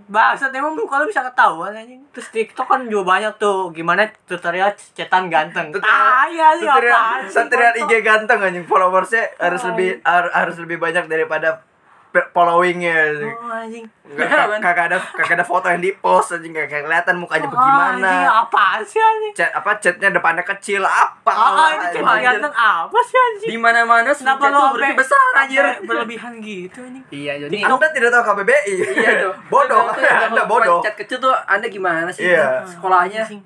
[SPEAKER 2] Bangsat emang lu kalau bisa ketahuan anjing. Terus TikTok kan juga banyak tuh gimana tutorial cetan ganteng. Tai
[SPEAKER 1] Iya,
[SPEAKER 2] anjing
[SPEAKER 3] Satria,
[SPEAKER 2] apaan sih,
[SPEAKER 3] Satria
[SPEAKER 2] kontol.
[SPEAKER 3] IG ganteng anjing followersnya harus
[SPEAKER 2] Ay.
[SPEAKER 3] lebih har- harus lebih banyak daripada pe- followingnya anjing.
[SPEAKER 2] Oh, anjing.
[SPEAKER 3] Nggak- kag- kagak ada kagak ada foto yang di post anjing kagak kelihatan mukanya
[SPEAKER 2] Oh,
[SPEAKER 3] bagaimana
[SPEAKER 2] Anjing iya. apaan sih anjing?
[SPEAKER 3] chat apa chatnya depannya kecil apa
[SPEAKER 2] Ah, ini
[SPEAKER 3] anjing.
[SPEAKER 2] cetan ganteng apa sih anjing?
[SPEAKER 1] Di mana-mana semua itu
[SPEAKER 2] Kenapa lu
[SPEAKER 1] berarti
[SPEAKER 2] sampai
[SPEAKER 1] besar anjir.
[SPEAKER 2] sampai berlebihan gitu anjing?
[SPEAKER 1] Iya, jadi
[SPEAKER 2] Di-
[SPEAKER 3] anda tidak tahu KBBI
[SPEAKER 1] Iya tuh.
[SPEAKER 3] bodoh
[SPEAKER 1] Kalau tuh yang lo
[SPEAKER 3] anda bodoh
[SPEAKER 1] Chat kecil tuh Anda gimana sih?
[SPEAKER 3] Iya.
[SPEAKER 1] Sekolahnya.
[SPEAKER 2] Anjing.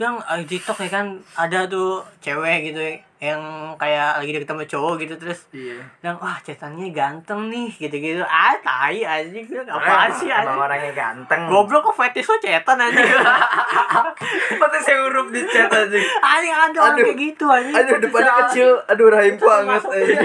[SPEAKER 2] yang eh, TikTok ya kan ada tuh cewek gitu ya, yang kayak lagi deket sama cowok gitu terus
[SPEAKER 1] Iya.
[SPEAKER 2] bilang wah cetannya ganteng nih gitu-gitu ah tai anjing Bilang,
[SPEAKER 3] Emang-
[SPEAKER 2] apaan sih
[SPEAKER 3] emang
[SPEAKER 2] anjing
[SPEAKER 3] orangnya ganteng
[SPEAKER 2] goblok kok fetish lo cetan anjing
[SPEAKER 3] pasti saya huruf di chat anjing
[SPEAKER 2] anjing ada orang
[SPEAKER 3] Aduh.
[SPEAKER 2] kayak gitu anjing
[SPEAKER 3] aduh depannya kecil aduh rahim banget anjing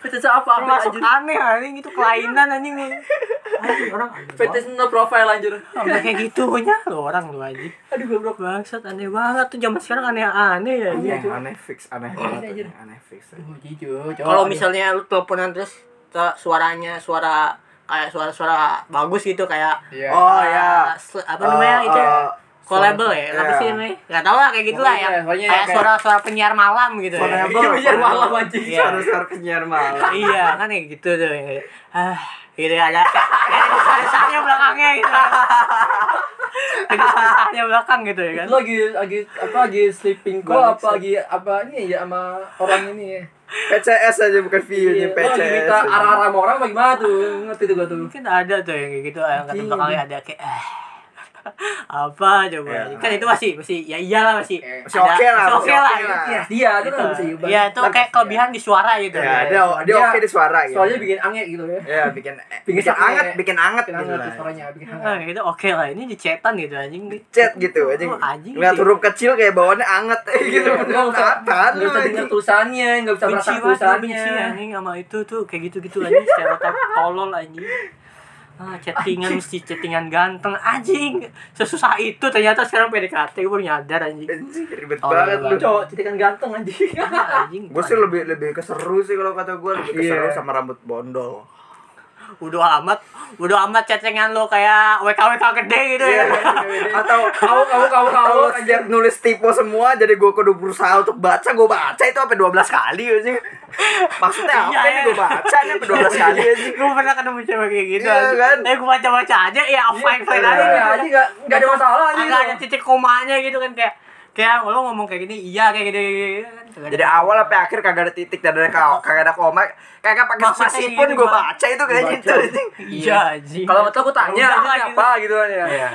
[SPEAKER 1] Fetish apa apa
[SPEAKER 2] termasuk
[SPEAKER 1] anjir.
[SPEAKER 2] aneh anjing itu kelainan anjing anjing orang
[SPEAKER 1] Fetish no profile anjir.
[SPEAKER 2] Sampai kayak gitu punya lo orang lo anjing aduh goblok bangsat aneh banget tuh zaman sekarang aneh-aneh ya anjing.
[SPEAKER 3] Yang Iya, aneh fix aneh banget anjing. aneh fix anjing.
[SPEAKER 1] Oh,
[SPEAKER 2] kalau misalnya lu teleponan terus te- suaranya suara kayak suara-suara bagus gitu kayak
[SPEAKER 1] Iya.
[SPEAKER 3] oh
[SPEAKER 2] uh,
[SPEAKER 3] ya
[SPEAKER 2] sl- apa namanya
[SPEAKER 3] Eh,
[SPEAKER 2] itu ya?
[SPEAKER 3] eh,
[SPEAKER 2] collable ya apa
[SPEAKER 3] iya.
[SPEAKER 2] sih namanya nggak tahu lah kayak gitulah ya
[SPEAKER 1] Pokoknya, pokoknya
[SPEAKER 2] kayak
[SPEAKER 1] kayak-
[SPEAKER 2] suara-suara penyiar malam gitu ya.
[SPEAKER 3] Collable.
[SPEAKER 1] Iya, malam anjing.
[SPEAKER 2] Iya.
[SPEAKER 3] suara-suara penyiar malam
[SPEAKER 2] iya kan kayak gitu tuh ah gitu ada ada desanya belakangnya gitu ada desanya belakang gitu ya kan
[SPEAKER 1] Lu lagi lagi apa lagi sleeping gua apa lagi apa ini ya sama orang ini ya.
[SPEAKER 3] PCS aja bukan view
[SPEAKER 1] Iya, lu
[SPEAKER 3] ini
[SPEAKER 1] lagi
[SPEAKER 3] PCS
[SPEAKER 1] minta
[SPEAKER 3] anjing.
[SPEAKER 1] arah-arah sama orang apa gimana tuh? Ngerti tuh gua tuh.
[SPEAKER 2] mungkin ada tuh yang kayak gitu yang kata belakangnya ada kayak "Ah, apa coba
[SPEAKER 3] Ya.
[SPEAKER 2] kan itu masih masih ya iyalah masih
[SPEAKER 1] Eh,
[SPEAKER 3] masih oke lah,
[SPEAKER 2] masih oke
[SPEAKER 3] masih
[SPEAKER 2] lah
[SPEAKER 3] oke lah.
[SPEAKER 2] gitu.
[SPEAKER 1] Iya, dia itu
[SPEAKER 2] Gitu.
[SPEAKER 1] kan bisa diubah.
[SPEAKER 2] ya itu kayak kelebihan di suara gitu
[SPEAKER 3] ya
[SPEAKER 2] ya,
[SPEAKER 3] dia dia
[SPEAKER 1] Dia-
[SPEAKER 3] oke di suara gitu
[SPEAKER 1] Soalnya bikin anget gitu ya.
[SPEAKER 3] ya bikin
[SPEAKER 1] Bikin
[SPEAKER 3] bikin
[SPEAKER 1] sakit.
[SPEAKER 3] anget bikin anget
[SPEAKER 1] Bikin
[SPEAKER 3] gitu
[SPEAKER 1] anget
[SPEAKER 3] lah.
[SPEAKER 1] tuh suaranya, bikin
[SPEAKER 2] Nah,
[SPEAKER 1] anget.
[SPEAKER 2] itu oke lah ini dicetan gitu anjing
[SPEAKER 3] chat gitu aja
[SPEAKER 2] Oh, anjing
[SPEAKER 3] lihat
[SPEAKER 2] sih.
[SPEAKER 3] huruf kecil kayak bawaannya anget eh, gitu
[SPEAKER 1] Iya, nggak usah
[SPEAKER 3] apaan
[SPEAKER 1] nggak
[SPEAKER 3] lu
[SPEAKER 1] usah dengar tulisannya, nggak usah
[SPEAKER 2] benci
[SPEAKER 1] merasa
[SPEAKER 2] banget gua benci
[SPEAKER 1] tulisannya.
[SPEAKER 2] anjing sama itu tuh kayak gitu gitu anjing stereotip tolol anjing ah chattingan mesti chattingan ganteng anjing sesusah itu ternyata sekarang PDKT gue baru nyadar anjing
[SPEAKER 3] Anjing,
[SPEAKER 1] Oh,
[SPEAKER 3] ribet
[SPEAKER 2] Tolol
[SPEAKER 3] banget lu
[SPEAKER 2] banget.
[SPEAKER 1] Cowok cetikan ganteng anjing.
[SPEAKER 2] anjing
[SPEAKER 3] gue sih lebih lebih keseru sih kalau kata gue lebih keseru
[SPEAKER 1] Iya.
[SPEAKER 3] sama rambut bondol
[SPEAKER 2] Udah amat, udah amat cecengan lo kayak WKWK gede gitu ya.
[SPEAKER 1] Iya.
[SPEAKER 3] atau
[SPEAKER 1] Kau kau kau kau
[SPEAKER 3] kalau
[SPEAKER 1] anjing.
[SPEAKER 3] setiap nulis tipe semua jadi gue kudu berusaha untuk baca gue baca itu sampai 12 kali anjing maksudnya apa
[SPEAKER 2] Iya,
[SPEAKER 3] ini
[SPEAKER 2] iya.
[SPEAKER 3] gue baca ini sampai 12 kali Iya,
[SPEAKER 1] Iya.
[SPEAKER 3] anjing
[SPEAKER 2] gue pernah ketemu cewek kayak gitu.
[SPEAKER 3] Iya,
[SPEAKER 2] anjing.
[SPEAKER 3] kan?
[SPEAKER 2] Eh gue baca-baca aja ya fine fine aja
[SPEAKER 1] Iya,
[SPEAKER 2] gitu.
[SPEAKER 1] anjing nggak nggak ada masalah anjing.
[SPEAKER 2] Agak ada titik komanya gitu kan kayak kayak lo ngomong kayak gini iya kayak gini. Iya,
[SPEAKER 3] Jadi awal sampai akhir kagak ada titik dan ada ka- kagak ada koma, kagak pakai
[SPEAKER 2] Maksudnya
[SPEAKER 3] spasi
[SPEAKER 2] ini
[SPEAKER 3] pun gue
[SPEAKER 2] gimana?
[SPEAKER 3] baca itu kayaknya itu. anjing.
[SPEAKER 2] iya anjing.
[SPEAKER 1] Kalau nggak tahu aku tanya
[SPEAKER 2] Udah lah,
[SPEAKER 1] anjing
[SPEAKER 2] gitu.
[SPEAKER 1] apa gitu kan ya.
[SPEAKER 3] Iya.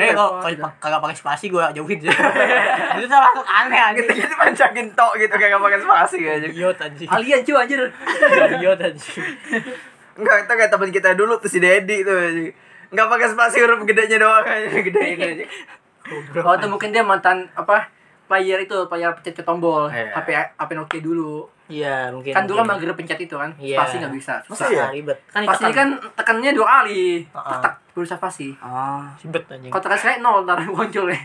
[SPEAKER 2] Eh kalau kalau kagak pakai spasi gue jauhin sih. Itu tuh langsung aneh anjing.
[SPEAKER 3] Gitu-gitu pancakin tok gitu kagak pakai spasi anjing.
[SPEAKER 2] Idiot anjing.
[SPEAKER 1] Alien cuy anjir.
[SPEAKER 2] Idiot anjing.
[SPEAKER 3] Enggak, itu kayak teman kita dulu tuh si Dedi tuh. anjing. Enggak pakai spasi huruf gedenya doang aja, gedein aja.
[SPEAKER 1] Oh itu mungkin dia mantan apa player itu player pencet ke tombol
[SPEAKER 3] Iya.
[SPEAKER 1] HP HP Nokia dulu
[SPEAKER 2] Iya, mungkin.
[SPEAKER 1] kan dulu kan
[SPEAKER 2] mungkin.
[SPEAKER 1] manggil pencet itu kan
[SPEAKER 2] Iya.
[SPEAKER 1] pasti nggak bisa
[SPEAKER 3] Masa
[SPEAKER 1] susah
[SPEAKER 3] ya?
[SPEAKER 2] Nah, ribet. Kan
[SPEAKER 1] pasti
[SPEAKER 2] ikutan.
[SPEAKER 1] kan tekannya dua kali
[SPEAKER 2] Heeh.
[SPEAKER 1] tak berusaha pasti
[SPEAKER 3] Oh.
[SPEAKER 2] ribet anjing.
[SPEAKER 1] kalau tekan sekali nol ntar muncul ya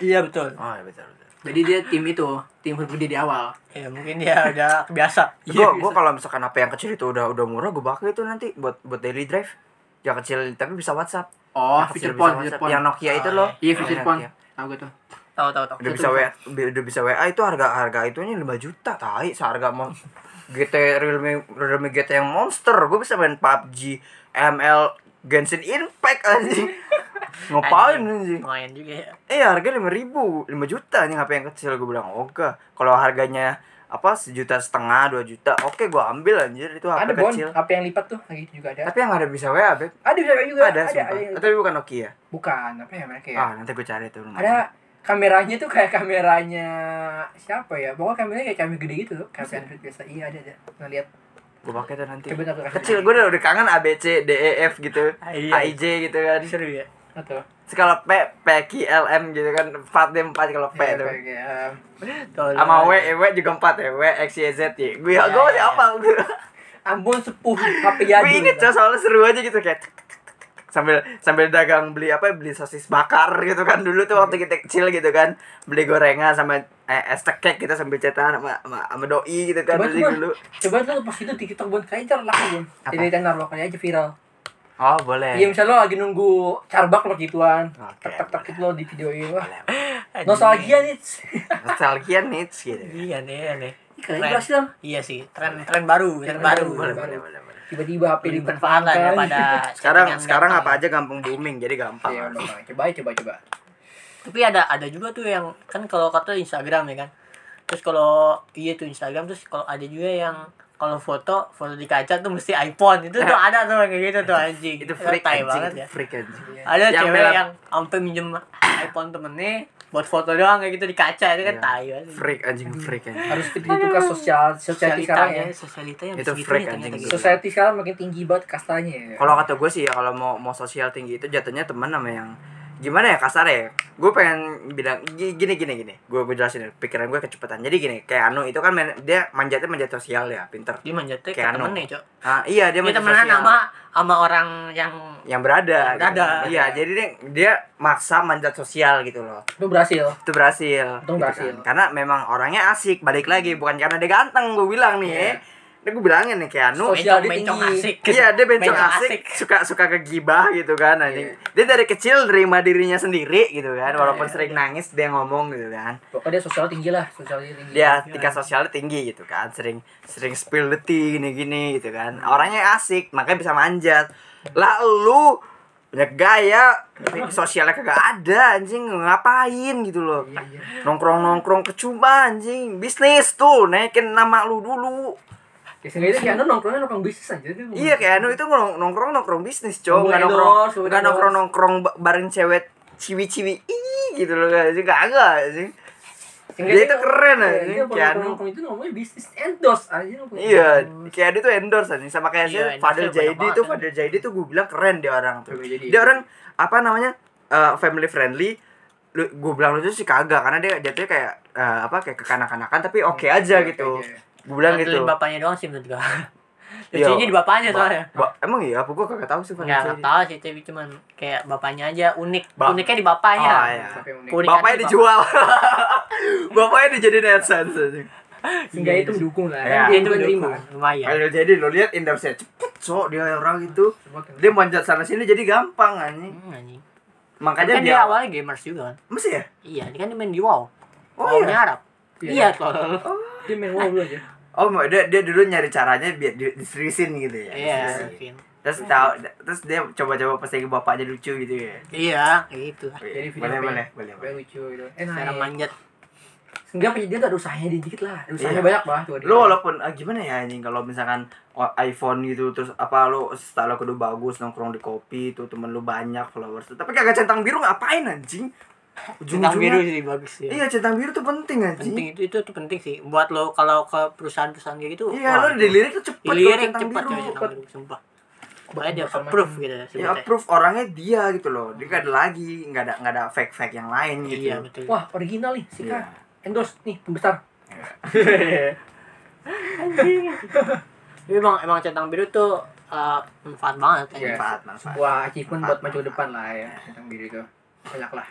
[SPEAKER 2] Iya, betul.
[SPEAKER 3] Oh, iya betul betul.
[SPEAKER 1] jadi dia tim itu tim huruf gede di awal
[SPEAKER 2] Ya, mungkin dia udah kebiasa.
[SPEAKER 1] Iya,
[SPEAKER 3] Gua gua
[SPEAKER 1] bisa.
[SPEAKER 3] kalau misalkan HP yang kecil itu udah udah murah, gua pakai itu nanti buat buat daily drive. Yang kecil tapi bisa WhatsApp.
[SPEAKER 1] oh feature
[SPEAKER 3] Yang kecil bisa
[SPEAKER 1] phone feature
[SPEAKER 3] WhatsApp.
[SPEAKER 1] phone
[SPEAKER 3] Yang Nokia itu loh.
[SPEAKER 1] iya feature
[SPEAKER 3] Yang
[SPEAKER 1] phone
[SPEAKER 3] Nokia.
[SPEAKER 1] tahu gue tuh
[SPEAKER 2] Tahu, tahu, tahu.
[SPEAKER 3] Udah
[SPEAKER 1] Itu
[SPEAKER 3] bisa
[SPEAKER 1] bisa.
[SPEAKER 3] WA, udah bisa WA itu harga harga itunya 5 juta tai, seharga mau GT Realme Realme GT yang monster. Gua bisa main PUBG, ML, Genshin Impact anjing. Ngapain anjing?
[SPEAKER 2] Lumayan juga ya.
[SPEAKER 3] Eh harga lima ribu, lima juta nih HP yang kecil gue bilang oke. Kalau harganya apa sejuta setengah dua juta, oke gue ambil anjir itu HP
[SPEAKER 1] ada bon
[SPEAKER 3] kecil.
[SPEAKER 1] HP yang lipat tuh lagi juga ada
[SPEAKER 3] Tapi yang ada bisa WA, Beb.
[SPEAKER 1] ada bisa juga
[SPEAKER 3] Ada, sumpah.
[SPEAKER 1] yang-
[SPEAKER 3] Tapi bukan Nokia.
[SPEAKER 1] bukan apa ya mereka ya
[SPEAKER 3] Ah, nanti gue cari tuh.
[SPEAKER 1] ada kameranya tuh kayak kameranya siapa ya pokoknya kameranya kayak kamera gede gitu kamera Android biasa iya ada ada ngeliat
[SPEAKER 3] Gue pakai tuh nanti.
[SPEAKER 1] coba aku kasih
[SPEAKER 3] Kecil gue udah, udah kangen A B C D E F gitu. A I
[SPEAKER 2] Iya.
[SPEAKER 3] J gitu kan.
[SPEAKER 2] Seru ya.
[SPEAKER 1] atau
[SPEAKER 3] Skala P P Q L M gitu kan. Empat deh empat kalau P
[SPEAKER 1] Iya,
[SPEAKER 3] ya tuh.
[SPEAKER 1] kayak, um,
[SPEAKER 2] Tolong.
[SPEAKER 3] Sama W, E, W juga empat ya. W X Y Z ya. Gue
[SPEAKER 2] Iya,
[SPEAKER 3] gue masih
[SPEAKER 2] iya,
[SPEAKER 3] hafal tuh.
[SPEAKER 1] Ambon sepuh ya, HP
[SPEAKER 3] Gue
[SPEAKER 1] jadul.
[SPEAKER 3] inget coy, soalnya seru aja gitu kayak tek, tek, tek, tek, tek. sambil sambil dagang beli apa beli sosis bakar gitu kan dulu tuh
[SPEAKER 2] Iya.
[SPEAKER 3] waktu kita kecil gitu kan beli gorengan sama eh, es cekek kita sambil cetan sama, sama, sama doi gitu kan
[SPEAKER 1] Coba,
[SPEAKER 3] beli
[SPEAKER 1] coba.
[SPEAKER 2] Iya,
[SPEAKER 3] dulu
[SPEAKER 1] Coba tuh pas itu di TikTok Bon kayak ntar laku Bon.
[SPEAKER 3] Apa?
[SPEAKER 1] Jadi ntar laku aja viral.
[SPEAKER 3] oh boleh
[SPEAKER 1] Iya misalnya lo lagi nunggu carbak lo gituan.
[SPEAKER 3] Oke,
[SPEAKER 1] Tak tak tak gitu lo di videoin wah.
[SPEAKER 2] Anjing.
[SPEAKER 1] Nostalgia nih.
[SPEAKER 3] nostalgia nih gitu
[SPEAKER 2] Iya nih, aneh.
[SPEAKER 1] Ih, Keren berhasil Bang.
[SPEAKER 2] Iya sih, tren tren baru, tren
[SPEAKER 3] Iya,
[SPEAKER 1] Tren
[SPEAKER 2] baru.
[SPEAKER 3] boleh boleh
[SPEAKER 1] baru.
[SPEAKER 3] boleh boleh
[SPEAKER 1] Tiba-tiba HP
[SPEAKER 2] Lebih
[SPEAKER 1] dimanfaatkan.
[SPEAKER 2] bermanfaat lah daripada
[SPEAKER 3] sekarang
[SPEAKER 2] chattingan
[SPEAKER 3] sekarang
[SPEAKER 2] gampang.
[SPEAKER 3] apa aja gampang booming jadi gampang
[SPEAKER 1] Iya, udah, Bang. coba coba coba.
[SPEAKER 2] tapi ada ada juga tuh yang kan kalau kata Instagram ya kan terus kalau iya tuh Instagram terus kalau ada juga yang kalau foto foto di kaca tuh mesti iPhone itu tuh ada tuh yang kayak gitu tuh anjing
[SPEAKER 3] itu freak
[SPEAKER 2] Tai
[SPEAKER 3] anjing
[SPEAKER 2] banget
[SPEAKER 3] itu
[SPEAKER 2] ya
[SPEAKER 3] freak anjing
[SPEAKER 2] ada
[SPEAKER 3] Yang
[SPEAKER 2] cewek
[SPEAKER 3] merah.
[SPEAKER 2] yang sampai minjem iPhone temennya buat foto doang kayak gitu di kaca itu kan
[SPEAKER 3] Iya.
[SPEAKER 2] tai banget
[SPEAKER 3] freak anjing freak anjing
[SPEAKER 1] Harus dibuka sosial society sekarang ya.
[SPEAKER 2] sosialitanya sosialitanya
[SPEAKER 3] Itu
[SPEAKER 2] mesti gitu
[SPEAKER 3] freak
[SPEAKER 2] ya, ternyata
[SPEAKER 3] anjing.
[SPEAKER 2] gitu.
[SPEAKER 1] Society sekarang makin tinggi banget kastanya ya.
[SPEAKER 3] Kalau kata gue sih ya kalau mau mau sosial tinggi itu jatuhnya teman sama yang gimana ya kasar ya. Gue pengen bilang gi- gini gini gini. Gue gue jelasin dulu. pikiran gue kecepatan. Jadi gini kayak Anu itu kan main- dia manjatnya manjat sosial ya, pinter.
[SPEAKER 2] dia manjatnya ke
[SPEAKER 3] Keanu.
[SPEAKER 2] temennya cok
[SPEAKER 3] Ah, iya
[SPEAKER 2] dia
[SPEAKER 3] dia manjat
[SPEAKER 2] temenan
[SPEAKER 3] sosial.
[SPEAKER 2] sama sama orang yang
[SPEAKER 3] yang berada.
[SPEAKER 2] Yang berada.
[SPEAKER 3] gitu. Iya jadi dia, dia maksa manjat sosial gitu loh.
[SPEAKER 1] Itu berhasil.
[SPEAKER 3] Itu berhasil.
[SPEAKER 1] Itu berhasil.
[SPEAKER 3] kan. Karena memang orangnya asik. Balik lagi bukan karena dia ganteng. Gue bilang nih.
[SPEAKER 1] Iya.
[SPEAKER 3] ya. Dia gue bilangin nih kayak Anu.
[SPEAKER 1] Sosial dia
[SPEAKER 2] bencong
[SPEAKER 1] tinggi.
[SPEAKER 2] asik
[SPEAKER 3] Iya dia bencong
[SPEAKER 2] Bencong
[SPEAKER 3] asik,
[SPEAKER 2] asik.
[SPEAKER 3] suka suka kegibah gitu kan anjing. Dia dari kecil nerima dirinya sendiri gitu kan walaupun
[SPEAKER 1] Iya,
[SPEAKER 3] sering nangis dia ngomong gitu kan.
[SPEAKER 1] Pokoknya dia sosial tinggi lah, sosial tinggi.
[SPEAKER 3] Dia tingkat sosialnya tinggi gitu kan sering sering spill the tea gini-gini gitu kan. Orangnya asik makanya bisa manjat. Lah lu punya gaya sosialnya kagak ada anjing ngapain gitu loh
[SPEAKER 1] Iya, iya.
[SPEAKER 3] nongkrong nongkrong kecuma anjing bisnis tuh naikin nama lu dulu
[SPEAKER 1] Biasanya itu Keanu nongkrongnya nongkrong bisnis aja tuh.
[SPEAKER 3] Iya kayak Anu itu nong- nongkrong nongkrong bisnis cowok
[SPEAKER 1] Nunggu
[SPEAKER 3] nggak
[SPEAKER 1] endorse,
[SPEAKER 3] nongkrong
[SPEAKER 1] nunggu
[SPEAKER 3] nggak
[SPEAKER 1] endorse.
[SPEAKER 3] nongkrong nongkrong ba- bareng cewek ciwi-ciwi ih gitu loh kan sih kagak sih Dia itu keren, anjing. Keanu.
[SPEAKER 1] Keanu "Iya, nongkrong itu ngomongnya bisnis endorse aja nongkrong.
[SPEAKER 3] iya kayak dia tuh endorse aja sama kayak
[SPEAKER 2] Iya,
[SPEAKER 3] si Fadil
[SPEAKER 2] endorse-nya banyak
[SPEAKER 3] Jaidi tuh
[SPEAKER 2] banget,
[SPEAKER 3] Fadil Jaidi tuh gue bilang keren dia orang tuh
[SPEAKER 1] Fadil Jaidi.
[SPEAKER 3] dia orang apa namanya eh, family friendly lu, gue bilang lucu sih kagak karena dia jatuhnya kayak eh, apa kayak kekanak-kanakan tapi oke aja
[SPEAKER 1] Oke,
[SPEAKER 3] gitu
[SPEAKER 1] oke.
[SPEAKER 3] gue bilang
[SPEAKER 2] Bantuin
[SPEAKER 3] gitu
[SPEAKER 2] bapaknya doang sih menurut gua.
[SPEAKER 3] Iya.
[SPEAKER 2] Lucunya di bapaknya soalnya.
[SPEAKER 3] Ba- ba- emang iya apa gue kagak tahu sih Fadil
[SPEAKER 2] Enggak nggak
[SPEAKER 3] Jaidi
[SPEAKER 2] tahu sih tapi cuman kayak bapaknya aja unik.
[SPEAKER 3] Ba-
[SPEAKER 2] Uniknya di bapaknya.
[SPEAKER 3] Ah, iya.
[SPEAKER 1] Sampai unik.
[SPEAKER 2] Keunikannya
[SPEAKER 3] bapaknya
[SPEAKER 2] di
[SPEAKER 3] dijual bapaknya dijadiin adsense anjing.
[SPEAKER 1] Sehingga itu mendukung lah.
[SPEAKER 3] Iya.
[SPEAKER 1] Dia
[SPEAKER 2] Itu
[SPEAKER 1] itu menerima.
[SPEAKER 2] dukung, Hmm, lumayan.
[SPEAKER 3] Kalau jadi lo lihat endorse cepet so dia orang itu
[SPEAKER 1] Coba kan.
[SPEAKER 3] dia manjat sana sini jadi gampang anjing.
[SPEAKER 2] Hmm, anjing.
[SPEAKER 3] Makanya
[SPEAKER 2] Kan
[SPEAKER 3] dia,
[SPEAKER 2] dia awalnya gamers juga kan.
[SPEAKER 3] Mesti ya?
[SPEAKER 2] Iya, dia kan dia main di WoW.
[SPEAKER 3] Oh,
[SPEAKER 2] Oh,
[SPEAKER 3] iya?
[SPEAKER 2] Arab.
[SPEAKER 1] Iya.
[SPEAKER 2] Iya, tolol.
[SPEAKER 1] Dia main wow dulu aja.
[SPEAKER 3] Oh, mau- dia, dia dulu nyari caranya biar di- diseriusin gitu ya.
[SPEAKER 2] Iya, mungkin.
[SPEAKER 3] Diseriusin. Terus tahu terus dia coba-coba pas lagi bapaknya lucu gitu ya.
[SPEAKER 2] Iya, gitu.
[SPEAKER 3] Nah,
[SPEAKER 1] Jadi video apa
[SPEAKER 3] boleh,
[SPEAKER 1] ya?
[SPEAKER 3] boleh, boleh,
[SPEAKER 1] Kayak
[SPEAKER 3] boleh.
[SPEAKER 1] lucu gitu.
[SPEAKER 3] iya.
[SPEAKER 2] Cara
[SPEAKER 1] Enak.
[SPEAKER 2] manjat.
[SPEAKER 1] Sehingga dia tuh ada usahanya dikit lah. Ada usahanya
[SPEAKER 3] Iya.
[SPEAKER 1] banyak banget tuh. dia.
[SPEAKER 3] Lo walaupun ah, gimana ya anjing kalau misalkan o- iPhone gitu terus apa lo style kudu bagus nongkrong di kopi itu temen lu banyak followers tapi kagak centang biru ngapain anjing
[SPEAKER 2] Centang biru
[SPEAKER 3] Ujung-ujungnya-
[SPEAKER 2] sih bagus ya.
[SPEAKER 3] Iya centang biru tuh penting anjing.
[SPEAKER 2] penting itu, itu tuh penting sih buat lo kalau ke perusahaan-perusahaan kayak gitu.
[SPEAKER 3] Iya
[SPEAKER 2] wah,
[SPEAKER 3] lo dilirik tuh cepet kalau
[SPEAKER 2] dilirik
[SPEAKER 3] centang
[SPEAKER 2] cepat
[SPEAKER 3] biru.
[SPEAKER 2] ya centang biru sumpah. Makanya dia
[SPEAKER 1] Sama-
[SPEAKER 2] approve gitu ya
[SPEAKER 3] Ya
[SPEAKER 2] sebutnya.
[SPEAKER 3] approve orangnya dia gitu loh. Dia gak ada lagi, nggak ada nggak ada fake fake yang lain gitu.
[SPEAKER 2] Iya betul.
[SPEAKER 1] Wah, original nih, Sika.
[SPEAKER 3] Iya.
[SPEAKER 1] Endorse nih, pembesar.
[SPEAKER 2] Memang emang centang biru tuh uh, manfaat banget kan.
[SPEAKER 1] Iya.
[SPEAKER 3] Manfaat manfaat.
[SPEAKER 1] Wah, achievement buat maju ke depan lah ya, tentang diri itu. Banyak
[SPEAKER 3] Ya,
[SPEAKER 1] lah,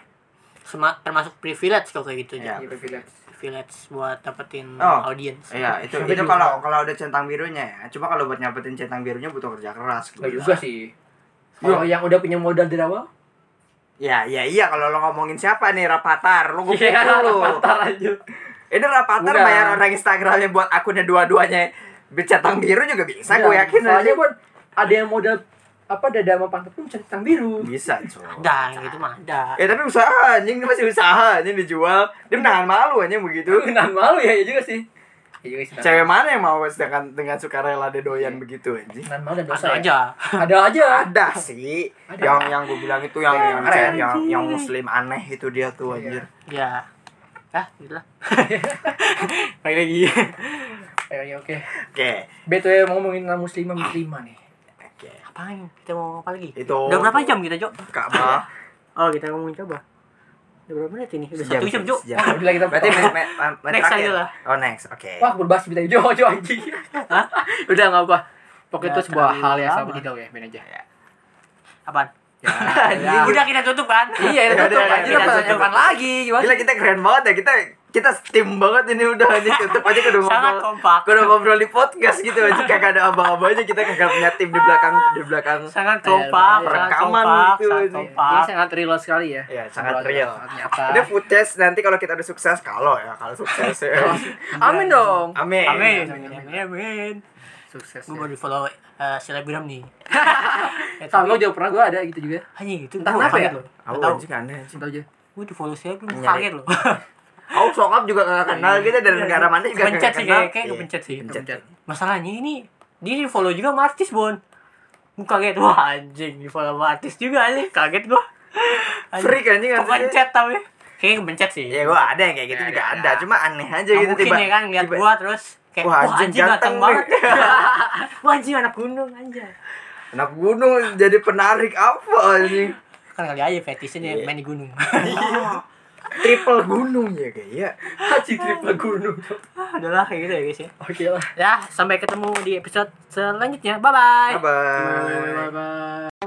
[SPEAKER 2] Sema- termasuk privilege kalau kayak gitu ya.
[SPEAKER 3] Iya.
[SPEAKER 1] di privilege.
[SPEAKER 2] Privilege buat dapetin
[SPEAKER 3] Oh,
[SPEAKER 2] audience.
[SPEAKER 3] Iya itu
[SPEAKER 1] Tapi
[SPEAKER 3] itu
[SPEAKER 1] juga-
[SPEAKER 3] kalau kalau udah centang birunya ya. Cuma kalau buat nyapetin centang birunya butuh kerja keras. gitu.
[SPEAKER 1] Enggak juga sih. Kalau yang udah punya modal dari awal,
[SPEAKER 3] Ya ya iya kalau lo ngomongin siapa nih Rapatar, lo gue
[SPEAKER 1] Iya,
[SPEAKER 3] lo.
[SPEAKER 1] Rapatar aja.
[SPEAKER 3] Ini Rapatar
[SPEAKER 1] Udah.
[SPEAKER 3] bayar orang Instagramnya buat akunnya dua-duanya bercentang biru juga bisa, gue
[SPEAKER 1] Iya,
[SPEAKER 3] yakin aja.
[SPEAKER 1] Soalnya pun ada yang modal apa dada sama pantat pun centang biru.
[SPEAKER 3] Bisa cuy.
[SPEAKER 2] Ada gitu mah ada.
[SPEAKER 3] Ya tapi usaha anjing, dia masih usaha anjing dijual. Dia menahan malu anjing begitu.
[SPEAKER 1] Nahan malu ya, ya juga sih. Ya juga sih.
[SPEAKER 3] Cewek mana yang mau sedangkan dengan sukarela dia doyan begitu anjing?
[SPEAKER 1] Nahan malu dan dosa.
[SPEAKER 2] Ada
[SPEAKER 1] ya.
[SPEAKER 2] aja.
[SPEAKER 1] Ada aja.
[SPEAKER 3] Ada sih
[SPEAKER 1] Ada.
[SPEAKER 3] yang yang gue bilang itu yang yang,
[SPEAKER 1] Ada,
[SPEAKER 3] cewek-
[SPEAKER 1] ada.
[SPEAKER 3] yang yang muslim aneh itu dia tuh anjir.
[SPEAKER 2] Ya. Ah, gila. Baik lagi.
[SPEAKER 1] Ayo, ya, oke.
[SPEAKER 3] Oke.
[SPEAKER 1] Betul ya ngomongin muslimah muslimah nih.
[SPEAKER 3] Oke.
[SPEAKER 2] Apaan? Kita mau ngomong apa lagi?
[SPEAKER 3] Itu
[SPEAKER 2] Udah berapa jam kita, Jok?
[SPEAKER 3] Ka'bah.
[SPEAKER 2] Oh, kita ngomongin coba. Udah berapa menit ini? Udah
[SPEAKER 3] Sejam
[SPEAKER 2] satu jam,
[SPEAKER 3] sih,
[SPEAKER 2] Jok.
[SPEAKER 3] sejam.
[SPEAKER 1] Ah, udah lah kita
[SPEAKER 3] Berarti me- me- me-
[SPEAKER 2] Next
[SPEAKER 3] terakhir.
[SPEAKER 2] aja lah.
[SPEAKER 3] Oh next, oke.
[SPEAKER 1] Wah, berbahas kita hijau hijau anjing.
[SPEAKER 2] Hah?
[SPEAKER 1] Udah enggak apa. Pokoknya
[SPEAKER 2] Ya,
[SPEAKER 1] itu sebuah
[SPEAKER 2] terlalu
[SPEAKER 1] hal yang sama
[SPEAKER 2] lama.
[SPEAKER 1] kita ya, ben aja.
[SPEAKER 2] Apaan?
[SPEAKER 1] Ya.
[SPEAKER 3] Anjing.
[SPEAKER 2] Udah kita tutup kan?
[SPEAKER 1] Iya, itu
[SPEAKER 3] Ya
[SPEAKER 1] tutup
[SPEAKER 3] udah, ya
[SPEAKER 1] anjing
[SPEAKER 3] udah,
[SPEAKER 1] apa
[SPEAKER 3] tutup.
[SPEAKER 1] depan lagi gimana? Iya,
[SPEAKER 3] Gila kita keren banget ya kita kita steam banget ini udah anjing tutup aja kudu
[SPEAKER 2] Sangat
[SPEAKER 3] ngobrol.
[SPEAKER 2] kompak.
[SPEAKER 3] Kudu ngobrol di podcast gitu aja kagak ada aba-abanya kita kagak punya tim di belakang di belakang.
[SPEAKER 2] Sangat kompak,
[SPEAKER 1] lumayan.
[SPEAKER 2] sangat
[SPEAKER 3] Rekaman
[SPEAKER 2] kompak, Iya, sangat
[SPEAKER 3] gitu, ini.
[SPEAKER 1] Ini
[SPEAKER 2] kompak.
[SPEAKER 1] sangat real sekali ya.
[SPEAKER 3] Iya, sangat
[SPEAKER 1] Sangat
[SPEAKER 3] real.
[SPEAKER 1] sangat nyata.
[SPEAKER 3] Ini footage nanti kalau kita udah sukses kalau ya kalau sukses ya.
[SPEAKER 1] Amin dong.
[SPEAKER 3] Amin.
[SPEAKER 2] Amin, amin, amin, amin.
[SPEAKER 1] Sukses. ya.
[SPEAKER 2] Gue baru di follow eh, selebgram nih. ya,
[SPEAKER 1] Tahu lo
[SPEAKER 2] tapi-
[SPEAKER 1] juga pernah gue ada gitu juga.
[SPEAKER 2] Anjing itu
[SPEAKER 1] Entah
[SPEAKER 2] gua
[SPEAKER 1] kenapa ya?
[SPEAKER 2] kaget loh.
[SPEAKER 3] Aku
[SPEAKER 2] Nggak tahu.
[SPEAKER 3] anjing aneh anjing.
[SPEAKER 1] Cinta aja.
[SPEAKER 2] Gue di follow selebgram gua
[SPEAKER 3] Nyari.
[SPEAKER 2] kaget loh.
[SPEAKER 3] Aku sokap juga gak kenal kita dari negara mana
[SPEAKER 2] Iya.
[SPEAKER 3] juga gak
[SPEAKER 2] Kepencet sih
[SPEAKER 3] kenal.
[SPEAKER 2] kayak kayak
[SPEAKER 3] Iya.
[SPEAKER 2] kepencet sih.
[SPEAKER 3] Kepencet.
[SPEAKER 2] Masalahnya ini dia di follow juga sama artis Bon. Gue kaget wah anjing di follow sama artis juga anjing kaget gue.
[SPEAKER 3] Iya. Freak anjing artisnya.
[SPEAKER 2] Kepencet tapi kayaknya kepencet sih.
[SPEAKER 3] Ya gua ada yang kayak gitu
[SPEAKER 1] Ya,
[SPEAKER 3] juga
[SPEAKER 1] ya,
[SPEAKER 3] ada,
[SPEAKER 1] ya.
[SPEAKER 3] cuma aneh aja
[SPEAKER 2] Nggak
[SPEAKER 3] gitu
[SPEAKER 2] iya, mungkin
[SPEAKER 3] tiba.
[SPEAKER 2] ya kan lihat
[SPEAKER 3] tiba-
[SPEAKER 2] gua terus kayak
[SPEAKER 3] Wah,
[SPEAKER 2] wah
[SPEAKER 3] anjing
[SPEAKER 2] anjing ganteng,
[SPEAKER 3] ganteng
[SPEAKER 2] banget.
[SPEAKER 3] nih.
[SPEAKER 2] wah anjing anak gunung anjay.
[SPEAKER 3] Anak gunung jadi penarik apa anjing?
[SPEAKER 2] Kan kali aja fetishnya dia main di gunung.
[SPEAKER 3] Iya. Triple gunung ya kayak. Iya.
[SPEAKER 1] Haji triple gunung.
[SPEAKER 2] Adalah kayak gitu ya guys ya.
[SPEAKER 1] Oke lah.
[SPEAKER 2] Ya, sampai ketemu di episode selanjutnya. Bye bye.
[SPEAKER 3] Bye bye.
[SPEAKER 1] bye.